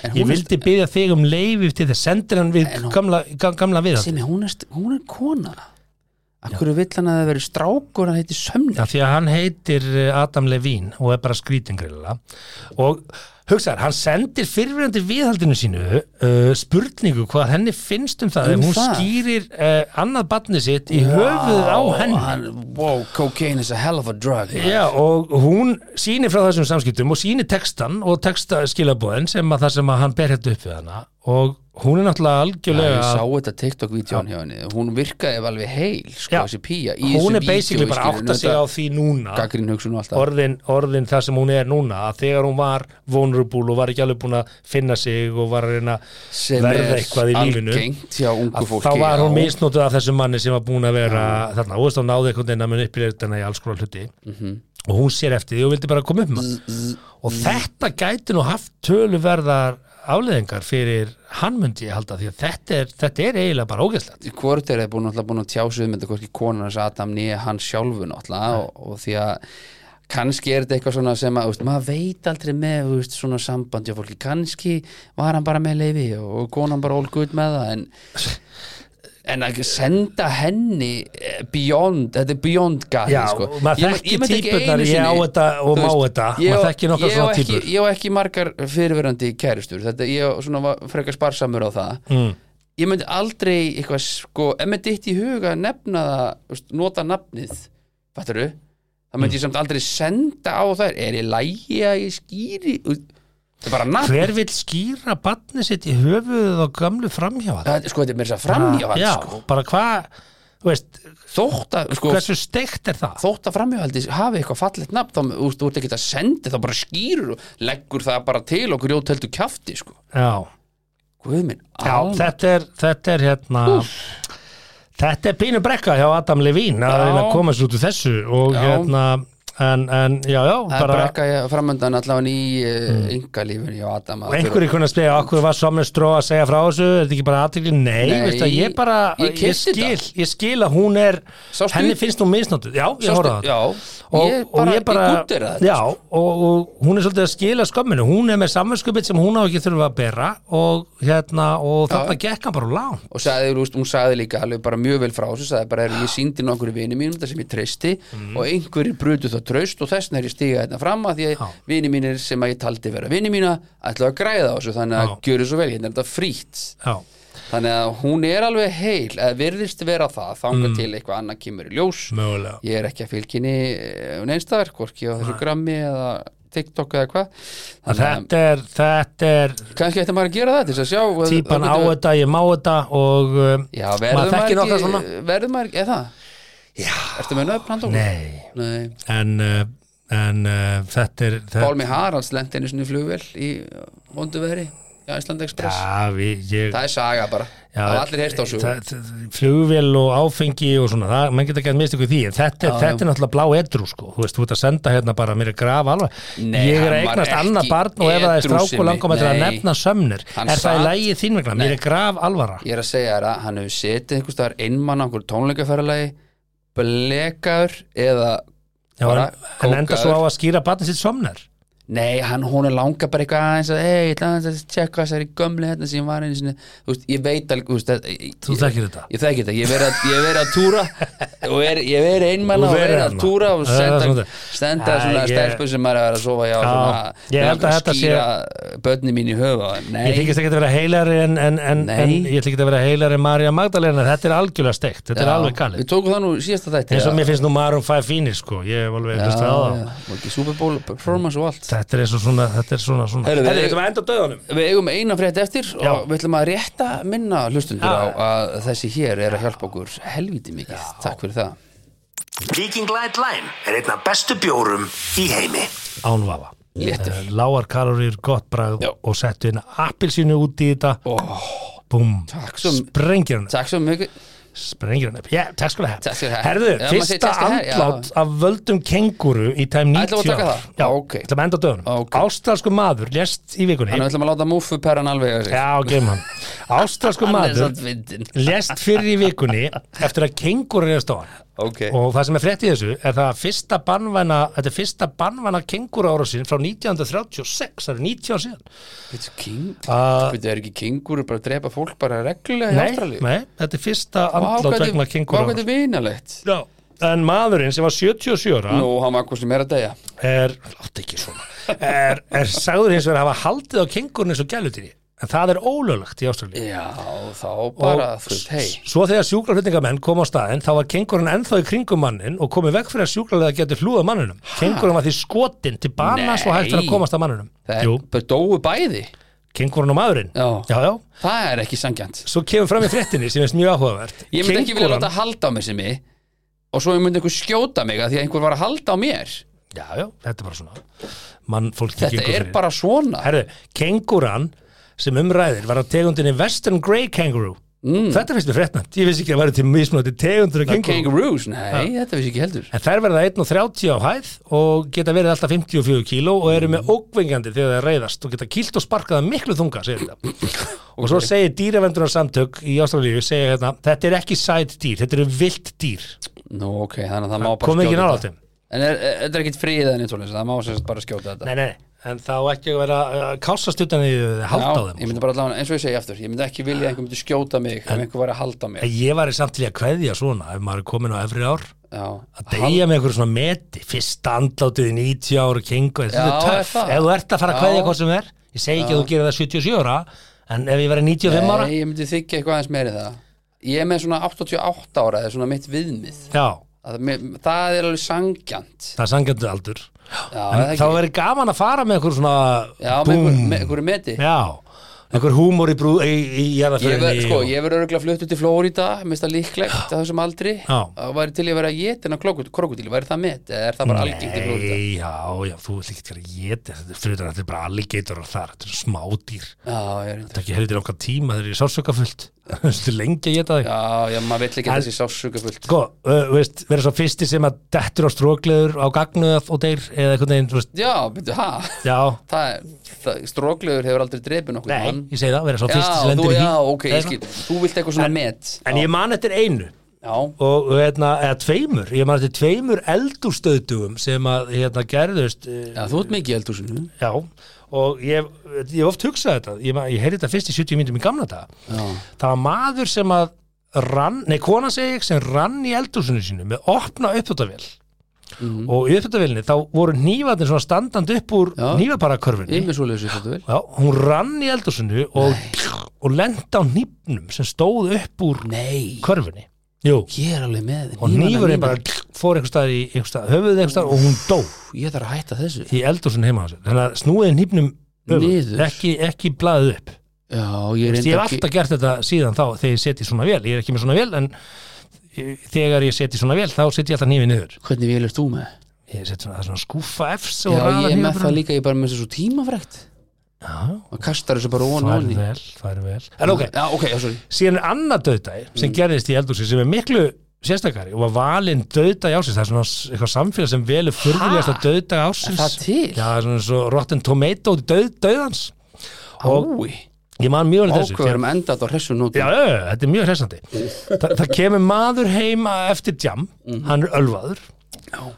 Speaker 3: En hún
Speaker 4: ég
Speaker 3: er-
Speaker 4: vildi byggja þig um leifi til þess sendir hann við
Speaker 3: En hún-
Speaker 4: gamla, ga- gamla við
Speaker 3: sem er, hún, er, st- hún er kona Akkur vill hann að það veri strákur að heiti sömni
Speaker 4: því að hann heitir eh, Adam Levine og er bara skrýtingrilega og hugsaðar, hann sendir fyrirverandi viðhaldinu sínu uh, spurningu hvað henni finnst um það
Speaker 3: Um
Speaker 4: ef hún
Speaker 3: það?
Speaker 4: skýrir uh, annað barni sitt í höfuð á henni
Speaker 3: hann, Wow, cocaine is a hell of a drug man.
Speaker 4: Já, og hún sýnir frá þessum samskiptum og sýnir textan og texta skilabóðin sem að það sem að hann ber hérna upp við hana og hún er náttúrulega algjörlega
Speaker 3: Ég sá þetta TikTok-vídeón hjá henni Hún virkaði alveg heil, sko,
Speaker 4: Já.
Speaker 3: þessi pía
Speaker 4: hún er basically bara átt að segja á því núna
Speaker 3: Gaggrinn hugsun og allt það
Speaker 4: orðin, orðin það sem hún er núna að þegar hún var vulnerable og var ekki alveg búin að finna sig og var að reyna
Speaker 3: Sem
Speaker 4: verða
Speaker 3: er
Speaker 4: eitthvað í lífinu
Speaker 3: algengt hjá ungu
Speaker 4: að
Speaker 3: fólki
Speaker 4: þá var hún
Speaker 3: já.
Speaker 4: misnótuð af þessum manni sem var búin að vera þarna, þú veist, hún náði einhvern veginn að mun uppbyrja hana í alls konar hluti
Speaker 3: Mhm.
Speaker 4: og hún sér eftir því og vildi bara koma upp með
Speaker 3: Mm,
Speaker 4: hann og þetta gæti nú haft töluverðar afleðingar fyrir hann myndi ég halda því að þetta er, þetta er eiginlega bara ógeðslegt
Speaker 3: hvort er það búin, náttúrulega búin að tjá sig um þetta hvorki konan hans Adam nýja hann sjálfu náttúrulega og, og því að kannski er þetta eitthvað svona sem að þú veist, maður veit aldrei með þú veist, svona sambandi og fólki kannski var hann bara með leifi og, og konan bara all good með það en, en að senda henni eh, beyond, þetta er beyond gæði
Speaker 4: Já,
Speaker 3: sko.
Speaker 4: og maður
Speaker 3: Ég-
Speaker 4: þekkir
Speaker 3: ég myndi ekki
Speaker 4: típurnar,
Speaker 3: einu
Speaker 4: ég á
Speaker 3: sinni-
Speaker 4: þetta og
Speaker 3: þú
Speaker 4: má
Speaker 3: veist,
Speaker 4: þetta,
Speaker 3: ég á-
Speaker 4: maður þekkir nokkrar
Speaker 3: ég á
Speaker 4: svona
Speaker 3: ekki-
Speaker 4: típur.
Speaker 3: ég á ekki margar fyrirverandi kæristur þetta, ég á svona var frekar sparsamur á það mm. ég myndi aldrei eitthvað sko, ef myndi eitt í huga að nefna það, þú veist, nota nafnið fattaru, það
Speaker 4: Mm.
Speaker 3: myndi ég samt aldrei senda á þær, er ég lægi að ég skýri Þú veist, það er bara nafn
Speaker 4: hver vill skýra barni sitt í höfuðið og gamlu framhjáð
Speaker 3: það, sko, þetta er mér þess að framhjáhald
Speaker 4: já,
Speaker 3: sko.
Speaker 4: bara hvað þú veist,
Speaker 3: þótt að, sko,
Speaker 4: hversu steikt er það
Speaker 3: þótt að framhjáhaldi hafi eitthvað fallegt nafn, þá þú veist, þú ert ekki að senda þá bara skýrur og leggur það bara til og grjótöldu kjafti, sko
Speaker 4: já,
Speaker 3: Guð minn,
Speaker 4: Já,
Speaker 3: alveg.
Speaker 4: þetta er, þetta er hérna Þetta er pínu brekka hjá Adam Levine að
Speaker 3: Já.
Speaker 4: reyna að koma sér út úr þessu og
Speaker 3: Já.
Speaker 4: hérna en, en já, já,
Speaker 3: Það er
Speaker 4: bara
Speaker 3: brekka ég- framöndan allavega í mm. yngalífinu hjá Adam að
Speaker 4: og einhverju kunna að spila, okkur var Sommer Stró að segja frá þessu, er þetta ekki bara aðtekli? Nei,
Speaker 3: Nei,
Speaker 4: veist að ég bara,
Speaker 3: ég
Speaker 4: ég,
Speaker 3: keypti
Speaker 4: skil ég skil að hún er,
Speaker 3: Sástu-
Speaker 4: henni finnst hún misnóttuð, já, ég
Speaker 3: Sástu-
Speaker 4: horfði á þetta
Speaker 3: Já,
Speaker 4: og
Speaker 3: ég bara, sko.
Speaker 4: og
Speaker 3: ég bara ég guttir það
Speaker 4: já, og, og hún er svolítið að skila skömminu hún er með samvinskupið sem hún á ekki þurfa að bera og hérna, og þarna gekk hann bara á lán
Speaker 3: og sagði, þú veist, hún sagði líka alveg bara mjög vel frá þessu, sagði bara, er, ég síndi nokkur vini mínum þetta sem ég treysti
Speaker 4: Mhm.
Speaker 3: og einhverjir brutu þá traust og þessna er ég stiga þetta fram að því að
Speaker 4: Já.
Speaker 3: vini mínir sem að ég taldi vera vini mína ætla að græða á þessu, þannig að
Speaker 4: Já.
Speaker 3: gjöru svo vel hérna er þetta frítt,
Speaker 4: já
Speaker 3: þannig að hún er alveg heil, eða virðist vera það þanga
Speaker 4: Mm.
Speaker 3: til eitthvað annað kemur í ljós
Speaker 4: Mögulega.
Speaker 3: ég er ekki að fylginni um einstæðar, hvorki á þessu grammi eða TikTok eða hvað þannig að
Speaker 4: Þetta er, þetta er
Speaker 3: kannski ætti maður að gera það til þess að sjá
Speaker 4: típan á
Speaker 3: að
Speaker 4: þetta, ég má þetta og um,
Speaker 3: Já, verður
Speaker 4: þekkir
Speaker 3: maður
Speaker 4: nokkra svona
Speaker 3: ekki, verður maður ekki, eða það?
Speaker 4: Já.
Speaker 3: Ertu með nöfn handók?
Speaker 4: Nei,
Speaker 3: Nei.
Speaker 4: en, uh, en uh, þetta er þetta,
Speaker 3: Pálmi Haralds lendi einu sinni í flugvél í vondu veðri, í Æsland Express.
Speaker 4: Já, við, ég
Speaker 3: Það er saga bara.
Speaker 4: já,
Speaker 3: það er allir heyrst á svo.
Speaker 4: það- það- Flugvél og áfengi og svona, það, menn geta ekki að mista ykkur því, en þetta,
Speaker 3: Já,
Speaker 4: já, þetta
Speaker 3: já.
Speaker 4: er náttúrulega blá edru sko, þú veist, þú ert að senda hérna bara mér er graf alveg,
Speaker 3: Nei,
Speaker 4: ég er að
Speaker 3: hann var
Speaker 4: eignast
Speaker 3: ekki
Speaker 4: annað barn og ef það er
Speaker 3: edrú
Speaker 4: stráku
Speaker 3: sinni.
Speaker 4: langum að
Speaker 3: Nei.
Speaker 4: nefna sömnir,
Speaker 3: Hann
Speaker 4: er það í
Speaker 3: sat-
Speaker 4: lægi þín vegna, mér er graf alvara
Speaker 3: Ég er að segja þér að hann hefur setið einhvers staðar einmann á einhver tónleikaferðalagi, blekaður eða
Speaker 4: Já,
Speaker 3: bara
Speaker 4: en, en enda
Speaker 3: kókaður.
Speaker 4: svo á að skýra barnið sitt somnar
Speaker 3: Nei, hann, hún er langa bara eitthvað aðeins að, hei, ég ætla aðeins að tjekka þessari gömlu hérna sem var einu sinni, þú veist, ég veit alveg, þú veist, að- ég-
Speaker 4: Þú þekkir þetta?
Speaker 3: Ég þekki þetta, ég verið að, ég verið að túra og er, ég verið einmann
Speaker 4: Þú
Speaker 3: og
Speaker 4: verið
Speaker 3: verið að
Speaker 4: þarna.
Speaker 3: túra og
Speaker 4: Það er
Speaker 3: senda,
Speaker 4: svona-
Speaker 3: senda
Speaker 4: Æ,
Speaker 3: svona
Speaker 4: ég-
Speaker 3: stelpur sem maður er að vera að sofa hjá
Speaker 4: Já,
Speaker 3: svona,
Speaker 4: ég held að þetta sé-
Speaker 3: skýra börni mín í höfu Nei,
Speaker 4: Ég þykist ekki að vera heilari en, en, en,
Speaker 3: Nei.
Speaker 4: en ég þykist að vera heilari en Marja Magdalena þetta er algjörlega steikt, þetta er
Speaker 3: já,
Speaker 4: alveg galið
Speaker 3: Við tókum það nú í síðasta þætti
Speaker 4: eins og
Speaker 3: já.
Speaker 4: mér finnst nú Maroon 5 fínir sko ég hef alveg hlustað á
Speaker 3: Já,
Speaker 4: það
Speaker 3: já, og ekki Super Bowl performance og allt
Speaker 4: þetta er eins og svona þetta er svona, svona.
Speaker 3: Heyrðu, við-
Speaker 4: Heyrðu, að enda á döðunum
Speaker 3: Við eigum eina frétt eftir
Speaker 4: Já. Ah.
Speaker 3: og við ætlum að rétta minna hlustundur á
Speaker 4: Já.
Speaker 3: að þessi hér er að hjálpa okkur helviti mikið, takk fyrir það
Speaker 1: Viking Light Line er einn af bestu bjórum í heimi.
Speaker 4: ánvafa
Speaker 3: Léttur.
Speaker 4: Eh, lágar kaloríur, gott bragð
Speaker 3: Já.
Speaker 4: og settu inn appilsínu út í þetta
Speaker 3: oh,
Speaker 4: búm,
Speaker 3: Takk svo-
Speaker 4: sprengir hann upp
Speaker 3: Takk svo mikið
Speaker 4: sprengir hann upp, já, takk sko hef
Speaker 3: Takk skal það.
Speaker 4: herðu,
Speaker 3: Já, maður segir
Speaker 4: fyrsta
Speaker 3: takk skal það, já.
Speaker 4: andlát af völdum kenguru í tæm
Speaker 3: Ætlum
Speaker 4: 90
Speaker 3: við að taka
Speaker 4: ár.
Speaker 3: það?
Speaker 4: já,
Speaker 3: Ok.
Speaker 4: ætlum að enda á döðunum
Speaker 3: Ok.
Speaker 4: ástralsku maður, lest í vikunni
Speaker 3: Þannig við ætlum að láta múfu perran alveg að sig
Speaker 4: já, geim
Speaker 3: [laughs]
Speaker 4: hann ástralsku
Speaker 3: Hann er
Speaker 4: maður,
Speaker 3: samt fyndin
Speaker 4: lest fyrir í vikunni eftir að kenguru reyðast á hann
Speaker 3: Ok
Speaker 4: og það sem er frétt í þessu er það að fyrsta banvæna, þetta er fyrsta banvæna kengur ára sín frá 1936 það er 90 ár síðan
Speaker 3: Veitu, king
Speaker 4: Uh,
Speaker 3: Veitu, er ekki kingur bara að drepa fólk bara reglulega í
Speaker 4: nei,
Speaker 3: Ástralíu?
Speaker 4: nei, þetta er fyrsta
Speaker 3: Vá, hvað
Speaker 4: andlátt
Speaker 3: þetta-
Speaker 4: vegna kengur
Speaker 3: Vá, hvað þetta er vinalegt
Speaker 4: en maðurinn sem var 77 ára
Speaker 3: Nú, hann var hvað sem er að degja
Speaker 4: er, látt ekki svona er, er sagður hins vegar að hafa haldið á kengurinn eins og gælutinni en það er ólöglegt í Ástralíu
Speaker 3: Já, þá
Speaker 4: Og
Speaker 3: bara, þú veist, hei
Speaker 4: s- svo þegar sjúkraflutningamenn kom á staðinn þá var kengurinn ennþá í kringum mannin og komið vekk fyrir að sjúkraflega geti hlúða manninum kengurinn var því skotinn til bana svo hægt fyrir
Speaker 3: Nei.
Speaker 4: að komast að manninum
Speaker 3: Það er bara dóu bæði
Speaker 4: kengurinn og maðurinn
Speaker 3: Já.
Speaker 4: já,
Speaker 3: Það er ekki sangjant
Speaker 4: svo kemur fram í fréttinni sem er mjög áhugavert
Speaker 3: Ég myndi ekki vilja
Speaker 4: Kengúran-
Speaker 3: láta halda á mér sem ég og svo ég myndi einhver skjóta mig að því að einhver var að halda á mér
Speaker 4: já, já, þetta er bara svona mann fólk
Speaker 3: Þetta er bara svona
Speaker 4: herðu, kenguran sem umræðir var á tegundinni Western Grey Kangaroo mm. þetta finnst mér fréttnæmt, ég vissi ekki að það væri til mismunandi tegundur af kenguru
Speaker 3: Kangaroos, nei, þetta vissi ekki heldur
Speaker 4: en þær verða 1,30 á hæð og geta verið alltaf 54 kíló og eru með ókvingandi þegar það reyðast og geta kýlt og sparkað að miklu þunga, segir þetta
Speaker 3: [coughs]
Speaker 4: og svo segir dýravendurarsamtök í Ástralíu, segir hérna, þetta er ekki sæt dýr, þetta eru vilt dýr
Speaker 3: Nú, ok, þannig að það má bara
Speaker 4: kom ekki
Speaker 3: skjóta
Speaker 4: nála
Speaker 3: þetta.
Speaker 4: þeim
Speaker 3: En er- er- þetta er ekkit friðið en eitthvað það má sem sagt bara skjóta þetta
Speaker 4: Nei, nei, en þá ekki að vera uh, kásast utan í þau, halda á
Speaker 3: Já,
Speaker 4: þeim
Speaker 3: ég
Speaker 4: ég,
Speaker 3: myndi bara allavega, eins og ég segi aftur ég myndi ekki vilja að einhver myndi skjóta mig ef einhver var að halda á mig
Speaker 4: ég var í samt til í að kveðja svona ef maður er komin á efri ár
Speaker 3: Já,
Speaker 4: að deyja með einhverjum svona meti fyrsta andlátið í 90 ára kengu þetta
Speaker 3: Já,
Speaker 4: er
Speaker 3: er
Speaker 4: töff,
Speaker 3: það?
Speaker 4: ef þú ert að fara
Speaker 3: Já.
Speaker 4: að kveðja hvað sem er ég segi ekki að þú gerir það 77 ára en ef ég verið 95 ára
Speaker 3: Nei, ég myndi þykja eitthvað aðeins meiri það Ég er með svona 88 ára, það er svona mitt viðmið
Speaker 4: já,
Speaker 3: Að mér- Það er alveg sangjant
Speaker 4: það er sangjöndu aldur
Speaker 3: Já,
Speaker 4: en
Speaker 3: það
Speaker 4: þá verið gaman að fara með einhver
Speaker 3: Já,
Speaker 4: svona
Speaker 3: með
Speaker 4: búm,
Speaker 3: einhver- með einhverju meti
Speaker 4: já einhver húmor í brú, í, í, í
Speaker 3: Ég verð,
Speaker 4: jarðaförinni
Speaker 3: sko,
Speaker 4: og-
Speaker 3: ég verð örgulega fluttur til Flórida mest að líklegt á þessum aldri
Speaker 4: Já.
Speaker 3: og væri til ég að vera getin á krokodíli væri það met, eða er það bara algengt í Flórida
Speaker 4: Nei, já, já, þú vill ekki vera geti þetta er fyrir þetta er bara alligator og þar þetta er smádýr,
Speaker 3: Já, ég er
Speaker 4: þetta er ekki heldur okkar tíma þegar ég er [laughs] sásökafullt þetta er lengi að geta þig
Speaker 3: Já, já, maður vill ekki að þessi sásuga fullt
Speaker 4: sko, uh, veist, vera svo fyrsti sem að dettur á strókleður á gagnuð og deyr eða eitthvað neginn, þú veist,
Speaker 3: Já, byrju, ha
Speaker 4: já
Speaker 3: Það er, það, stróklegur hefur aldrei drepið nokkuð
Speaker 4: nei, ég segi það, vera svo
Speaker 3: Já,
Speaker 4: fyrsti sem
Speaker 3: þú,
Speaker 4: lendir í
Speaker 3: já,
Speaker 4: því
Speaker 3: ok, ég skil Þú vilt eitthvað svona met
Speaker 4: en ég man eftir einu
Speaker 3: Já,
Speaker 4: og hérna, eða tveimur, ég man eftir tveimur eldurstöðdugum sem að hérna gerðust, uh,
Speaker 3: já þú ert mikið í eldhúsinu
Speaker 4: já og ég, ég hef oft hugsað þetta ég, man- ég heyrði þetta fyrst í 70 myndum í gamla daga
Speaker 3: Já,
Speaker 4: það var maður sem að rann, nei kona segi ég sem rann í eldhúsinu sínu með opna upptötavél
Speaker 3: Mhm.
Speaker 4: og í upptötavélinni þá voru nývarnir svona standandi upp úr
Speaker 3: Já.
Speaker 4: nývaparakörfinni
Speaker 3: ég með svo leysið þetta vel
Speaker 4: Já, hún rann í eldhúsinu og, og lenda á nýpnum sem stóð upp úr
Speaker 3: Nei,
Speaker 4: körfinni Jú,
Speaker 3: ég er alveg með
Speaker 4: og
Speaker 3: hnífana
Speaker 4: nýfurinn
Speaker 3: mína.
Speaker 4: bara fór einhver stað í einhver stað, höfuðið einhver stað og hún dó
Speaker 3: Ég þarf að hætta þessu
Speaker 4: í eldhúsinu heima á sér þannig að snúiði nýpnum
Speaker 3: Niður.
Speaker 4: ekki, ekki blaðið upp
Speaker 3: Já, ég er
Speaker 4: Ég hef alltaf gert þetta síðan þá þegar ég seti svona vel, ég er ekki með svona vel en ég- þegar ég seti svona vel þá seti ég alltaf nýfið niður
Speaker 3: Hvernig vel ert þú með?
Speaker 4: ég seti svona, það er svona skúfa efs og
Speaker 3: Já,
Speaker 4: raða
Speaker 3: ég er með
Speaker 4: hnífapörum.
Speaker 3: það líka, ég er bara með þessu svo tímafrækt
Speaker 4: já,
Speaker 3: og kastar þessu bara ón og
Speaker 4: það
Speaker 3: onni
Speaker 4: er vel, það er vel en ok,
Speaker 3: Já, ok, já, sorry
Speaker 4: síðan er annað döðdæg sem
Speaker 3: Mm.
Speaker 4: gerðist í eldhúsi sem er miklu sérstakari og var valinn döðdæg ásins það er svona s- eitthvað samfélag sem velur furðulegasta
Speaker 3: Ha?
Speaker 4: döðdæg
Speaker 3: Er
Speaker 4: ásins
Speaker 3: það til?
Speaker 4: já, það er svona svo Rotten Tomato döð, döðans og
Speaker 3: Ói,
Speaker 4: ég man mjög vel þessu
Speaker 3: ákveður erum endað á hressu nóti
Speaker 4: Já, já, já,
Speaker 3: Mhm.
Speaker 4: þetta er mjög hressandi Þa, Það kemur maður heima eftir jam Hann er ölvaður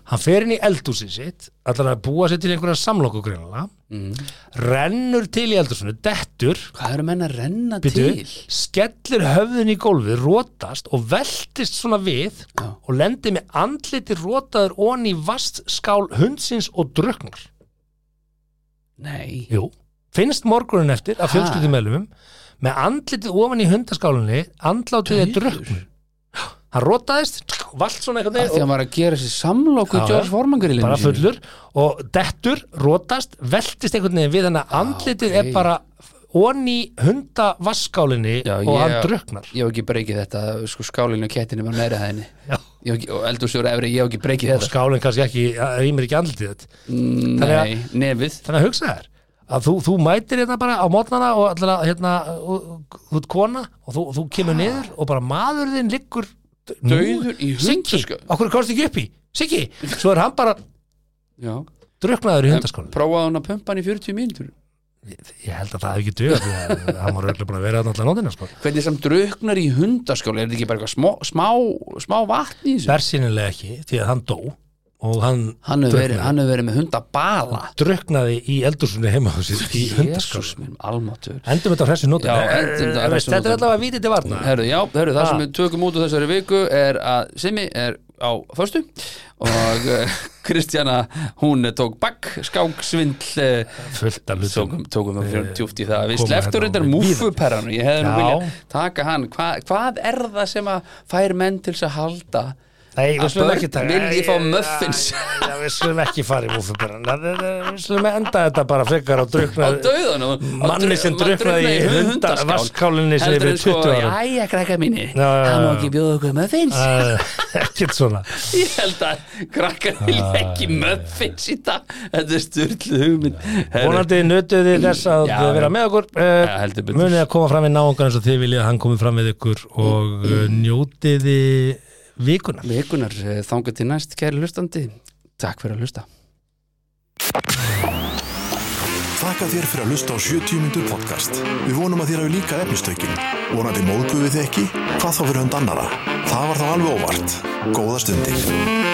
Speaker 4: hann fer inn í eldhúsið sitt allar að búa sér til einhverja samlokku greinlega
Speaker 3: Mhm.
Speaker 4: rennur til í eldhúsinu, dettur
Speaker 3: Hvað eru menn að renna
Speaker 4: Bíddu,
Speaker 3: til?
Speaker 4: skellir höfðin í gólfið, rótast og veltist svona við
Speaker 3: Já.
Speaker 4: og lendir með andliti rótaður onni í vastskál hundsins og dröknar.
Speaker 3: Nei
Speaker 4: Jú. Finnst morgunin eftir að
Speaker 3: Ha?
Speaker 4: fjölskyldum meðlumum með andlitið ofan í hundaskálunni andlátið er dröknur. Hann rótaðist, valt svona
Speaker 3: Af Því að
Speaker 4: einhvern
Speaker 3: hann var að gera sér samlóku
Speaker 4: Já,
Speaker 3: George sko.
Speaker 4: já.
Speaker 3: Foreman
Speaker 4: veginn
Speaker 3: grillinu
Speaker 4: bara fullur og dettur, rótast, veltist einhvern veginn við hann að andlitið
Speaker 3: ok.
Speaker 4: er bara onni í hundavaskálinni
Speaker 3: Já,
Speaker 4: og hann
Speaker 3: ég-
Speaker 4: dröknar.
Speaker 3: Ég hef ekki breykið þetta Sko skálinu og kettinu var meira hæðinni
Speaker 4: Já.
Speaker 3: Ég hef ekki- Og eldúsjóra efri Ég hef ekki breykið
Speaker 4: og
Speaker 3: þetta
Speaker 4: skálinn kannski ekki, rýmir ekki andlitið þitt. þannig að-
Speaker 3: Nei, nefið
Speaker 4: þannig að hugsa þér að þú, þú mætir hérna bara á mótnana og allir að hérna, og- og- þú ert kona og þú, þú kemur niður og bara maður þinn liggur
Speaker 3: Ah. Dauður í
Speaker 4: Siggi,
Speaker 3: hundaskál.
Speaker 4: okkur komst ekki upp í Siggi, svo er hann bara
Speaker 3: Já
Speaker 4: druknaður í hundaskóla
Speaker 3: Prófaði hún að pumpa hann í 40 mínútur
Speaker 4: ég held að það hef ekki döð hann var örugglega búin að [laughs] vera þarna allan nótina sko.
Speaker 3: Hvernig sem druknar í hundaskjóla Er þetta ekki bara eitthvað smá, smá, smá vatn í þessu?
Speaker 4: versinilega ekki, því að hann dó og hann,
Speaker 3: Hann hefur verið,
Speaker 4: drukknaði.
Speaker 3: hann hefur verið með hundabala
Speaker 4: druknaði í eldursunni heima á sér í hundaskóla
Speaker 3: Jesús minn, almátur
Speaker 4: endum þetta á hressu nótum
Speaker 3: Já, endum þetta á hressum
Speaker 4: þetta er
Speaker 3: nótum.
Speaker 4: allavega vítið til varna
Speaker 3: Herru, já, herru, það
Speaker 4: Ha.
Speaker 3: sem við tökum út úr þessari viku er að Simmi er á föstu [laughs] og eh, Kristjana, hún tók bakk, skák, svindl eh,
Speaker 4: fullt af hlutum
Speaker 3: tókum, tókum það fyrir djúft í það við
Speaker 4: Koma
Speaker 3: sleftur
Speaker 4: hérna á
Speaker 3: þetta
Speaker 4: mig.
Speaker 3: múfuperran ég hefði nú
Speaker 4: Já.
Speaker 3: vilja taka hann Hva, hvað er það sem að fær menn til þess að halda
Speaker 4: Nei, við
Speaker 3: Að
Speaker 4: slum
Speaker 3: börn
Speaker 4: ekki taka
Speaker 3: vilji fá
Speaker 4: Æ,
Speaker 3: muffins.
Speaker 4: æ, [laughs] Já, við slum ekki fara í múfuberran Við slum enda þetta bara frekar á drukna
Speaker 3: á döðan
Speaker 4: Manni sem drukknaði í hunda- vatnskálinni sinni
Speaker 3: heldur
Speaker 4: fyrir
Speaker 3: en sko,
Speaker 4: 20 árum.
Speaker 3: jæja krakka mínir
Speaker 4: Já, já,
Speaker 3: hann má
Speaker 4: já.
Speaker 3: ekki bjóða okkur muffins
Speaker 4: [laughs] Ekkert svona
Speaker 3: Ég held að krakkar vilja ekki möffins í dag Þetta er styrlu hugmynd Herru,
Speaker 4: Vonandi nötuði þess að
Speaker 3: Já,
Speaker 4: vera
Speaker 3: já.
Speaker 4: með okkur
Speaker 3: Já,
Speaker 4: Eh,
Speaker 3: heldur betur.
Speaker 4: Munið að koma fram við náungan eins og þið viljið að hann komi fram við ykkur og eh, njótiði vikuna
Speaker 3: Vikunar eh, þangað til næst kæri hlustandi Takk fyrir að hlusta
Speaker 2: Þakka þér fyrir að hlusta á 70 myndur podcast. Við vonum að þér hafi líka efnistökin. Vonandi móðguðu þið ekki? Hvað þá fyrir hund annara? Það var þá alveg óvart. Góða stundir.